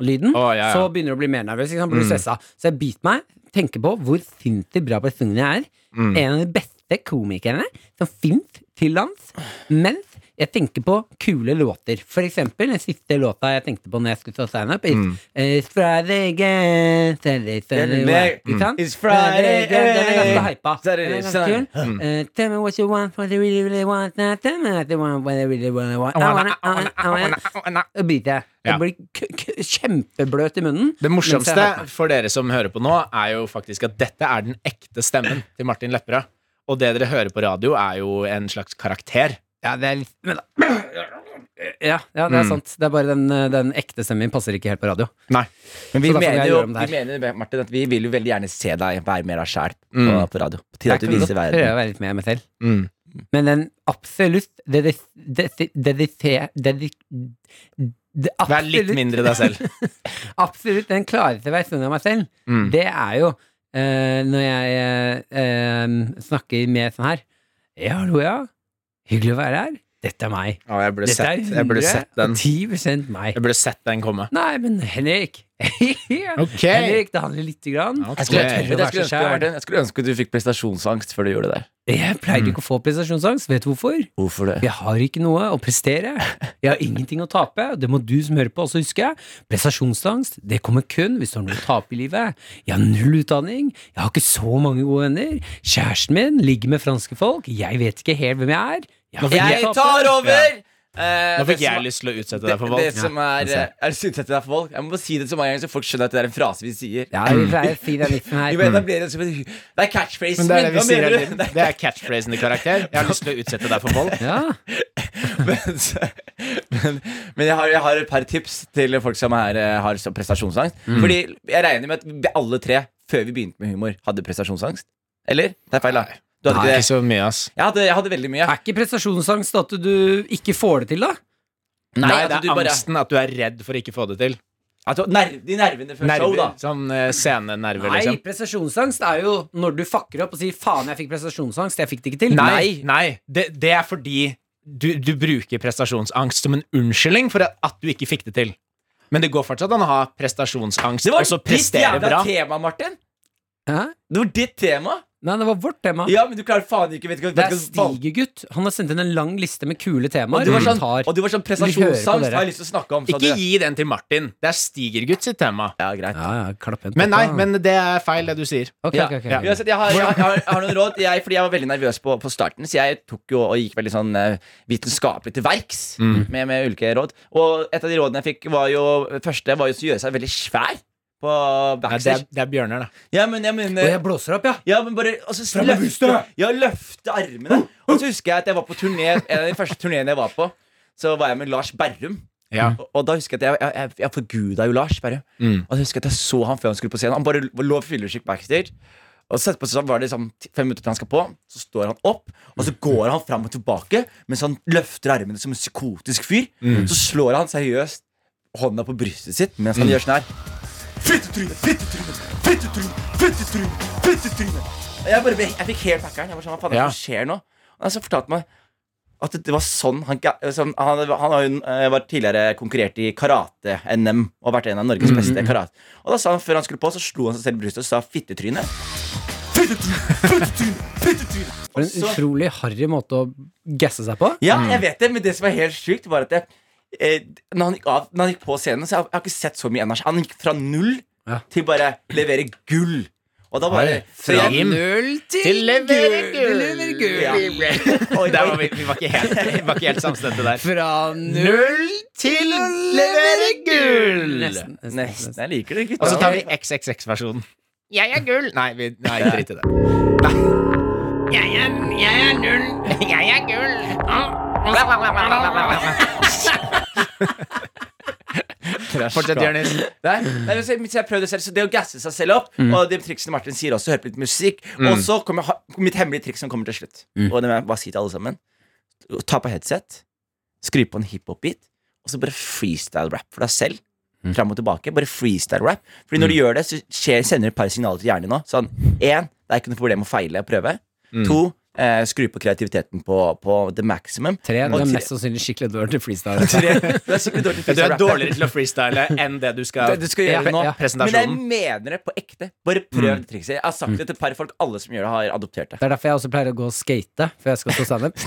[SPEAKER 3] lyden,
[SPEAKER 4] Mm. Å, ja, Mm. ja.
[SPEAKER 3] så begynner du å bli mer nervøs. Ikke sant? Blir du stressa. Så jeg biter meg, tenker på hvor sinnssykt bra person jeg er.
[SPEAKER 4] Mm.
[SPEAKER 3] En av de beste komikerne som fins til lands. Mens jeg tenker på kule låter. For eksempel den siste låta jeg tenkte på når jeg skulle stå standup. is,
[SPEAKER 4] Mm.
[SPEAKER 3] eh, Friday again, Saturday, Sunday,
[SPEAKER 2] Sunday,
[SPEAKER 3] Ikke
[SPEAKER 4] Mm.
[SPEAKER 3] sant?
[SPEAKER 2] It's Friday
[SPEAKER 3] again. Den er ganske hypa. Den
[SPEAKER 2] Saturday,
[SPEAKER 3] er ganske kul.
[SPEAKER 4] Mm.
[SPEAKER 3] Eh, Tell me what you want, what you really, really want. Now Tell me what you want, what you really, really want. I wanna, I wanna, I wanna. Da biter jeg.
[SPEAKER 4] Ja.
[SPEAKER 3] Jeg blir k k kjempebløt i munnen.
[SPEAKER 4] Det
[SPEAKER 3] mens jeg
[SPEAKER 4] morsomste
[SPEAKER 3] har-
[SPEAKER 4] for dere som hører på nå, er jo faktisk at dette er den ekte stemmen til Martin Lepperød. Og det dere hører på radio, er jo en slags karakter.
[SPEAKER 3] Ja, det er litt men da. Ja, ja, det er
[SPEAKER 4] Mm.
[SPEAKER 3] sant. Det er bare den, eh, den ekte stemmen min passer ikke helt på radio.
[SPEAKER 4] Nei.
[SPEAKER 2] Men vi
[SPEAKER 3] Så derfor må
[SPEAKER 2] mener,
[SPEAKER 3] jeg
[SPEAKER 2] jo,
[SPEAKER 3] gjøre om det
[SPEAKER 2] vi
[SPEAKER 3] her.
[SPEAKER 2] mener Martin, at vi vil jo veldig gjerne se deg være mer av sjæl på, på radio. På tide at du
[SPEAKER 3] Jeg kan
[SPEAKER 2] viser
[SPEAKER 3] godt prøve
[SPEAKER 2] verden.
[SPEAKER 3] å være litt med meg selv.
[SPEAKER 4] Mm.
[SPEAKER 3] Men den absolutt dedis- desi- dedise- dedi- de-
[SPEAKER 4] Vær litt
[SPEAKER 3] absolutt-
[SPEAKER 4] mindre deg selv.
[SPEAKER 3] Absolutt den klareste versjonen av meg selv,
[SPEAKER 4] Mm.
[SPEAKER 3] det er jo eh, når jeg eh, eh, snakker med sånn her Ja, hallo, ja. Hyggelig å være her. Dette er meg.
[SPEAKER 4] Å, jeg burde
[SPEAKER 3] Dette er
[SPEAKER 4] sett, jeg burde sett den.
[SPEAKER 3] 110 meg.
[SPEAKER 4] Jeg burde sett den komme.
[SPEAKER 3] Nei, men Henrik
[SPEAKER 4] Ok.
[SPEAKER 3] Henrik, det handler lite grann.
[SPEAKER 4] Ok.
[SPEAKER 2] Jeg skulle,
[SPEAKER 3] Jeg
[SPEAKER 2] jeg,
[SPEAKER 3] tør å
[SPEAKER 2] skulle
[SPEAKER 3] være så
[SPEAKER 2] ønske,
[SPEAKER 3] sjæl.
[SPEAKER 2] Martin, jeg skulle ønske du fikk prestasjonsangst før du gjorde det der.
[SPEAKER 3] Jeg pleier ikke å få prestasjonsangst. Vet du hvorfor?
[SPEAKER 2] Hvorfor det?
[SPEAKER 3] Jeg har ikke noe å prestere. Jeg har ingenting å tape. og Det må du som hører på også huske. Prestasjonsangst det kommer kun hvis du har noe å tape i livet. Jeg har null utdanning. Jeg har ikke så mange gode venner. Kjæresten min ligger med franske folk. Jeg vet ikke helt hvem jeg er. Jeg, har ikke noe å tape.
[SPEAKER 2] over! Eh,
[SPEAKER 4] Nå
[SPEAKER 2] det
[SPEAKER 4] fikk
[SPEAKER 2] som
[SPEAKER 4] jeg
[SPEAKER 2] er-
[SPEAKER 4] lyst til å utsette
[SPEAKER 2] Det,
[SPEAKER 4] deg for vold.
[SPEAKER 2] det som er,
[SPEAKER 4] Ja.
[SPEAKER 2] eh, er syntes til deg for vold. Jeg må bare si det så mange ganger, så folk skjønner at det er en frase vi sier.
[SPEAKER 3] Ja, vi pleier å si den vitsen
[SPEAKER 2] Vi
[SPEAKER 3] her.
[SPEAKER 2] må etablere det som en Det er catchphrasen
[SPEAKER 4] sånn Men det er det
[SPEAKER 2] min!
[SPEAKER 4] vi
[SPEAKER 2] Hva
[SPEAKER 4] sier hele
[SPEAKER 2] mener
[SPEAKER 4] tiden.
[SPEAKER 2] du?
[SPEAKER 4] Det er catchphrasen i karakter. Jeg har lyst til å utsette deg for vold.
[SPEAKER 3] Ja.
[SPEAKER 2] men, så- men, men jeg, har, jeg har et par tips til folk som er, eh, har så- prestasjonsangst. Fordi jeg regner med at vi alle tre, før vi begynte med humor, hadde prestasjonsangst. Eller? Det er feil, da. Du hadde
[SPEAKER 4] Nei,
[SPEAKER 2] ikke
[SPEAKER 4] ikke
[SPEAKER 2] det?
[SPEAKER 4] så mye, ass.
[SPEAKER 2] Jeg hadde, jeg hadde veldig mye.
[SPEAKER 3] Er ikke prestasjonsangst at du ikke får det til, da?
[SPEAKER 2] at
[SPEAKER 4] Nei, det
[SPEAKER 2] altså, du
[SPEAKER 4] er
[SPEAKER 2] bare-
[SPEAKER 4] angsten at du er redd for å ikke få det til.
[SPEAKER 2] at du- nerv, Altså, de nervene før show, da.
[SPEAKER 4] Nerver. Sånn eh, scenenerver,
[SPEAKER 3] Nei,
[SPEAKER 4] liksom.
[SPEAKER 3] prestasjonsangst er jo når du fucker opp og sier 'faen, jeg fikk prestasjonsangst', jeg fikk det ikke til.
[SPEAKER 4] Nei, nei. Det, det er fordi du, du bruker prestasjonsangst som en unnskyldning for at, at du ikke fikk det til. Men det går fortsatt an å ha prestasjonsangst
[SPEAKER 2] Det var
[SPEAKER 4] og så
[SPEAKER 2] ditt
[SPEAKER 4] prestere
[SPEAKER 2] jævla
[SPEAKER 4] Altså, bra.
[SPEAKER 2] tema, Martin.
[SPEAKER 3] Hæ?
[SPEAKER 2] Det var ditt tema.
[SPEAKER 3] Nei, det var vårt tema.
[SPEAKER 2] Ja, men du klarer faen ikke vet ikke,
[SPEAKER 3] Det er
[SPEAKER 2] vet ikke-
[SPEAKER 3] Stigegutt. Han har sendt inn en lang liste med kule
[SPEAKER 2] Og
[SPEAKER 3] temaer.
[SPEAKER 2] du var sånn,
[SPEAKER 3] Tar.
[SPEAKER 2] og du var sånn
[SPEAKER 3] Vi hører på
[SPEAKER 2] prestasjonsangst
[SPEAKER 3] dere.
[SPEAKER 2] har jeg lyst til å snakke om. sa
[SPEAKER 4] Ikke
[SPEAKER 2] du.
[SPEAKER 4] gi den til Martin. Det er Stigergutt sitt tema.
[SPEAKER 2] Ja, greit.
[SPEAKER 3] Ja, ja, klapp igjen på
[SPEAKER 4] Men nei,
[SPEAKER 3] dette.
[SPEAKER 4] men det er feil, det du sier.
[SPEAKER 3] Ok,
[SPEAKER 2] Ja,
[SPEAKER 3] ok, ok.
[SPEAKER 4] ja.
[SPEAKER 2] Uansett, jeg har, jeg, har, jeg har noen råd. Jeg, fordi jeg var veldig nervøs på, på starten, så jeg tok jo og gikk veldig sånn eh, vitenskapelig til verks med, med ulike råd. Og et av de rådene jeg fikk, var jo første var jo å gjøre seg veldig svær på
[SPEAKER 4] Nei, det, er,
[SPEAKER 2] backstage.
[SPEAKER 4] det er Bjørnar, da.
[SPEAKER 2] Ja, men jeg
[SPEAKER 3] Og
[SPEAKER 2] mener
[SPEAKER 3] jeg blåser opp, ja.
[SPEAKER 2] ja, men bare altså, løfte, ja, løfte armene. Og så husker jeg at jeg var på turné En av de første turneene jeg var på, så var jeg med Lars Berrum.
[SPEAKER 4] Ja.
[SPEAKER 2] Og, og da husker jeg at jeg, jeg, jeg, jeg forguda jo Lars Berrum. Og jeg husker at jeg så han før han skulle på scenen. Han bare lå fyllesyk backstage. Og så etterpå så var det liksom ti- fem minutter til han skal på, så står han opp, og så går han fram og tilbake mens han løfter armene som en psykotisk fyr. Så slår han seriøst hånda på brystet sitt mens han gjør sånn her. Fittetryne, fittetryne, fittetryne, fittetryne, fittetryne. Og Jeg, bare ble, jeg fikk helt pakkeren. Jeg var sånn, hva faen er det
[SPEAKER 4] Ja.
[SPEAKER 2] som skjer nå? Og så fortalte han meg At det var sånn Han, ga- som- han, hadde- han har jo eh, vært tidligere konkurrert i karate-NM og vært en av
[SPEAKER 4] Mm.
[SPEAKER 2] Norges beste karate. Og da sa han før han skulle på, så slo han seg selv i brystet og sa 'fittetryne'.
[SPEAKER 3] For en
[SPEAKER 2] Også-
[SPEAKER 3] utrolig harry måte å gasse seg på.
[SPEAKER 2] Ja,
[SPEAKER 4] Mm.
[SPEAKER 2] jeg vet det, men det som er helt sykt var at det, eh, når, han gikk av, når han gikk på scenen, så jeg, jeg har ikke sett så mye energi. Han gikk fra null
[SPEAKER 3] Ja.
[SPEAKER 2] til bare levere gull. Og da bare
[SPEAKER 4] Oi, fra
[SPEAKER 2] jeg-
[SPEAKER 4] Jim til levere gull.
[SPEAKER 2] Ja. Oi,
[SPEAKER 4] Der
[SPEAKER 2] oi.
[SPEAKER 4] var vi, vi var ikke helt, vi var ikke helt samstemte der.
[SPEAKER 3] Fra null
[SPEAKER 4] Til levere gull!
[SPEAKER 3] Nesten.
[SPEAKER 2] Nesten. Jeg liker det, gutta.
[SPEAKER 4] Og så tar vi XXX-versjonen. Jeg er gull! Nei, vi, nei drit i det.
[SPEAKER 6] Jeg er, jeg er null. Jeg er gull.
[SPEAKER 4] Fortsett, Jonis.
[SPEAKER 2] Nei, nei, men så, så liksom, jeg prøvde selv, så det å gasse seg selv opp,
[SPEAKER 3] Mm.
[SPEAKER 2] og de triksene Martin sier også, høre på litt musikk, og så kommer ha- mitt hemmelige triks som kommer til slutt.
[SPEAKER 3] Mm.
[SPEAKER 2] Og det må jeg bare si til alle sammen. Ta på headset, skru på en hiphop-beat, og så bare freestyle-rap for deg selv.
[SPEAKER 3] Mm.
[SPEAKER 2] Fram og tilbake. Bare freestyle-rap. Fordi når du gjør det, så skjer, sender du et par signaler til hjernen nå. Sånn, én, det er ikke noe problem å feile og prøve.
[SPEAKER 3] Mm.
[SPEAKER 2] To, eh, skru på kreativiteten på, på the maximum.
[SPEAKER 3] Tre,
[SPEAKER 2] Og
[SPEAKER 3] det er
[SPEAKER 2] tre-
[SPEAKER 3] mest sannsynlig skikkelig dårlig til freestyle.
[SPEAKER 2] Tre, du er sikkert dårlig til
[SPEAKER 4] Du er
[SPEAKER 2] freestyle-rap.
[SPEAKER 4] dårligere til å freestyle enn det du skal,
[SPEAKER 2] Det du skal gjøre nå.
[SPEAKER 4] Ja, ja.
[SPEAKER 2] Men jeg
[SPEAKER 4] Presentasjonen. Mm.
[SPEAKER 2] mener det på ekte. Bare prøv det trikset. Jeg har sagt det til et par folk. Alle som gjør det, har adoptert det.
[SPEAKER 3] Det er derfor jeg også pleier å gå og skate før jeg skal stå standup.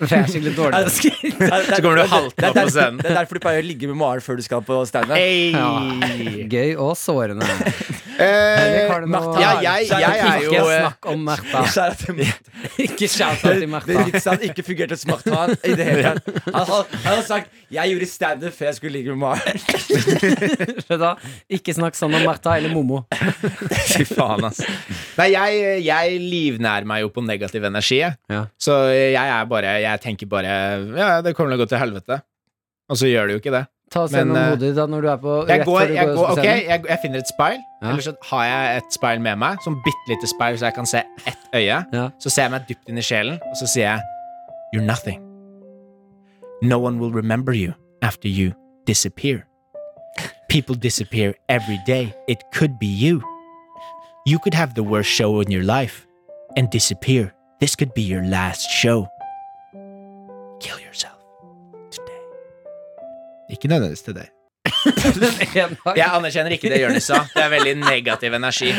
[SPEAKER 3] For jeg er skikkelig dårlig til å skate.
[SPEAKER 2] Så
[SPEAKER 4] kommer du haltende opp på scenen.
[SPEAKER 2] Det er derfor du pleier å ligge med Maren før du skal på standup.
[SPEAKER 4] Hey.
[SPEAKER 3] Gøy og sårende. Henrik,
[SPEAKER 4] Eh,
[SPEAKER 3] har du noe-
[SPEAKER 4] ja, jeg- jeg er jo,
[SPEAKER 3] Ikke
[SPEAKER 4] eh,
[SPEAKER 3] snakk om Märtha.
[SPEAKER 2] Så er det at-
[SPEAKER 3] Ikke shout out til
[SPEAKER 2] Det
[SPEAKER 3] Märtha.
[SPEAKER 2] vitset han ikke fungerte som smart han i det hele tatt. Han, han, han har sagt 'jeg gjorde standup før jeg skulle ligge med Maren'.
[SPEAKER 3] Vet du hva? Ikke snakk sånn om Märtha eller Momo.
[SPEAKER 4] Fy faen, ass. Nei, jeg, jeg livnærer meg jo på negativ energi. jeg.
[SPEAKER 3] Ja.
[SPEAKER 4] Så jeg er bare Jeg tenker bare Ja, det kommer til å gå til helvete. Og så gjør det jo ikke det.
[SPEAKER 3] Ta oss
[SPEAKER 4] Men,
[SPEAKER 3] gjennom
[SPEAKER 4] eh,
[SPEAKER 3] hodet ditt da når du er på
[SPEAKER 4] Jeg
[SPEAKER 3] rett før
[SPEAKER 4] går,
[SPEAKER 3] du
[SPEAKER 4] jeg
[SPEAKER 3] går
[SPEAKER 4] går,
[SPEAKER 3] på
[SPEAKER 4] ok,
[SPEAKER 3] scenen.
[SPEAKER 4] jeg, jeg finner et speil,
[SPEAKER 3] Ja.
[SPEAKER 4] eller så har jeg et speil med meg. Sånn bitte lite speil, så jeg kan se ett øye.
[SPEAKER 3] Ja.
[SPEAKER 4] Så ser jeg meg dypt inn i sjelen, og så sier jeg You're nothing. No one will remember you after you disappear. People disappear every day. It could be you. You could have the worst show in your life and disappear. This could be your last show. Kill yourself today. Ikke nødvendigvis til deg.
[SPEAKER 3] En dag.
[SPEAKER 4] Jeg anerkjenner ikke det Jonis sa. Det er veldig negativ energi.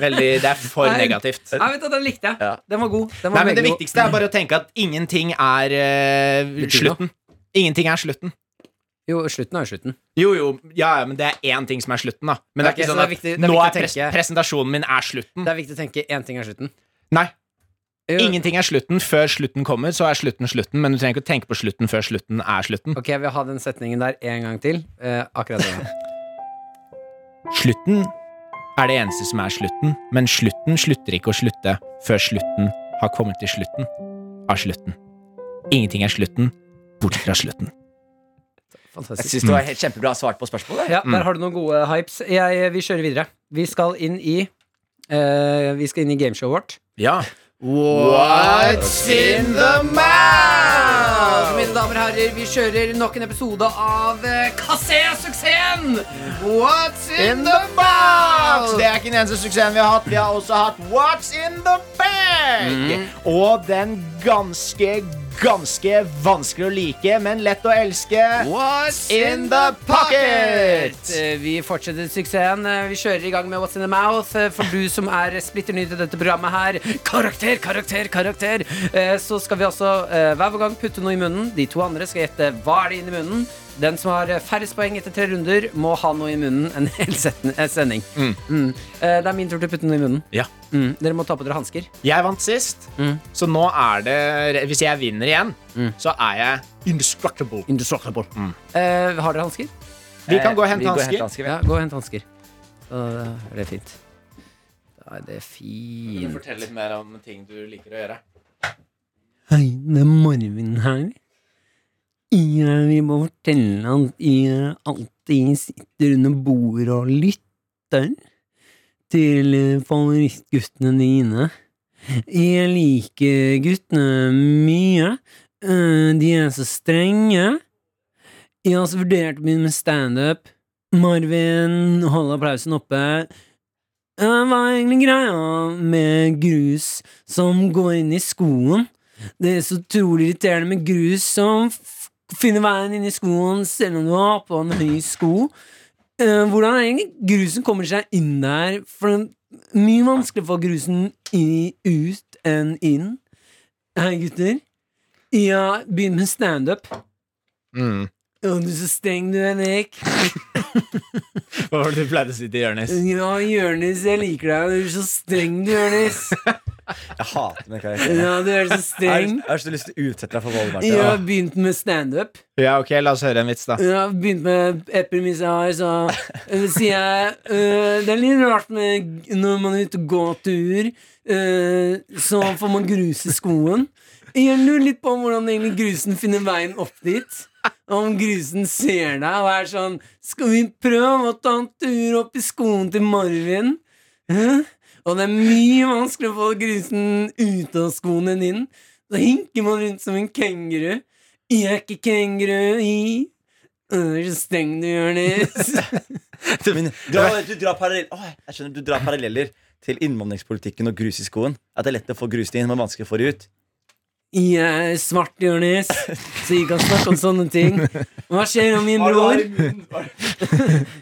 [SPEAKER 4] Veldig, det er for
[SPEAKER 3] Nei.
[SPEAKER 4] negativt.
[SPEAKER 3] Nei, vet du, den likte jeg. Den var god. Den var
[SPEAKER 4] Nei, men Det
[SPEAKER 3] veldig god.
[SPEAKER 4] viktigste er bare å tenke at ingenting er eh,
[SPEAKER 3] Betyr noe.
[SPEAKER 4] slutten. Ingenting er slutten.
[SPEAKER 3] Jo, slutten er jo slutten.
[SPEAKER 4] Jo, jo, ja, ja, men det er én ting som er slutten, da. Men det er
[SPEAKER 3] Ok,
[SPEAKER 4] ikke
[SPEAKER 3] så
[SPEAKER 4] sånn at
[SPEAKER 3] det er viktig- det er
[SPEAKER 4] nå
[SPEAKER 3] viktig
[SPEAKER 4] er
[SPEAKER 3] å
[SPEAKER 4] pres
[SPEAKER 3] tenke-
[SPEAKER 4] presentasjonen min er slutten.
[SPEAKER 3] Det er viktig å tenke én ting er slutten.
[SPEAKER 4] Nei.
[SPEAKER 3] Mm. Jo,
[SPEAKER 4] Ingenting er slutten før slutten kommer, så er slutten slutten. Men du trenger ikke å tenke på slutten før slutten er slutten.
[SPEAKER 3] Ok, jeg vil ha den setningen der en gang til. Eh, akkurat det.
[SPEAKER 4] Slutten er det eneste som er slutten, men slutten slutter ikke å slutte før slutten har kommet til slutten av slutten. Ingenting er slutten, bortsett fra slutten.
[SPEAKER 2] Jeg
[SPEAKER 3] Fantastisk. Mm.
[SPEAKER 2] syns det var helt kjempebra svart på spørsmålet.
[SPEAKER 3] Ja, der har du noen gode hypes. Jeg, vi kjører videre. Vi skal inn i eh, Vi skal inn i gameshowet vårt.
[SPEAKER 4] Ja. What's in the
[SPEAKER 3] Ah! Så,
[SPEAKER 4] mouth?
[SPEAKER 3] mine damer og herrer, vi kjører nok en episode av eh, Kassé-suksessen!
[SPEAKER 4] What's in the box? Det er ikke den eneste suksessen vi har hatt. Vi har også hatt What's in the bag? Og den ganske, ganske vanskelig å like, men lett å elske What's in the pocket?
[SPEAKER 3] Eh, Vi fortsetter suksessen. Eh, Vi kjører i gang med What's in the mouth. Eh, For du som er splitter ny til dette programmet her, karakter, karakter, karakter, Eh, så skal vi altså eh, hver vår gang putte noe i munnen. De to andre skal gjette hva er det inni munnen. Den som har eh, færrest poeng etter tre runder, må ha noe i munnen en hel setn- eh, sending. Mm. Eh, Det er min tur til å putte noe i munnen.
[SPEAKER 4] Ja. Mm.
[SPEAKER 3] Mm. Dere må ta på dere hansker.
[SPEAKER 4] Jeg vant sist, så nå er det Hvis jeg vinner igjen, så er jeg indestructible. Mm.
[SPEAKER 3] Indestructible. Eh, har dere hansker?
[SPEAKER 4] Eh, Vi kan gå og
[SPEAKER 2] Vi
[SPEAKER 4] hente
[SPEAKER 2] går og henter
[SPEAKER 4] hansker.
[SPEAKER 2] hansker, vi.
[SPEAKER 3] Ja, gå Eh, og hent hansker. Da er det fint. Da er det fint.
[SPEAKER 4] Fortell litt mer om ting du liker å gjøre.
[SPEAKER 3] Hei, det er Marvin her. Jeg vil bare fortelle at jeg alltid sitter under bordet og lytter til favorittguttene dine. Jeg liker guttene mye. Eh, De er så strenge. Jeg har også vurdert å begynne med standup. Marvin, hold applausen oppe. Eh, Hva er egentlig greia med grus som går inn i skoen? Det er så utrolig irriterende med grus som f- finner veien inn i skoen selv om du har på en høy sko. Eh, hvordan er det egentlig grusen kommer seg inn der? For det er mye vanskeligere å få grusen i, ut enn inn. Hei, gutter. Jeg har begynt med standup.
[SPEAKER 4] Mm.
[SPEAKER 3] Å, du er så streng, du, Henrik.
[SPEAKER 4] Hva var det du pleide å si til Jonis?
[SPEAKER 3] Ja, Jonis, jeg liker deg. Du er så streng, du, Jonis.
[SPEAKER 2] Jeg hater den karakteren.
[SPEAKER 3] Ja, du er så
[SPEAKER 2] Jeg har-
[SPEAKER 3] streng.
[SPEAKER 2] jeg har så lyst til å utsette deg for vold, Martin.
[SPEAKER 3] Jeg har begynt med standup.
[SPEAKER 4] Ja, ok, la oss høre en vits, da.
[SPEAKER 3] Jeg har begynt med et premiss jeg har, så øh, sier jeg øh, Det er litt rart med g- når man er ute og går tur, øh, så får man grus i skoen. Jeg lurer litt på hvordan egentlig grusen finner veien opp dit. Om grusen ser deg og er sånn Skal vi prøve å ta en tur opp i skoen til Marvin? Hæ? Og det er mye vanskeligere å få grusen ut av skoen enn inn. Da hinker man rundt som en kenguru. Jeg er ikke kenguru i Øh, Så streng du, Jonis.
[SPEAKER 2] Men dra, du drar parallell, Åh, jeg skjønner, du drar paralleller til innvandringspolitikken og grus i skoen. At det er lett å få grusen inn, men vanskelig å få det ut.
[SPEAKER 3] Jeg er svart, Jonis, så vi kan snakke om sånne ting. Hva skjer om min bror?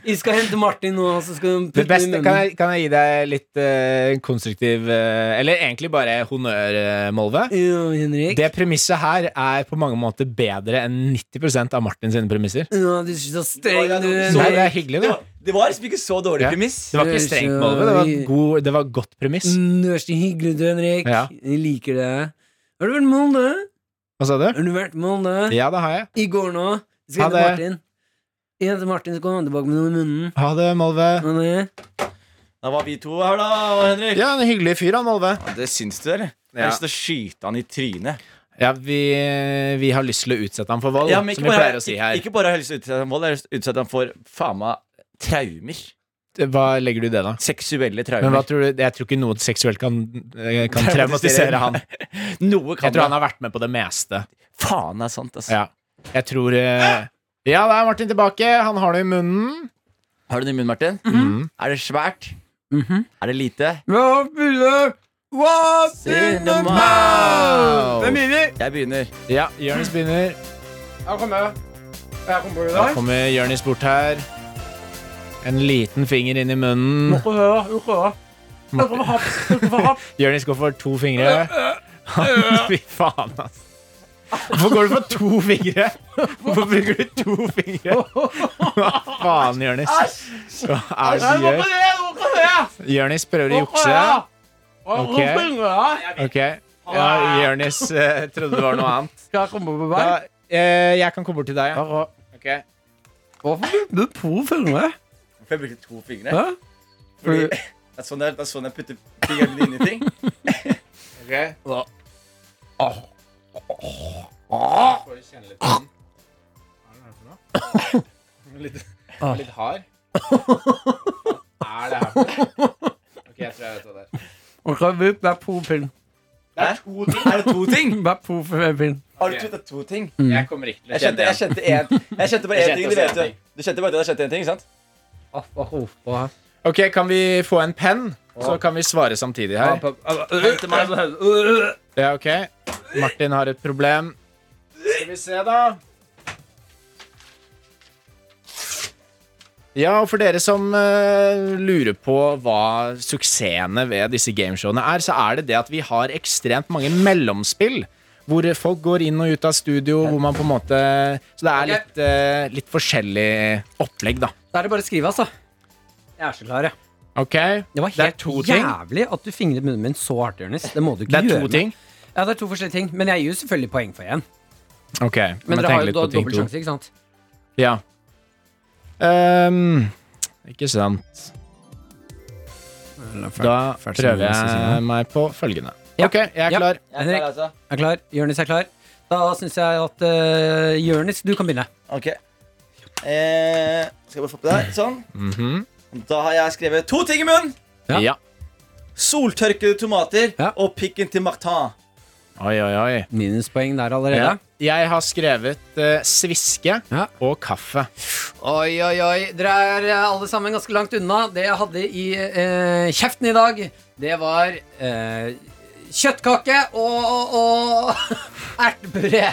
[SPEAKER 3] Vi skal hente Martin nå, så skal han
[SPEAKER 4] Det
[SPEAKER 3] putte den i
[SPEAKER 4] beste, kan,
[SPEAKER 3] munnen.
[SPEAKER 4] jeg, kan jeg gi deg litt eh, konstruktiv eh, Eller egentlig bare honnør, eh, Molve?
[SPEAKER 3] Ja, Henrik.
[SPEAKER 4] Det premisset her er på mange måter bedre enn 90 av Martin sine premisser.
[SPEAKER 3] Ja, du er så streng, du.
[SPEAKER 2] Så-
[SPEAKER 4] Nei, det
[SPEAKER 3] Henrik.
[SPEAKER 4] er
[SPEAKER 2] Det
[SPEAKER 4] hyggelig, det.
[SPEAKER 2] var, det var liksom ikke så dårlig
[SPEAKER 4] Ja.
[SPEAKER 2] premiss.
[SPEAKER 4] Det var ikke strengt, Molve. Det var, god, det var godt premiss.
[SPEAKER 3] Mm, Du er så hyggelig, du, Henrik.
[SPEAKER 4] Ja.
[SPEAKER 3] Jeg liker deg. Har du vært med Molde?
[SPEAKER 4] Hva sa du?
[SPEAKER 3] Har du vært med Molde?
[SPEAKER 4] Ja, det har jeg.
[SPEAKER 3] I går nå. Vi skal
[SPEAKER 4] Ha
[SPEAKER 3] hente
[SPEAKER 4] det.
[SPEAKER 3] Martin. Vi henter Martin, så kommer han tilbake med noe i munnen.
[SPEAKER 4] Ha det, Molve.
[SPEAKER 3] Ha det.
[SPEAKER 2] Da var vi to her, da, Henrik.
[SPEAKER 4] Ja, en hyggelig fyr, han Molve.
[SPEAKER 2] Det syns du, eller? Jeg har lyst til å skyte han i trynet.
[SPEAKER 4] Ja, vi, vi har lyst til å utsette ham for vold,
[SPEAKER 2] Ja, men
[SPEAKER 4] som
[SPEAKER 2] ikke
[SPEAKER 4] vi
[SPEAKER 2] bare,
[SPEAKER 4] pleier å si her.
[SPEAKER 2] ikke bare har jeg lyst til å utsette han for vold, jeg har lyst til å utsette han for faen meg traumer.
[SPEAKER 4] Hva legger du i det, da?
[SPEAKER 2] Seksuelle traumer.
[SPEAKER 4] Men hva tror du, Jeg tror ikke noe seksuelt kan, eh, kan traumatisere han.
[SPEAKER 2] Noe kan
[SPEAKER 4] Jeg tror han har vært med på det meste.
[SPEAKER 2] Faen er sant, altså.
[SPEAKER 4] Ja, jeg tror eh, Ja, da er Martin tilbake. Han har det i munnen.
[SPEAKER 2] Har du det i munnen, Martin?
[SPEAKER 4] Mm-hmm.
[SPEAKER 2] Er det svært? Er det lite?
[SPEAKER 3] What's
[SPEAKER 2] in the
[SPEAKER 4] mouth? Hvem
[SPEAKER 2] Jeg begynner.
[SPEAKER 4] Ja, Jonis begynner.
[SPEAKER 3] Jeg kommer. Jeg kommer i
[SPEAKER 4] Da kommer Jonis bort her. En liten finger inn i munnen. Jonis går for to fingre. Fy faen, ass. Hvorfor går du for to fingre? Hvorfor bruker du to fingre? Hva faen, Jonis? Hva er det du gjør? Jonis prøver å jukse. Ok. Ok. Ja, Jonis eh, trodde det var noe annet.
[SPEAKER 3] Skal jeg komme på
[SPEAKER 4] Da, eh, jeg kan komme bort til deg. Ja. Ok.
[SPEAKER 3] Hvorfor du med på fingre?
[SPEAKER 2] Får jeg bruke to fingre?
[SPEAKER 3] Hæ?
[SPEAKER 2] Fordi, det, er sånn jeg, det er sånn jeg putter fingeren min inn i ting.
[SPEAKER 4] Ah. Litt hard. Hva er det her for noe? Ok, jeg tror jeg vet hva det er.
[SPEAKER 3] Og kan vi være på fingre?
[SPEAKER 4] Det er to ting.
[SPEAKER 2] Er det to ting?
[SPEAKER 3] Være på fingre.
[SPEAKER 2] Har du puttet to ting?
[SPEAKER 4] Jeg kommer ikke til å
[SPEAKER 2] Jeg kjente,
[SPEAKER 4] kjenne
[SPEAKER 2] jeg
[SPEAKER 4] igjen.
[SPEAKER 2] kjente, en, jeg kjente bare én
[SPEAKER 4] Jeg
[SPEAKER 2] ting.
[SPEAKER 4] kjente
[SPEAKER 2] Du, vet,
[SPEAKER 4] også en ting.
[SPEAKER 2] jo. du kjente bare at jeg kjente én ting, ikke sant?
[SPEAKER 4] Ok, kan vi få en penn? Så kan vi svare samtidig her. Ja, ok. Martin har et problem. Skal vi se, da. Ja, og for dere som eh, lurer på hva suksessene ved disse gameshowene er, så er det det at vi har ekstremt mange mellomspill. Hvor folk går inn og ut av studio, hvor man på en måte Så det er litt, eh, litt forskjellig opplegg, da.
[SPEAKER 3] Da er det bare å skrive, altså. Jeg er så klar, jeg.
[SPEAKER 4] Ok?
[SPEAKER 3] Det var
[SPEAKER 4] er
[SPEAKER 3] helt
[SPEAKER 4] to ting.
[SPEAKER 3] jævlig at du fingret munnen min så hardt, Jonis. Det må du
[SPEAKER 4] Det
[SPEAKER 3] ikke
[SPEAKER 4] er
[SPEAKER 3] gjøre.
[SPEAKER 4] to ting.
[SPEAKER 3] Ja, det er to forskjellige ting. Men jeg gir jo selvfølgelig poeng for én.
[SPEAKER 4] Ok.
[SPEAKER 3] Men dere
[SPEAKER 4] tenk
[SPEAKER 3] har
[SPEAKER 4] litt
[SPEAKER 3] jo da
[SPEAKER 4] på ting
[SPEAKER 3] dobbel
[SPEAKER 4] to.
[SPEAKER 3] sjanse, ikke sant?
[SPEAKER 4] Ja. Ehm, ikke sant. Da prøver jeg meg på følgende.
[SPEAKER 3] Ja.
[SPEAKER 4] Ok, jeg er
[SPEAKER 3] Ja.
[SPEAKER 4] klar.
[SPEAKER 2] Jeg tar
[SPEAKER 3] Henrik.
[SPEAKER 2] det, altså.
[SPEAKER 3] Er klar? Jonis er klar. Da syns jeg at uh, Jonis, du kan begynne.
[SPEAKER 2] Ok. Eh, skal jeg bare få på det her. Sånn.
[SPEAKER 4] Mhm.
[SPEAKER 2] Da har jeg skrevet to ting i munnen.
[SPEAKER 3] Ja.
[SPEAKER 4] ja.
[SPEAKER 2] Soltørkede tomater
[SPEAKER 3] Ja.
[SPEAKER 2] og pikken til Martin.
[SPEAKER 4] Oi, oi, oi.
[SPEAKER 3] Minuspoeng der
[SPEAKER 4] Ja.
[SPEAKER 3] allerede.
[SPEAKER 4] Jeg har skrevet eh, sviske
[SPEAKER 3] Ja.
[SPEAKER 4] og kaffe.
[SPEAKER 3] Oi, oi, oi. Dere er eh, alle sammen ganske langt unna. Det jeg hadde i eh, kjeften i dag, det var eh, Kjøttkake og, og, og ertepuré.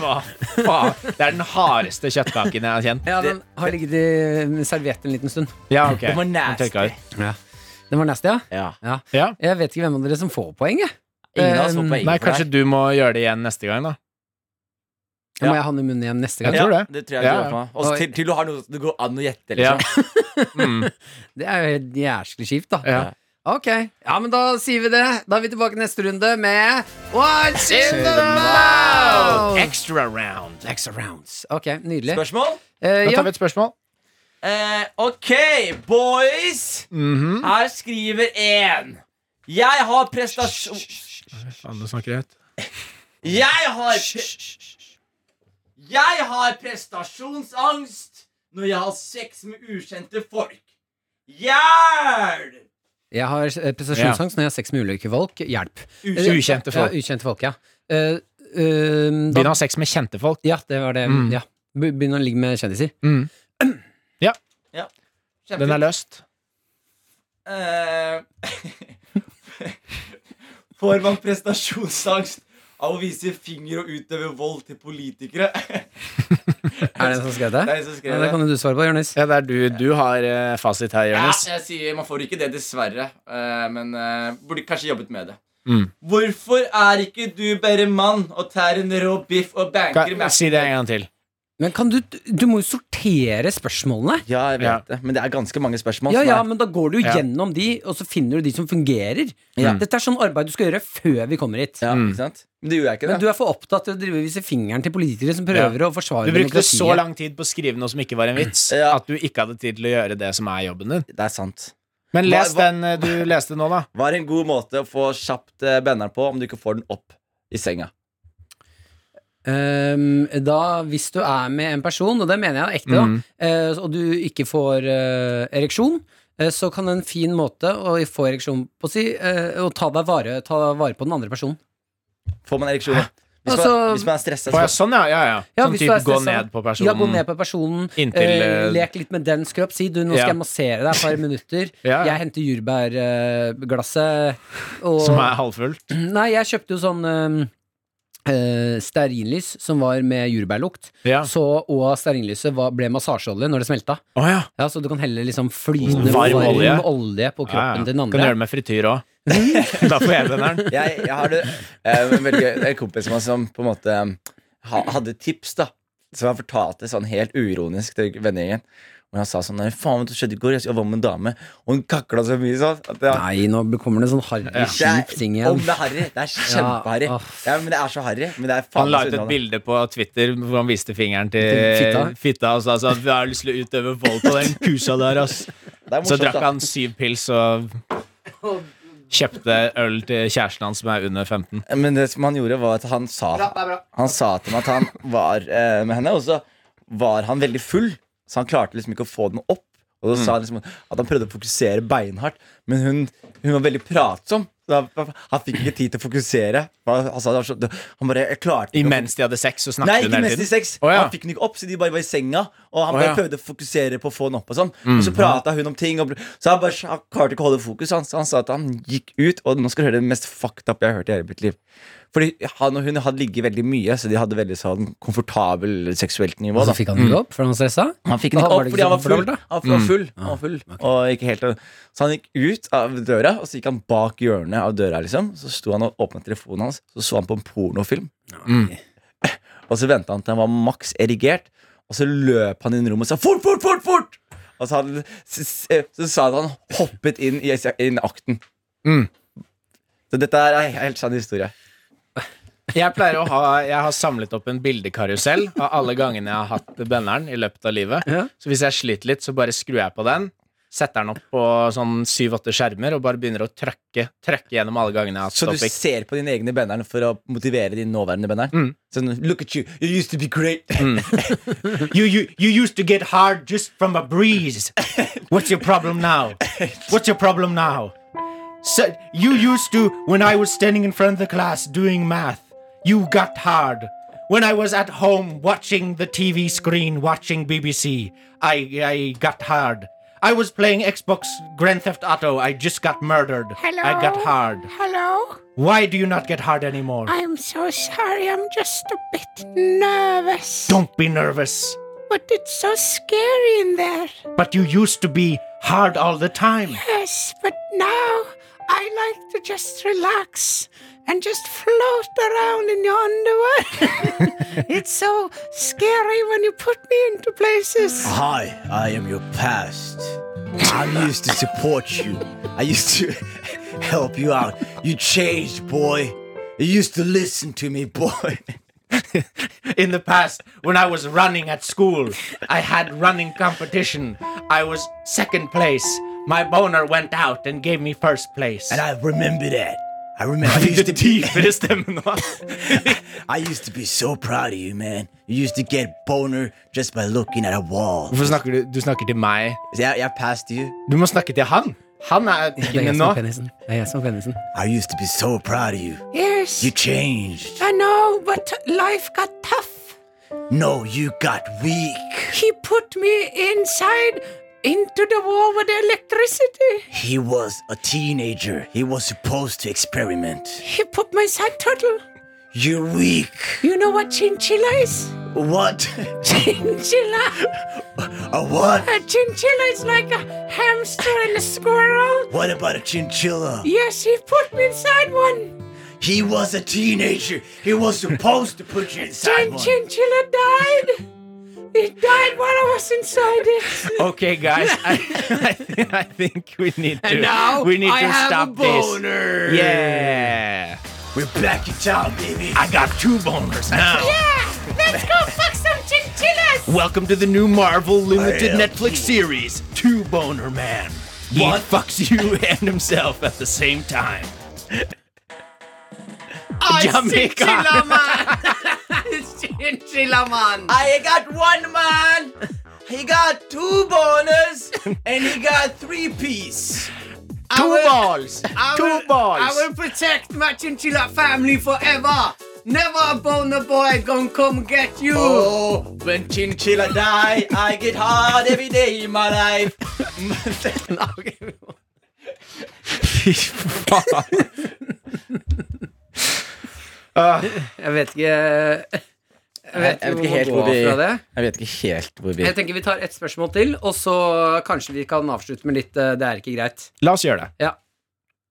[SPEAKER 4] Hva faen? Det er den hardeste kjøttkaken jeg har kjent.
[SPEAKER 3] Ja, den har ligget i eh, servietten en liten stund.
[SPEAKER 4] Ja, ok.
[SPEAKER 2] Den var
[SPEAKER 4] Den
[SPEAKER 2] nasty.
[SPEAKER 4] tørka ut.
[SPEAKER 3] Den var nasty, ja?
[SPEAKER 2] Ja.
[SPEAKER 3] ja.
[SPEAKER 4] Ja.
[SPEAKER 3] Jeg vet ikke hvem av dere som får poeng, jeg.
[SPEAKER 2] Ingen av oss får
[SPEAKER 3] Um,
[SPEAKER 2] poeng
[SPEAKER 4] Eh, Nei,
[SPEAKER 2] for det.
[SPEAKER 4] kanskje du må gjøre det igjen neste gang, da.
[SPEAKER 3] Da må
[SPEAKER 2] Ja.
[SPEAKER 3] jeg ha den i munnen igjen neste gang.
[SPEAKER 4] Jeg tror
[SPEAKER 2] ja,
[SPEAKER 4] det.
[SPEAKER 2] det tror jeg du
[SPEAKER 4] Ja,
[SPEAKER 2] gjør
[SPEAKER 4] ja.
[SPEAKER 2] på. Også
[SPEAKER 3] Oi.
[SPEAKER 2] til, til du har noe det går an å gjette.
[SPEAKER 4] Ja.
[SPEAKER 2] Liksom.
[SPEAKER 4] Mm.
[SPEAKER 3] Det er jo helt jæsklig kjipt, da.
[SPEAKER 4] Ja.
[SPEAKER 3] Ok, ja, men da sier vi det. Da er vi tilbake neste runde med What's in the mouth?
[SPEAKER 4] Extra round.
[SPEAKER 3] Extra rounds. Ok, nydelig.
[SPEAKER 2] Spørsmål?
[SPEAKER 3] Eh,
[SPEAKER 4] Da
[SPEAKER 3] ja.
[SPEAKER 4] tar vi et spørsmål.
[SPEAKER 2] Eh, ok, boys.
[SPEAKER 4] Mhm.
[SPEAKER 2] Her skriver én. Jeg har prestasjon...
[SPEAKER 4] Faen, du snakker høyt.
[SPEAKER 2] Jeg har pre Jeg har prestasjonsangst når jeg har sex med ukjente folk. Hjelp!
[SPEAKER 3] Jeg har eh, prestasjonsangst når jeg har sex med ulike folk. Hjelp. Eh,
[SPEAKER 4] Ukjente- ukjente folk.
[SPEAKER 3] Ja, ukjente folk, ja. Eh, eh, da,
[SPEAKER 4] Begynn å ha sex med kjente folk.
[SPEAKER 3] ja, det var det.
[SPEAKER 4] Mm.
[SPEAKER 3] Ja. Be- Begynne å ligge med kjendiser.
[SPEAKER 4] Den er løst.
[SPEAKER 2] Eh, Får man prestasjonsangst av å vise finger og utøve vold til politikere?
[SPEAKER 3] Er det en som skrev det?
[SPEAKER 2] Det er en som skrev
[SPEAKER 3] Ja,
[SPEAKER 2] det.
[SPEAKER 3] det kan jo du svare på, Jonis.
[SPEAKER 4] Ja, det er du, du har eh, fasit her,
[SPEAKER 2] Ja,
[SPEAKER 4] Jonis.
[SPEAKER 2] jeg sier Man får ikke det, dessverre. eh, men eh, burde kanskje jobbet med det.
[SPEAKER 4] Mm.
[SPEAKER 2] Hvorfor er ikke du bare mann og tær en rå biff og banker
[SPEAKER 4] Kan- Si det en gang til.
[SPEAKER 3] Men kan du Du må jo sortere spørsmålene.
[SPEAKER 2] Ja, jeg
[SPEAKER 4] Ja.
[SPEAKER 2] det. Men det er ganske mange spørsmål.
[SPEAKER 3] Ja,
[SPEAKER 2] som
[SPEAKER 3] ja,
[SPEAKER 2] er-
[SPEAKER 3] men da går du jo
[SPEAKER 4] Ja.
[SPEAKER 3] gjennom de, og så finner du de som fungerer.
[SPEAKER 2] Ja.
[SPEAKER 3] Dette er sånn arbeid du skal gjøre før vi kommer hit.
[SPEAKER 2] Ja,
[SPEAKER 4] Mm.
[SPEAKER 2] ikke sant? Men det gjorde jeg ikke,
[SPEAKER 3] Men
[SPEAKER 2] det.
[SPEAKER 3] du er for opptatt til å drive og vise fingeren til politikere som prøver å forsvare
[SPEAKER 4] Du brukte så
[SPEAKER 3] demokratiet.
[SPEAKER 4] lang tid på å skrive noe som ikke var en vits,
[SPEAKER 2] Ja.
[SPEAKER 4] at du ikke hadde tid til å gjøre det som er jobben din.
[SPEAKER 2] Det er sant.
[SPEAKER 4] Men les
[SPEAKER 2] Hva- hva-
[SPEAKER 4] den eh, du leste nå, da.
[SPEAKER 2] Hva er en god måte å få kjapt eh, benderen på om du ikke får den opp i senga?
[SPEAKER 3] Ehm, da, hvis du er med en person, og det mener jeg er ekte,
[SPEAKER 4] Mm.
[SPEAKER 3] da, eh, og du ikke får eh, ereksjon, eh, så kan en fin måte å få ereksjon på si, eh, å ta, deg vare, ta vare på den andre personen.
[SPEAKER 2] Får man ereksjon? Hvis,
[SPEAKER 3] Altså-
[SPEAKER 2] man, hvis man er stressa,
[SPEAKER 4] Å, ja, sånn, ja. ja, ja.
[SPEAKER 3] Ja,
[SPEAKER 4] sånn
[SPEAKER 3] hvis du er
[SPEAKER 4] type gå
[SPEAKER 3] stressa.
[SPEAKER 4] ned på personen.
[SPEAKER 3] Ja, gå ned på personen,
[SPEAKER 4] Inntil,
[SPEAKER 3] eh,
[SPEAKER 4] eh,
[SPEAKER 3] lek litt med dens kropp. Si du, nå skal
[SPEAKER 4] ja.
[SPEAKER 3] jeg massere deg et par minutter.
[SPEAKER 4] Ja, ja.
[SPEAKER 3] Jeg henter jordbærglasset. eh,
[SPEAKER 4] Som er halvfullt.
[SPEAKER 3] Nei, jeg kjøpte jo sånn ehm, eh, stearinlys som var med jordbærlukt.
[SPEAKER 4] Ja.
[SPEAKER 3] Så, og stearinlyset var, ble massasjeolje når det smelta.
[SPEAKER 4] Å, ja.
[SPEAKER 3] Ja, Så du kan helle liksom flytende
[SPEAKER 4] Varm
[SPEAKER 3] varm,
[SPEAKER 4] olje.
[SPEAKER 3] olje. på kroppen til den
[SPEAKER 4] Kan
[SPEAKER 3] andre.
[SPEAKER 4] gjøre det med frityr òg. da får jeg benderen.
[SPEAKER 2] jeg, jeg har det eh, en veldig gøy det er en kompis som, som på en måte um, ha, hadde tips, da. Som han fortalte sånn helt uironisk til vennegjengen. Og han sa sånn Nei, faen, vet du hva skjedde i går? Jeg var med en dame, og hun kakla så mye sånn. At det,
[SPEAKER 3] Nei, nå kommer det sånn harry,
[SPEAKER 2] det er,
[SPEAKER 3] kjip ting igjen.
[SPEAKER 2] Om det er harry. Det er kjempeharry.
[SPEAKER 3] Ja,
[SPEAKER 2] Ja,
[SPEAKER 3] åh.
[SPEAKER 2] men det er så harry. Men det er
[SPEAKER 4] Han
[SPEAKER 2] faen meg
[SPEAKER 4] la
[SPEAKER 2] så
[SPEAKER 4] ut et
[SPEAKER 2] underholdende.
[SPEAKER 4] bilde på Twitter hvor han viste fingeren
[SPEAKER 3] Til
[SPEAKER 4] til
[SPEAKER 3] fitta?
[SPEAKER 4] fitta og sa sånn 'Jeg har lyst til å utøve vold på den kusa der', ass.
[SPEAKER 2] Det er
[SPEAKER 4] Så
[SPEAKER 2] morsomt,
[SPEAKER 4] drakk
[SPEAKER 2] da.
[SPEAKER 4] han syv pils og kjøpte øl til kjæresten hans som er under 15.
[SPEAKER 2] Eh, Men det som han gjorde var at han sa Han sa til meg at han var eh, med henne Og så var han veldig full Så han klarte liksom ikke å få den opp Og så sa han liksom at han prøvde å fokusere beinhardt Men hun, hun var veldig pratsom så han, han fikk ikke tid til å fokusere Han, han, sa det var så, han bare, jeg klarte ikke å
[SPEAKER 4] Imens de hadde sex, så snakket
[SPEAKER 2] Nei,
[SPEAKER 4] hun
[SPEAKER 2] ikke
[SPEAKER 4] hele
[SPEAKER 2] mens
[SPEAKER 4] tiden.
[SPEAKER 2] de sex.
[SPEAKER 4] Å, ja.
[SPEAKER 2] Han fikk den ikke opp, så de bare var i senga. Og han
[SPEAKER 4] Å,
[SPEAKER 2] bare
[SPEAKER 4] ja. Mm.
[SPEAKER 2] prøvde å fokusere på å få den opp. Og sånn Og så prata hun om ting, og bl- så han, bare, han klarte ikke å holde fokus. Han, så han sa at han gikk ut, og nå skal du høre det mest fucked up jeg har hørt i hele mitt liv. Fordi han og hun hadde ligget veldig mye, så de hadde veldig sånn komfortabel seksuelt nivå.
[SPEAKER 3] Og
[SPEAKER 2] Da.
[SPEAKER 3] så fikk han det ikke opp, for han var stressa.
[SPEAKER 2] Han fikk den
[SPEAKER 3] Da
[SPEAKER 2] ikke
[SPEAKER 3] var
[SPEAKER 2] opp
[SPEAKER 3] det
[SPEAKER 2] fordi
[SPEAKER 3] ikke
[SPEAKER 2] han var
[SPEAKER 3] så
[SPEAKER 2] full.
[SPEAKER 3] fordelt, da.
[SPEAKER 2] Han var full, han var full. Og ikke helt, Så han gikk ut av døra, og så gikk han bak hjørnet av døra. liksom Så sto han og åpnet telefonen hans, så så han på en pornofilm. Eh, Og så venta han til han var maks erigert, og så løp han inn i rommet og sa fort, fort, fort! fort Og så, hadde, så, så, så sa han at han hoppet inn i inn i akten.
[SPEAKER 4] Mm.
[SPEAKER 2] Så dette er en helt sann historie.
[SPEAKER 4] Jeg pleier å ha Jeg har samlet opp en bildekarusell av alle gangene jeg har hatt benderen i løpet av livet.
[SPEAKER 3] Ja.
[SPEAKER 4] Så hvis jeg sliter litt, så bare skrur jeg på den, setter den opp på sånn syv-åtte skjermer og bare begynner å trøkke, trøkke gjennom alle gangene jeg har hatt
[SPEAKER 2] Så du
[SPEAKER 4] topic.
[SPEAKER 2] ser på dine egne benderen for å motivere din nåværende benderen?
[SPEAKER 4] Mm.
[SPEAKER 2] Sånn, look at you, you used to be great
[SPEAKER 4] You, you, you used to get hard just from a breeze. What's your problem now? What's your problem now? So, you used to, when I was standing in front of the class doing math, you got hard. When I was at home watching the TV screen, watching BBC, I, I got hard. I was playing Xbox Grand Theft Auto. I just got murdered.
[SPEAKER 7] Hello?
[SPEAKER 4] I got hard.
[SPEAKER 7] Hello?
[SPEAKER 4] Why do you not get hard anymore?
[SPEAKER 7] I'm so sorry. I'm just a bit nervous.
[SPEAKER 4] Don't be nervous.
[SPEAKER 7] But it's so scary in there.
[SPEAKER 4] But you used to be hard all the time.
[SPEAKER 7] Yes, but now I like to just relax and just float around in your underwear. it's so scary when you put me into places.
[SPEAKER 2] Hi, I am your past. I used to support you. I used to help you out. You changed, boy. You used to listen to me, boy.
[SPEAKER 4] In the past, when I was running at school, I had running competition. I was second place. My boner went out and gave me first place.
[SPEAKER 2] And I remember that. I remember. I used to be.
[SPEAKER 4] Dypere stemme nå.
[SPEAKER 2] I used to be so proud of you, man. You used to get boner just by looking at a wall.
[SPEAKER 4] Hvorfor snakker du Du snakker til meg.
[SPEAKER 2] So I, I passed you.
[SPEAKER 4] Du må snakke til han. Han er
[SPEAKER 3] Det er
[SPEAKER 4] tingen
[SPEAKER 3] jeg
[SPEAKER 4] nå.
[SPEAKER 3] som er penisen. Det er jeg som er penisen.
[SPEAKER 2] I used to be so proud of you.
[SPEAKER 7] Yes,
[SPEAKER 2] You changed.
[SPEAKER 7] I know, but life got tough.
[SPEAKER 2] No, you got weak.
[SPEAKER 7] He put me inside into the wall with electricity.
[SPEAKER 2] He was a teenager. He was supposed to experiment.
[SPEAKER 7] He put my side turtle.
[SPEAKER 2] You're weak.
[SPEAKER 7] You know what chinchilla is?
[SPEAKER 2] What?
[SPEAKER 7] Chinchilla.
[SPEAKER 2] A what?
[SPEAKER 7] A chinchilla is like a hamster and a squirrel.
[SPEAKER 2] What about a chinchilla?
[SPEAKER 7] Yes, he put me inside one.
[SPEAKER 2] He was a teenager. He was supposed to put you inside
[SPEAKER 7] And
[SPEAKER 2] one.
[SPEAKER 7] chinchilla died. It died while I was inside it.
[SPEAKER 4] Ok, guys. I, I, think- I think we need to
[SPEAKER 7] now
[SPEAKER 4] We need
[SPEAKER 7] I
[SPEAKER 4] to
[SPEAKER 7] have a
[SPEAKER 4] stop
[SPEAKER 2] Boner.
[SPEAKER 4] this. Yeah.
[SPEAKER 2] We're back in town, baby.
[SPEAKER 4] I got two boners now.
[SPEAKER 7] Yeah, let's go fuck some chinchillas.
[SPEAKER 4] Welcome to the new Marvel limited
[SPEAKER 2] I am
[SPEAKER 4] Netflix series, Two Boner Man. He
[SPEAKER 2] What?
[SPEAKER 4] fucks you and himself at the same time. Jamaica.
[SPEAKER 6] Chinchilla man.
[SPEAKER 2] I got one man. He got two boners, and he got three piece.
[SPEAKER 4] Two balls. Two
[SPEAKER 6] I
[SPEAKER 4] balls.
[SPEAKER 6] will protect my chinchilla family forever. Never a boner boy gonna come get you.
[SPEAKER 2] Oh, when chinchilla die, I get hard every day in my life. Ah.
[SPEAKER 3] Jeg vet ikke Jeg vet ikke, hvor man går fra det.
[SPEAKER 2] Jeg vet ikke helt hvor vi
[SPEAKER 3] Jeg tenker Vi tar ett spørsmål til, og så kanskje vi kan avslutte med litt eh, 'det er ikke greit'.
[SPEAKER 4] La oss gjøre det.
[SPEAKER 3] Ja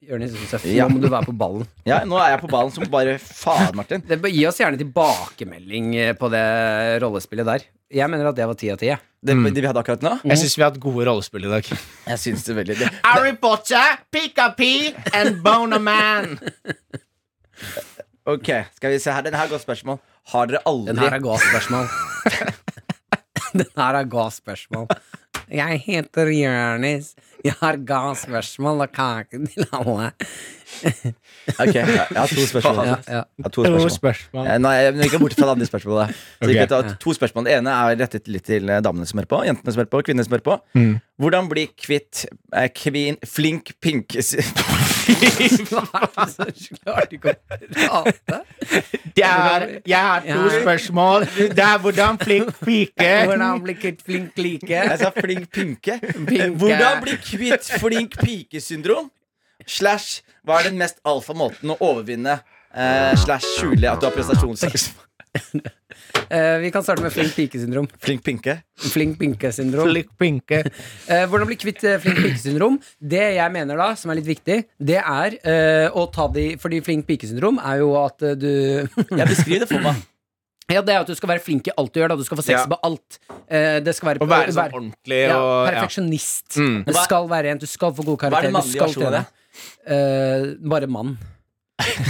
[SPEAKER 3] Jonis Josef,
[SPEAKER 2] Ja.
[SPEAKER 3] nå må du være på ballen.
[SPEAKER 2] Ja, Nå er jeg på ballen som bare faen, Martin.
[SPEAKER 3] Det, gi oss gjerne tilbakemelding eh, på det rollespillet der. Jeg mener at det var ti av ti. jeg.
[SPEAKER 2] Det, det vi hadde akkurat nå.
[SPEAKER 4] Jeg syns vi har hatt gode rollespill i dag.
[SPEAKER 2] Jeg syns det veldig det.
[SPEAKER 4] Harry Potter, Pika-Pi and Boner Man.
[SPEAKER 2] Ok, skal vi se her. Den her er et godt spørsmål. Har dere
[SPEAKER 3] Den her
[SPEAKER 2] aldri
[SPEAKER 3] er ga spørsmål. Den her er ga spørsmål. Jeg heter Jonis. Jeg har ga spørsmål og kake til alle.
[SPEAKER 2] Ok, jeg jeg har to spørsmål.
[SPEAKER 3] Ja,
[SPEAKER 2] Jeg
[SPEAKER 3] ja.
[SPEAKER 2] har to spørsmål.
[SPEAKER 4] spørsmål.
[SPEAKER 2] Eh, Nei, jeg gikk jeg bort fra det andre spørsmålet. Så
[SPEAKER 4] Ok.
[SPEAKER 2] vi kan ta to spørsmål. Det ene er rettet litt til eh, damene som hører på. Jentene som hører på, kvinnene som hører på.
[SPEAKER 4] Mm.
[SPEAKER 2] Hvordan bli kvitt eh, kvin, flink pink s-
[SPEAKER 3] Klarte ikke å prate.
[SPEAKER 4] Det er, jeg har to
[SPEAKER 3] Ja.
[SPEAKER 4] spørsmål. Det er hvordan flink pike
[SPEAKER 3] Hvordan bli kvitt flink like?
[SPEAKER 2] Jeg sa Altså, flink pinke. Eh, Hvordan bli kvitt flink pike-syndrom? Slash hva er den mest alfa måten å overvinne eh, slash skjule at du har prestasjonsangst?
[SPEAKER 3] Eh, vi kan starte med flink pike-syndrom.
[SPEAKER 2] Flink pinke?
[SPEAKER 3] Flink pinke-syndrom.
[SPEAKER 4] Flink pinke.
[SPEAKER 3] Eh, hvordan bli kvitt eh, flink pike-syndrom? Det jeg mener da, som er litt viktig, det er eh, å ta de Fordi flink pike-syndrom er jo at eh, du
[SPEAKER 2] Jeg beskriver det for meg.
[SPEAKER 3] Ja, det er at du skal være flink i alt du gjør. da Du skal få sex
[SPEAKER 4] Ja.
[SPEAKER 3] med alt. Eh, det skal være,
[SPEAKER 4] Å være sånn ordentlig
[SPEAKER 3] ja,
[SPEAKER 4] og ja.
[SPEAKER 3] perfeksjonist.
[SPEAKER 4] Mm.
[SPEAKER 3] Det skal være en, du skal få god
[SPEAKER 2] Hva er
[SPEAKER 3] karakter.
[SPEAKER 2] den
[SPEAKER 3] du
[SPEAKER 2] mannlige
[SPEAKER 3] skal
[SPEAKER 2] versjonen av
[SPEAKER 3] trene.
[SPEAKER 2] det?
[SPEAKER 3] Eh, bare mann.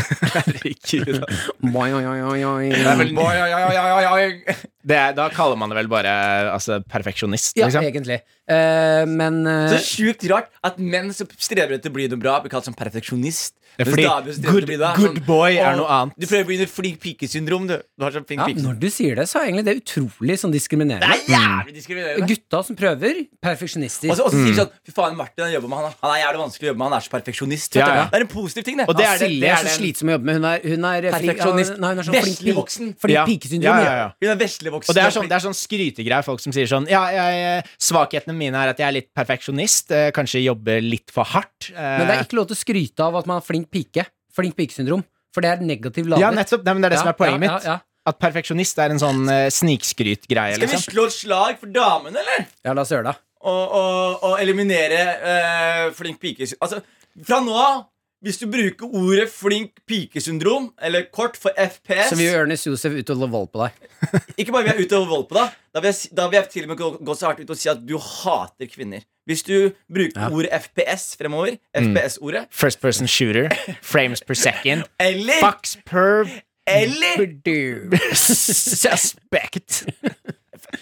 [SPEAKER 4] Herregud, da.
[SPEAKER 3] Oi, oi, oi, oi, oi.
[SPEAKER 4] Det er vel- Mm. Det er, da kaller man det vel bare altså, perfeksjonist,
[SPEAKER 3] Ja,
[SPEAKER 4] liksom.
[SPEAKER 3] egentlig. Eh, men eh,
[SPEAKER 2] Så sjukt rart at menn som strever etter å bli noe bra, blir kalt som perfeksjonist.
[SPEAKER 4] Det er
[SPEAKER 2] Mens
[SPEAKER 4] fordi
[SPEAKER 2] damer som strever etter
[SPEAKER 4] good-
[SPEAKER 2] å bli det, er
[SPEAKER 4] good boy er
[SPEAKER 2] «Å,
[SPEAKER 4] noe annet».
[SPEAKER 2] Du prøver å bli en flink pike-syndrom, du. Du har sånn flink
[SPEAKER 3] ja,
[SPEAKER 2] pike
[SPEAKER 3] når du sier det, så er egentlig det utrolig sånn diskriminerende.
[SPEAKER 2] Det er jævlig diskriminerende.
[SPEAKER 3] Gutta som prøver, perfeksjonister.
[SPEAKER 2] Og så og så sier
[SPEAKER 4] Mm.
[SPEAKER 2] de sånn Fy faen, Martin han jobber med han, er- han er jævlig vanskelig å jobbe med, han er så perfeksjonist. vet du».
[SPEAKER 4] Ja, ja.
[SPEAKER 2] Det er en positiv ting, det.
[SPEAKER 4] Og det er det,
[SPEAKER 3] Silje
[SPEAKER 4] det
[SPEAKER 3] er
[SPEAKER 4] er
[SPEAKER 3] så
[SPEAKER 4] den-
[SPEAKER 3] slitsom å jobbe med. Hun er, hun er flink-
[SPEAKER 2] Perfeksjonist.
[SPEAKER 3] Ja, Nei, hun er sånn flink
[SPEAKER 2] Veslig voksen.
[SPEAKER 3] Flink
[SPEAKER 4] Ja.
[SPEAKER 3] pikesyndrom.
[SPEAKER 4] Ja,
[SPEAKER 3] ja.
[SPEAKER 4] ja, ja.
[SPEAKER 2] Hun er veslig vokst
[SPEAKER 4] Og det er sånn,
[SPEAKER 2] opp i-
[SPEAKER 4] det er sånn skrytegreier folk som sier sånn Ja, jeg, svakhetene mine er at jeg er litt perfeksjonist, eh, kanskje jobber litt for hardt. eh,
[SPEAKER 3] Men det er ikke lov til å skryte av at man er flink pike. Flink pikesyndrom. For det er negativ ladet.
[SPEAKER 4] Ja, nettopp. Nei, men det er det
[SPEAKER 3] Ja,
[SPEAKER 4] som er poenget
[SPEAKER 3] ja, Ja,
[SPEAKER 4] mitt.
[SPEAKER 3] ja.
[SPEAKER 4] At perfeksjonist er en sånn eh, snikskrytgreie.
[SPEAKER 2] Skal vi
[SPEAKER 4] Liksom.
[SPEAKER 2] slå et slag for damene, eller?
[SPEAKER 3] ja, la oss gjøre det.
[SPEAKER 2] Og, og, og eliminere eh, flink pike Altså, fra nå av hvis du bruker ordet flink pike-syndrom, eller kort for FPS
[SPEAKER 3] Så vi gjør Ernest Josef ut og holde vold på deg.
[SPEAKER 2] Ikke bare vil jeg ut og vold på deg, da vil jeg, si- da vil jeg til og med gå, gå så hardt ut og si at du hater kvinner. Hvis du bruker ordet FPS fremover,
[SPEAKER 4] Mm.
[SPEAKER 2] FPS-ordet,
[SPEAKER 4] First person shooter. Frames per second.
[SPEAKER 2] eller
[SPEAKER 4] Bucks per
[SPEAKER 2] Eller
[SPEAKER 4] suspect.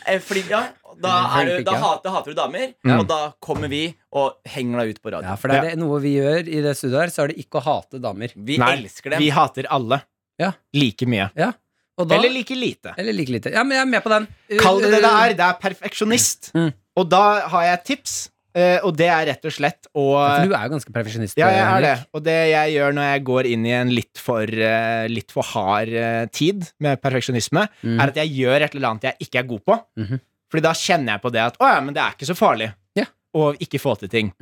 [SPEAKER 2] eh, flink, ja, da, er du,
[SPEAKER 3] flink,
[SPEAKER 2] da
[SPEAKER 3] ja.
[SPEAKER 2] hater, hater du damer, og da kommer vi og henger deg ut på radio.
[SPEAKER 3] Ja, for det er det, noe vi gjør i det studioet her, så er det ikke å hate damer.
[SPEAKER 2] Vi
[SPEAKER 4] Nei,
[SPEAKER 2] elsker dem.
[SPEAKER 4] Vi hater alle.
[SPEAKER 3] Ja.
[SPEAKER 4] Like mye.
[SPEAKER 3] Ja. Og da,
[SPEAKER 4] Eller
[SPEAKER 3] eller,
[SPEAKER 4] like lite.
[SPEAKER 3] like lite. Ja, men jeg er med på den.
[SPEAKER 4] Kall det det det
[SPEAKER 3] eh,
[SPEAKER 4] er. Det er perfeksjonist.
[SPEAKER 3] mm.
[SPEAKER 4] Og da har jeg et tips, eh, og det er rett og slett å
[SPEAKER 3] For du er jo ganske perfeksjonist.
[SPEAKER 4] Ja, jeg er det.
[SPEAKER 3] Henrik.
[SPEAKER 4] Og det jeg gjør når jeg går inn i en litt for, eh, litt for hard eh, tid med perfeksjonisme, er at jeg gjør et eller annet jeg ikke er god på.
[SPEAKER 3] Mm. Mhm.
[SPEAKER 4] Fordi da kjenner jeg på det at å ja, men det er ikke så farlig
[SPEAKER 3] Ja. Mhm.
[SPEAKER 4] å ikke få til ting.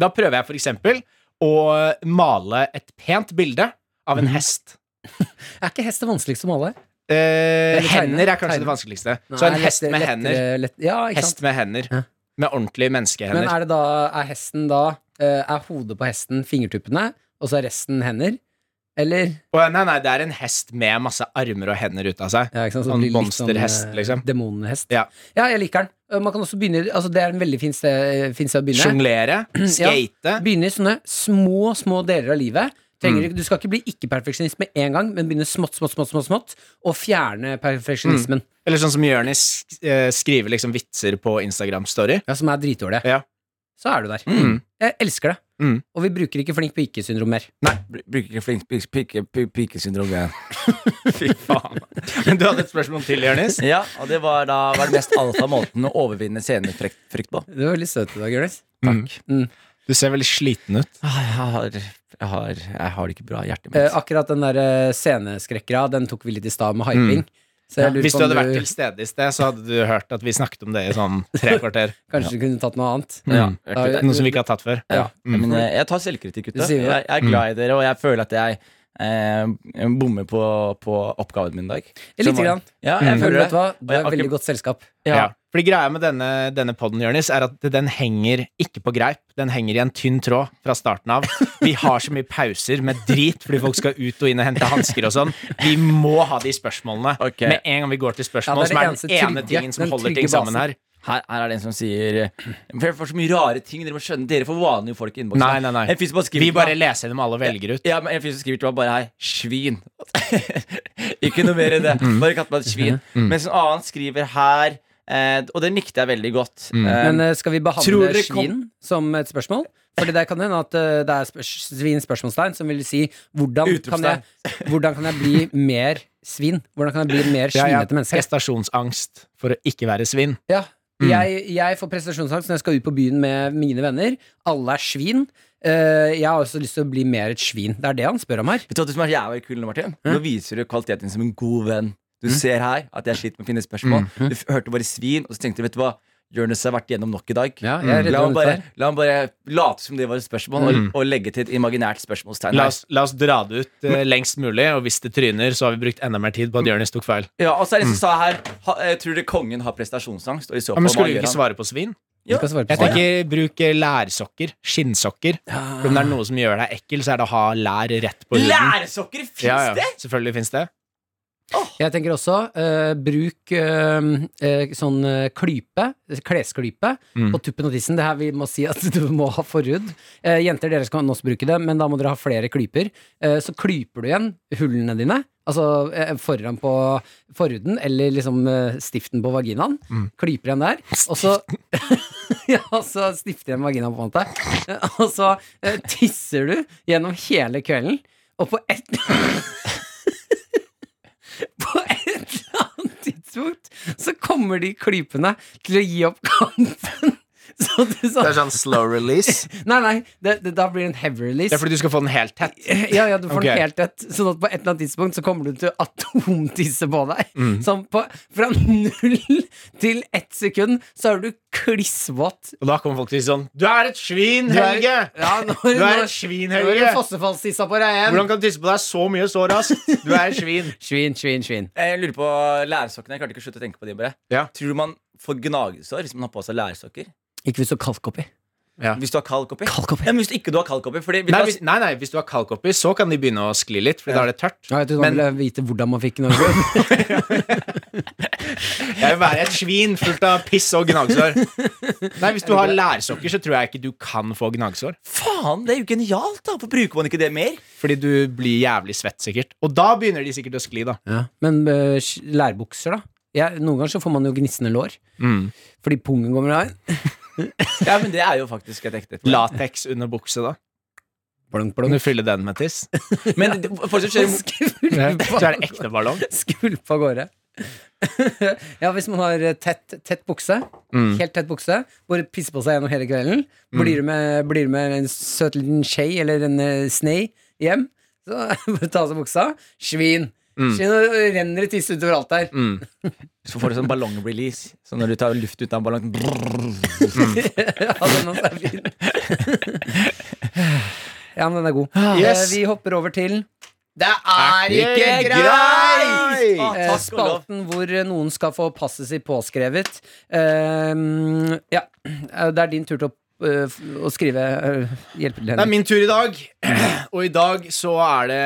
[SPEAKER 4] Da prøver jeg for eksempel å male et pent bilde av en
[SPEAKER 3] Mhm.
[SPEAKER 4] hest.
[SPEAKER 3] Er ikke hest det vanskeligste å male?
[SPEAKER 4] Eh,
[SPEAKER 3] Eller tegne.
[SPEAKER 4] hender er
[SPEAKER 3] Tegne.
[SPEAKER 4] kanskje det vanskeligste. så en
[SPEAKER 3] Nei,
[SPEAKER 4] hest
[SPEAKER 3] lettere-
[SPEAKER 4] med
[SPEAKER 3] lettere-
[SPEAKER 4] hender.
[SPEAKER 3] lett- ja, ikke
[SPEAKER 4] Hest
[SPEAKER 3] sant.
[SPEAKER 4] med hender.
[SPEAKER 3] Ja.
[SPEAKER 4] Med ordentlige menneskehender.
[SPEAKER 3] Men er det da Er hesten da eh, Er hodet på hesten fingertuppene, og så er resten hender? Eller
[SPEAKER 4] Å, nei, nei, det er en hest med masse armer og hender ut av seg.
[SPEAKER 3] ja, ikke sant? Så
[SPEAKER 4] Sånn
[SPEAKER 3] det blir litt
[SPEAKER 4] monsterhest,
[SPEAKER 3] eh,
[SPEAKER 4] liksom.
[SPEAKER 3] Demonhest.
[SPEAKER 4] Ja.
[SPEAKER 3] ja, jeg liker den. Eh, Man kan også begynne altså Det er en veldig fin sted, eh, fin sted å begynne.
[SPEAKER 4] Sjonglere, skate.
[SPEAKER 3] Begynne i sånne små, små deler av livet. Trenger,
[SPEAKER 4] Mm.
[SPEAKER 3] ikke- Du skal ikke bli ikke-perfeksjonist med en gang, men begynne smått, smått, smått, smått, smått og fjerne perfeksjonismen,
[SPEAKER 4] Eller sånn som Jonis sk- eh, skriver liksom vitser på Instagram-story.
[SPEAKER 3] ja, som er dritdårlig.
[SPEAKER 4] Ja.
[SPEAKER 3] Så er du der.
[SPEAKER 4] Mm.
[SPEAKER 3] Jeg elsker det.
[SPEAKER 4] Mm.
[SPEAKER 3] Og vi bruker ikke flink pike-syndrom mer.
[SPEAKER 2] Br- Bruker ikke flink pike- pike- pike- pike-syndrom. jeg.
[SPEAKER 4] Fy faen. Men du hadde et spørsmål til, Jonis.
[SPEAKER 2] Ja, og det var da var den mest alfa måten å overvinne scenefrykt frykt på.
[SPEAKER 3] Du var veldig søt i dag, Jonis.
[SPEAKER 4] Du ser veldig sliten ut.
[SPEAKER 2] Ah, Jeg har, jeg har, jeg har det ikke bra i hjertet mitt.
[SPEAKER 3] Eh, akkurat den der eh, sceneskrekkera, den tok vi litt i stad med hyping. Så jeg lurer
[SPEAKER 4] Mm. Hvis
[SPEAKER 3] på
[SPEAKER 4] du
[SPEAKER 3] om
[SPEAKER 4] hadde vært til stede i sted, så hadde du hørt at vi snakket om det i sånn tre kvarter.
[SPEAKER 3] Kanskje du kunne tatt noe annet.
[SPEAKER 2] Ja,
[SPEAKER 4] Mm.
[SPEAKER 2] jeg
[SPEAKER 3] Ja,
[SPEAKER 4] Noe som vi ikke har tatt før.
[SPEAKER 2] Ja.
[SPEAKER 4] Mm.
[SPEAKER 2] Men eh, jeg, jeg tar selvkritikk,
[SPEAKER 3] Det
[SPEAKER 2] gutta.
[SPEAKER 3] sier
[SPEAKER 2] Jeg,
[SPEAKER 3] vi.
[SPEAKER 2] jeg er glad i dere, og jeg føler at jeg eh, bommer på, på oppgaven min i dag.
[SPEAKER 3] Lite
[SPEAKER 2] Som-
[SPEAKER 3] grann.
[SPEAKER 2] Ja, jeg
[SPEAKER 3] Jeg føler,
[SPEAKER 2] føler
[SPEAKER 3] Mm. vet du
[SPEAKER 2] det.
[SPEAKER 3] hva,
[SPEAKER 2] Og
[SPEAKER 3] du
[SPEAKER 2] jeg
[SPEAKER 3] er
[SPEAKER 2] har
[SPEAKER 3] veldig
[SPEAKER 2] ikke-
[SPEAKER 3] godt selskap.
[SPEAKER 2] Ja.
[SPEAKER 4] Ja. Fordi greia med denne, denne podden, Jørnis, er at den henger ikke på greip. Den henger i en tynn tråd fra starten av. Vi har så mye pauser med drit fordi folk skal ut og inn og hente hansker og sånn. Vi må ha de spørsmålene
[SPEAKER 2] Ok.
[SPEAKER 4] med en gang vi går til spørsmål,
[SPEAKER 3] Ja, det er det
[SPEAKER 4] som er
[SPEAKER 3] eneste
[SPEAKER 4] den ene
[SPEAKER 3] trygge-
[SPEAKER 4] tingen som
[SPEAKER 3] den
[SPEAKER 4] holder
[SPEAKER 3] trygge
[SPEAKER 4] ting sammen
[SPEAKER 3] basen.
[SPEAKER 4] her.
[SPEAKER 2] Her, her er det en som sier eh, Dere får så mye rare ting. Dere må skjønne Dere får vanlige folk i innboksen.
[SPEAKER 4] Nei, nei, nei.
[SPEAKER 2] En fyr som bare skriver
[SPEAKER 4] Vi
[SPEAKER 2] til
[SPEAKER 4] bare
[SPEAKER 2] meg-
[SPEAKER 4] leser dem alle og velger ut.
[SPEAKER 2] ja, men En fyr som skriver til meg bare her 'svin'. ikke noe mer enn det.
[SPEAKER 4] Mm.
[SPEAKER 2] Bare kall meg et svin. Mens en annen skriver her, eh, og den likte jeg veldig godt.
[SPEAKER 4] Mm.
[SPEAKER 2] Eh,
[SPEAKER 3] Men eh, skal vi
[SPEAKER 2] Tror
[SPEAKER 3] behandle
[SPEAKER 2] dere kom-
[SPEAKER 3] svin som et spørsmål? Fordi det kan hende at eh, det er spørs, svin spørsmålstegn som vil si hvordan kan,
[SPEAKER 2] Utropstegn.
[SPEAKER 3] jeg, hvordan kan jeg bli mer svin? Hvordan kan jeg bli mer
[SPEAKER 4] Ja, ja.
[SPEAKER 3] svinete menneske?
[SPEAKER 4] Prestasjonsangst for å ikke være svinn.
[SPEAKER 3] Ja.
[SPEAKER 4] Mm.
[SPEAKER 3] Jeg, jeg får prestasjonsangst når jeg skal ut på byen med mine venner. Alle er svin. Eh, jeg har også lyst til å bli mer et svin. Det er det han spør om her.
[SPEAKER 2] Vet du hva som er jævlig kul nå, Martin? Nå viser du kvaliteten din som en god venn.
[SPEAKER 4] Mm.
[SPEAKER 2] Du ser her at jeg sliter med å finne spørsmål. Du f- hørte bare svin, og så tenkte du, vet du hva? Jonis har vært gjennom nok i dag.
[SPEAKER 3] Ja, jeg er redd
[SPEAKER 2] la,
[SPEAKER 3] for
[SPEAKER 2] han
[SPEAKER 3] det
[SPEAKER 2] bare,
[SPEAKER 3] der.
[SPEAKER 2] la han bare late som det var et spørsmål, og, og legge til et imaginært spørsmålstegn.
[SPEAKER 4] Mm. La
[SPEAKER 2] her.
[SPEAKER 4] oss, la oss dra det ut eh, lengst mulig, og hvis det tryner, så har vi brukt enda mer tid på at Jonis tok feil.
[SPEAKER 2] Ja, og så er det en som sa her ha, eh, Tror du kongen har prestasjonsangst? Og i så fall,
[SPEAKER 4] Mm. Ja, men
[SPEAKER 2] hva
[SPEAKER 4] skulle vi
[SPEAKER 2] gjør
[SPEAKER 4] ikke
[SPEAKER 2] han?
[SPEAKER 4] svare på svinn?
[SPEAKER 3] Du skal svare på spørsmålet.
[SPEAKER 4] Jeg tenker bruk eh, lærsokker, skinnsokker. For om det er noe som gjør deg ekkel, så er det å ha lær rett på huden.
[SPEAKER 2] Lærsokker, fins
[SPEAKER 4] Ja, ja,
[SPEAKER 2] det?!
[SPEAKER 4] Selvfølgelig fins det.
[SPEAKER 3] Jeg tenker også eh, bruk eh, eh, sånn eh, klype, klesklype, på tuppen og tissen. Det her vi må si at du må ha forhud. Eh, jenter, dere kan også bruke det, men da må dere ha flere klyper. Eh, så klyper du igjen hullene dine, altså eh, foran på forhuden, eller liksom eh, stiften på vaginaen. Klyper igjen der, og så Ja, og så stifter igjen vaginaen, på en måte. Eh, Og så eh, tisser du gjennom hele kvelden, og på ett på et eller annet tidspunkt så kommer de klypene til å gi opp kampen Så du
[SPEAKER 8] Det
[SPEAKER 3] sa
[SPEAKER 8] er sånn slow release.
[SPEAKER 3] Nei, nei, det, det, da blir det en heavy release.
[SPEAKER 4] Det er fordi du skal få den helt tett.
[SPEAKER 3] Ja, ja, du får
[SPEAKER 4] Ok.
[SPEAKER 3] den helt tett. Sånn at på et eller annet tidspunkt så kommer du til å atomtisse på deg.
[SPEAKER 8] Mm.
[SPEAKER 3] Sånn på, fra null til ett sekund så er du klissvåt.
[SPEAKER 4] Og da kommer folk til å si sånn Du er et svin,
[SPEAKER 3] Du er-
[SPEAKER 4] Helge!
[SPEAKER 3] Ja, når,
[SPEAKER 4] Du er et
[SPEAKER 3] når-
[SPEAKER 4] svin,
[SPEAKER 3] Nå er det
[SPEAKER 4] Helge!
[SPEAKER 3] fossefallstissa på deg igjen.
[SPEAKER 4] Hvordan kan du tisse på deg så mye så raskt? Du er et svin.
[SPEAKER 3] Svin, svin, svin.
[SPEAKER 2] Jeg lurer på lærsokkene. Jeg klarte ikke å slutte å tenke på de bare.
[SPEAKER 4] Ja.
[SPEAKER 2] Tror du man får gnagesår hvis man har på seg lærsokker?
[SPEAKER 3] Ikke hvis du har kalk oppi.
[SPEAKER 2] Hvis du har kalk oppi?
[SPEAKER 3] Kalk oppi.
[SPEAKER 2] Ja, men hvis du ikke du har kalk oppi fordi,
[SPEAKER 4] Nei, hvis, nei, nei, hvis du har kalk oppi, så kan de begynne å skli litt, for da er det tørt.
[SPEAKER 3] Ja, jeg trodde han ville vite hvordan man fikk noe.
[SPEAKER 4] Jeg vil være et svin fullt av piss og gnagsår. Nei, hvis du har lærsokker, så tror jeg ikke du kan få gnagsår.
[SPEAKER 2] Faen, det er jo genialt! da Hvorfor bruker man ikke det mer?
[SPEAKER 4] Fordi du blir jævlig svett, sikkert. Og da begynner de sikkert å skli, da.
[SPEAKER 3] Men eh, sk- lærbukser, da? Ja, noen ganger så får man jo gnissende lår. Fordi pungen kommer av.
[SPEAKER 2] Ja, men Det er jo faktisk et ekte problem.
[SPEAKER 4] Lateks under bukse, da.
[SPEAKER 3] Blunk,
[SPEAKER 4] Kan
[SPEAKER 3] blunk.
[SPEAKER 4] du fylle den med tiss?
[SPEAKER 2] Men det- fortsatt kjører mo-
[SPEAKER 4] Så er det ekte ballong.
[SPEAKER 3] Skvulp av gårde. ja, hvis man har tett, tett bukse,
[SPEAKER 4] Mm.
[SPEAKER 3] helt tett bukse, bare pisser på seg gjennom hele kvelden, blir, du med, blir du med en søt liten skje eller en eh, snei hjem, så bare ta av seg buksa. Svin.
[SPEAKER 4] Mm.
[SPEAKER 3] Svin og renner det tiss utover alt der.
[SPEAKER 2] Så får du sånn ballongrelease. Så når du tar luft ut av ballongen brrr.
[SPEAKER 3] ja, den også er fin. ja, men den er god. Eh,
[SPEAKER 4] Yes.
[SPEAKER 3] Vi hopper over til
[SPEAKER 4] Det er
[SPEAKER 2] ikke greit!
[SPEAKER 4] greit!
[SPEAKER 3] eh, spalten hvor eh, noen skal få passet sitt påskrevet. Ehm, ja, eh, det er din tur til å, eh, f- å skrive eh, Hjelpe til,
[SPEAKER 4] Det er
[SPEAKER 3] Henrik.
[SPEAKER 4] min tur i dag. Og i dag så er det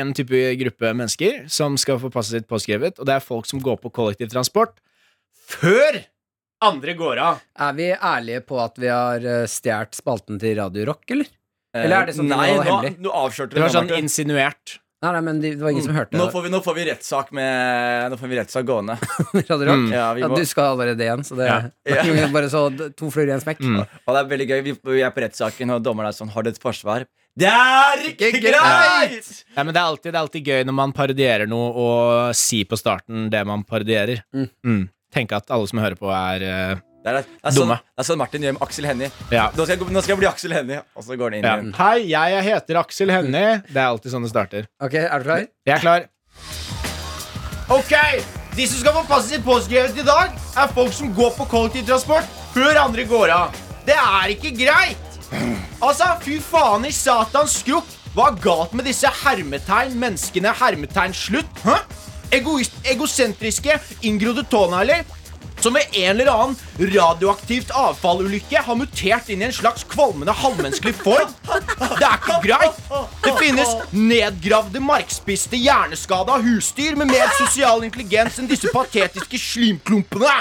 [SPEAKER 4] en type gruppe mennesker som skal få passet sitt påskrevet, og det er folk som går på kollektivtransport før andre går av.
[SPEAKER 3] Er vi ærlige på at vi har eh, stjålet spalten til Radio Rock, eller?
[SPEAKER 2] eh,
[SPEAKER 3] Eller er det sånn at
[SPEAKER 2] Nei,
[SPEAKER 3] det var
[SPEAKER 2] nå,
[SPEAKER 3] hemmelig?
[SPEAKER 2] nå avslørte du
[SPEAKER 4] Det var sånn
[SPEAKER 2] Martin.
[SPEAKER 4] insinuert.
[SPEAKER 3] Nei, nei, men det det var ingen
[SPEAKER 4] Mm.
[SPEAKER 3] som hørte
[SPEAKER 2] Nå
[SPEAKER 3] det.
[SPEAKER 2] får vi, nå får vi rettssak med Nå får vi rettssak gående.
[SPEAKER 3] Radio
[SPEAKER 4] Mm.
[SPEAKER 3] Rock.
[SPEAKER 2] Ja, vi
[SPEAKER 3] Ja,
[SPEAKER 2] må,
[SPEAKER 3] du skal allerede igjen, så det Bare så d- to fluer i en smekk.
[SPEAKER 4] Mm.
[SPEAKER 2] og det er veldig gøy. Vi, vi er på rettssaken, og dommeren er sånn Har du et forsvar? Det er ikke
[SPEAKER 4] Ikke
[SPEAKER 2] greit!
[SPEAKER 4] Nei, men det er, alltid, det er alltid gøy når man parodierer noe, og si på starten det man parodierer. Mm. Tenk at alle som hører på, er eh,
[SPEAKER 2] Det er, det, er sånn,
[SPEAKER 4] Dumme.
[SPEAKER 2] det er sånn Martin gjør med Aksel Hennie.
[SPEAKER 4] Ja.
[SPEAKER 2] Nå, skal jeg gå- nå skal jeg bli Aksel Hennie, og så går han inn
[SPEAKER 4] ja.
[SPEAKER 2] igjen.
[SPEAKER 4] Hei, jeg heter Aksel Hennie. Det er alltid sånn det starter.
[SPEAKER 3] Ok, er du klar?
[SPEAKER 4] Jeg er klar. Ok, De som skal få passet sitt påskrevet i dag, er folk som går på kollektivtransport før andre går av. Det er ikke greit! Altså, fy faen i satans skrukk! Hva er galt med disse hermetegn, menneskene, hermetegn, slutt? Hæ? Egoist, egosentriske, inngrodde tånegler som med en eller annen radioaktivt avfallulykke har mutert inn i en slags kvalmende halvmenneskelig form. Det er ikke greit! Det finnes nedgravde, markspiste, hjerneskada husdyr med mer sosial intelligens enn disse patetiske slimklumpene.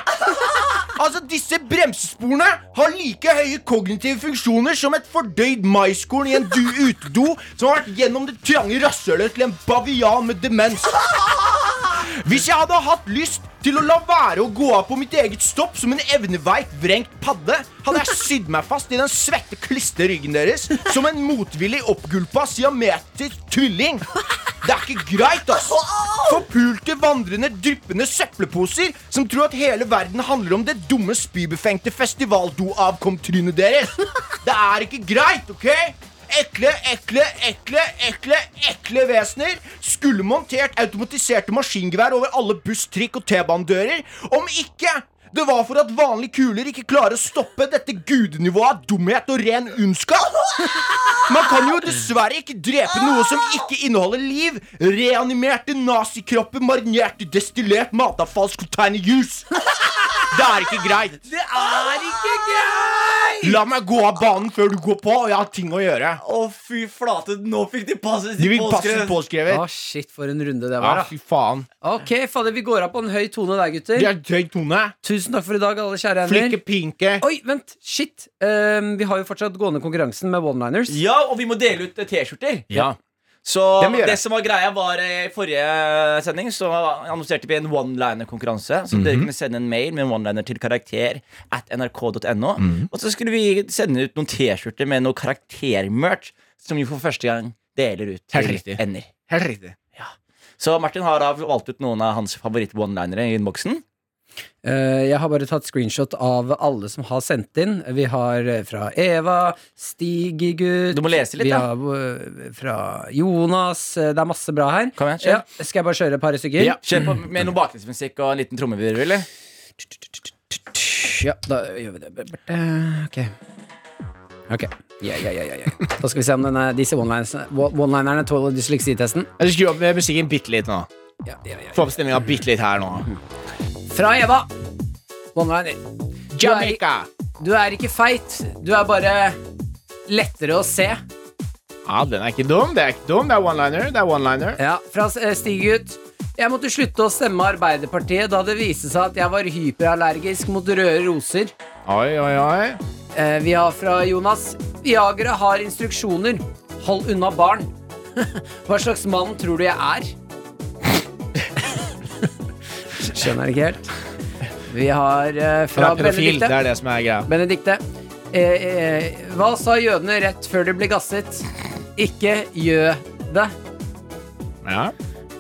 [SPEAKER 4] Altså, Disse bremsesporene har like høye kognitive funksjoner som et fordøyd maiskorn i en du utedo som har vært gjennom det trange rasshølet til en bavian med demens. Hvis jeg hadde hatt lyst til å la være å gå av på mitt eget stopp som en evneveik, vrengt padde, hadde jeg sydd meg fast i den svette, kliste ryggen deres som en motvillig oppgulpa siametisk tvilling. Det er ikke greit, ass! Forpulte, vandrende, dryppende søppelposer som tror at hele verden handler om det dumme, spybefengte festivaldoavkomtrynet deres. Det er ikke greit, OK? Ekle, ekle, ekle, ekle, ekle vesener. Skulle montert automatiserte maskingevær over alle buss, trikk og T-banedører. Om ikke det var for at vanlige kuler ikke klarer å stoppe dette gudenivået av dumhet og ren ondskap. Man kan jo dessverre ikke drepe noe som ikke inneholder liv. Reanimerte nazikropper marinert i destillert matavfallskonteinerjuice. Det er ikke greit. Det er ikke greit! La meg gå av banen før du går på, og jeg har ting å gjøre.
[SPEAKER 2] Å, fy flate, nå fikk de passet
[SPEAKER 4] De
[SPEAKER 2] sitt
[SPEAKER 4] vil passe
[SPEAKER 2] påskrevet.
[SPEAKER 3] Å,
[SPEAKER 4] påskrevet.
[SPEAKER 3] shit, for en runde det
[SPEAKER 4] Ja,
[SPEAKER 3] var, da.
[SPEAKER 4] fy faen.
[SPEAKER 3] Ok, fader, vi går av på en høy tone der,
[SPEAKER 4] De
[SPEAKER 3] gutter.
[SPEAKER 4] er høy tone.
[SPEAKER 3] Tusen takk for i dag, alle kjære hender.
[SPEAKER 4] Flikke pinke.
[SPEAKER 3] Oi, vent, shit Ehm, Vi har jo fortsatt gående konkurransen med one-liners
[SPEAKER 2] Ja, og vi må dele ut eh, T-skjorter.
[SPEAKER 4] Ja.
[SPEAKER 2] Så
[SPEAKER 4] Det må vi gjøre.
[SPEAKER 2] det som var greia, var eh, i forrige sending så annonserte vi en one-liner-konkurranse. Så
[SPEAKER 4] Mhm.
[SPEAKER 2] dere kunne sende en mail med en one-liner til karakter at nrk.no.
[SPEAKER 4] Mhm.
[SPEAKER 2] Og så skulle vi sende ut noen T-skjorter med noe karaktermerch som vi for første gang deler ut
[SPEAKER 4] Helt
[SPEAKER 2] til
[SPEAKER 4] riktig.
[SPEAKER 2] ender.
[SPEAKER 4] Helt riktig.
[SPEAKER 2] Så Martin har da valgt ut noen av hans favoritt-one-linere i innboksen.
[SPEAKER 3] Eh, jeg har bare tatt screenshot av alle som har sendt inn. Vi har eh, fra Eva, Stig-gutt
[SPEAKER 2] Du må lese litt,
[SPEAKER 3] Vi
[SPEAKER 2] da.
[SPEAKER 3] har eh, fra Jonas. Eh, Det er masse bra her.
[SPEAKER 2] Kom igjen, kjør.
[SPEAKER 3] ja, skal jeg bare kjøre et par stykker?
[SPEAKER 2] Ja. Kjør på med noe bakgrunnsmusikk og en liten trommevirvel, eller?
[SPEAKER 3] Ja, da gjør vi det. Berte. Ok. Ok. Ja, ja, ja, ja, ja. Da skal vi se om denne, disse one-liners- one-linerne tåler dysleksitesten.
[SPEAKER 4] Jeg Skru opp eh, musikken bitte litt nå.
[SPEAKER 3] Ja, ja, ja.
[SPEAKER 4] Få opp stemninga bitte litt her nå.
[SPEAKER 3] Fra Eva. One-liner. Du er,
[SPEAKER 4] Jamaica!
[SPEAKER 3] du er ikke feit, du er bare lettere å se.
[SPEAKER 4] Ja, den er ikke dum. Det er ikke dum. Det er one-liner. Det er one-liner.
[SPEAKER 3] Ja, fra eh, Stig-gutt. Jeg måtte slutte å stemme Arbeiderpartiet da det viste seg at jeg var hyperallergisk mot røde roser.
[SPEAKER 4] Oi, oi, oi.
[SPEAKER 3] Eh, vi har fra Jonas. Viagra har instruksjoner. Hold unna barn. Hva slags mann tror du jeg er? Skjønner ikke helt. Vi har eh,
[SPEAKER 4] Den
[SPEAKER 3] fra
[SPEAKER 4] er pedofil.
[SPEAKER 3] Benedikte.
[SPEAKER 4] Det er det som er greia.
[SPEAKER 3] Benedikte. Eh, eh, hva sa jødene rett før de ble gasset? Ikke gjø det.
[SPEAKER 4] Ja.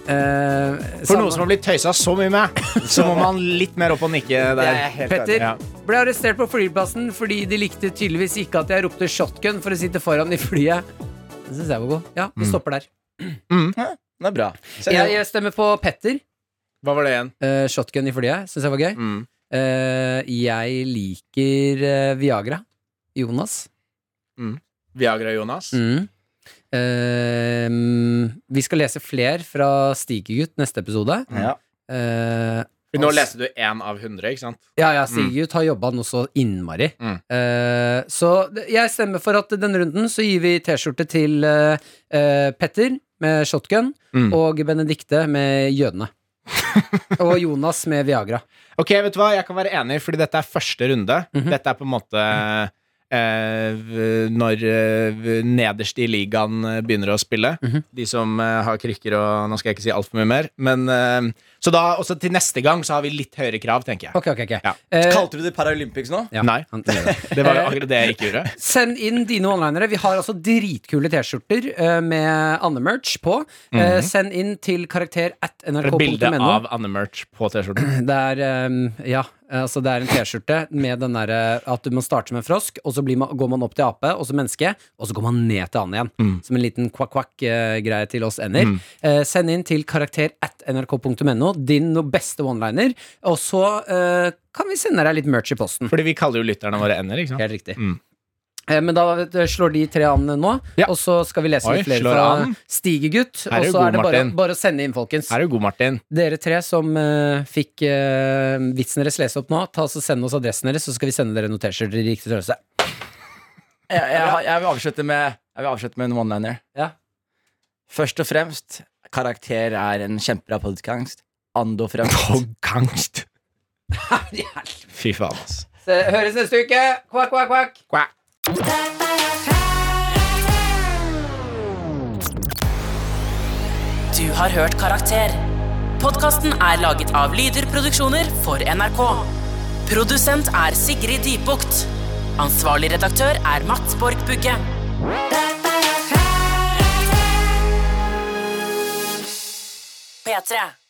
[SPEAKER 3] Eh,
[SPEAKER 4] For
[SPEAKER 3] samme-
[SPEAKER 4] noen som har blitt tøysa så mye med, så må man litt mer opp og nikke der.
[SPEAKER 3] Petter
[SPEAKER 4] Ja.
[SPEAKER 3] ble arrestert på flyplassen fordi de likte tydeligvis ikke at jeg ropte shotgun for å sitte foran i flyet. Det synes jeg var god. Ja,
[SPEAKER 4] Mm.
[SPEAKER 3] vi stopper der.
[SPEAKER 2] Den er bra. eh,
[SPEAKER 4] Se,
[SPEAKER 3] Jeg, jeg stemmer på Petter.
[SPEAKER 4] Hva var det igjen?
[SPEAKER 3] Eh, shotgun i flyet syns jeg var gøy.
[SPEAKER 4] Mm.
[SPEAKER 3] Eh, jeg liker eh, Viagra. Jonas.
[SPEAKER 4] Viagra Jonas?
[SPEAKER 3] Mm. Eh, mm, vi skal lese fler fra Stigegutt neste episode.
[SPEAKER 2] Ja.
[SPEAKER 3] Eh,
[SPEAKER 4] Nå leste du én av hundre, ikke sant?
[SPEAKER 3] Ja, ja, Sigurd har jobba noe så innmari.
[SPEAKER 4] Mm.
[SPEAKER 3] Eh, så d- jeg stemmer for at denne runden så gir vi T-skjorte til eh, eh, Petter med shotgun
[SPEAKER 4] Mm.
[SPEAKER 3] og Benedikte med jødene. og Jonas med Viagra.
[SPEAKER 4] Ok, vet du hva, jeg kan være enig, fordi dette er første runde. Dette er på en måte eh, v- når eh, nederst i ligaen eh, begynner å spille. De som eh, har krykker og Nå skal jeg ikke si altfor mye mer. Men, eh, så da, også til neste gang så har vi litt høyere krav, tenker jeg.
[SPEAKER 3] Ok, ok, ok.
[SPEAKER 4] Ja.
[SPEAKER 3] Eh,
[SPEAKER 2] Kalte du det Paralympics nå?
[SPEAKER 3] ja,
[SPEAKER 4] Nei.
[SPEAKER 3] han gjør det.
[SPEAKER 4] Det var jo akkurat det jeg ikke gjorde.
[SPEAKER 3] Send inn dine onlinere. Vi har altså dritkule T-skjorter eh, med Anne-merch på. Eh, send inn til karakter at
[SPEAKER 4] Det er Mhm. et bilde
[SPEAKER 3] nrk.no.
[SPEAKER 4] av Anne-merch på T-skjorten.
[SPEAKER 3] Det er, ehm, ja, altså det er en T-skjorte med den derre at du må starte som en frosk, og så blir man, går man opp til ape, og så menneske, og så går man ned til and igjen.
[SPEAKER 4] Mm.
[SPEAKER 3] Som en liten kvakk-kvakk-greie til oss ender. Eh, send inn til karakter at nrk.no din noe beste one-liner, og så eh, kan vi sende deg litt merch i posten.
[SPEAKER 4] Fordi vi kaller jo lytterne våre ender, ikke sant?
[SPEAKER 3] Helt riktig.
[SPEAKER 4] Mm.
[SPEAKER 3] Eh, Men da vet du, slår de tre an nå,
[SPEAKER 4] Ja.
[SPEAKER 3] og så skal vi lese
[SPEAKER 4] Oi,
[SPEAKER 3] litt flere
[SPEAKER 4] slår
[SPEAKER 3] fra
[SPEAKER 4] an.
[SPEAKER 3] Stigegutt.
[SPEAKER 4] Her er
[SPEAKER 3] Og
[SPEAKER 4] du
[SPEAKER 3] så
[SPEAKER 4] god,
[SPEAKER 3] er det bare,
[SPEAKER 4] Martin.
[SPEAKER 3] bare å sende inn, folkens.
[SPEAKER 4] Her er du god, Martin.
[SPEAKER 3] Dere tre som eh, fikk eh, vitsen deres lese opp nå, ta oss og send oss adressen deres, så skal vi sende dere noen T-skjorter i riktig størrelse.
[SPEAKER 2] Jeg, jeg, har- jeg vil avslutte med Jeg vil avslutte med en one-liner.
[SPEAKER 3] Ja.
[SPEAKER 2] Først og fremst, karakter er en kjempebra podkast. Ando fremst.
[SPEAKER 4] Kangst. Fy faen, altså.
[SPEAKER 3] Se, høres neste uke! Kvakk, kvakk, kvakk!
[SPEAKER 8] Du har hørt Karakter. Podkasten er laget av Lyder Produksjoner for NRK. Produsent er Sigrid Dybukt. Ansvarlig redaktør er Mats Borg Bugge. P3.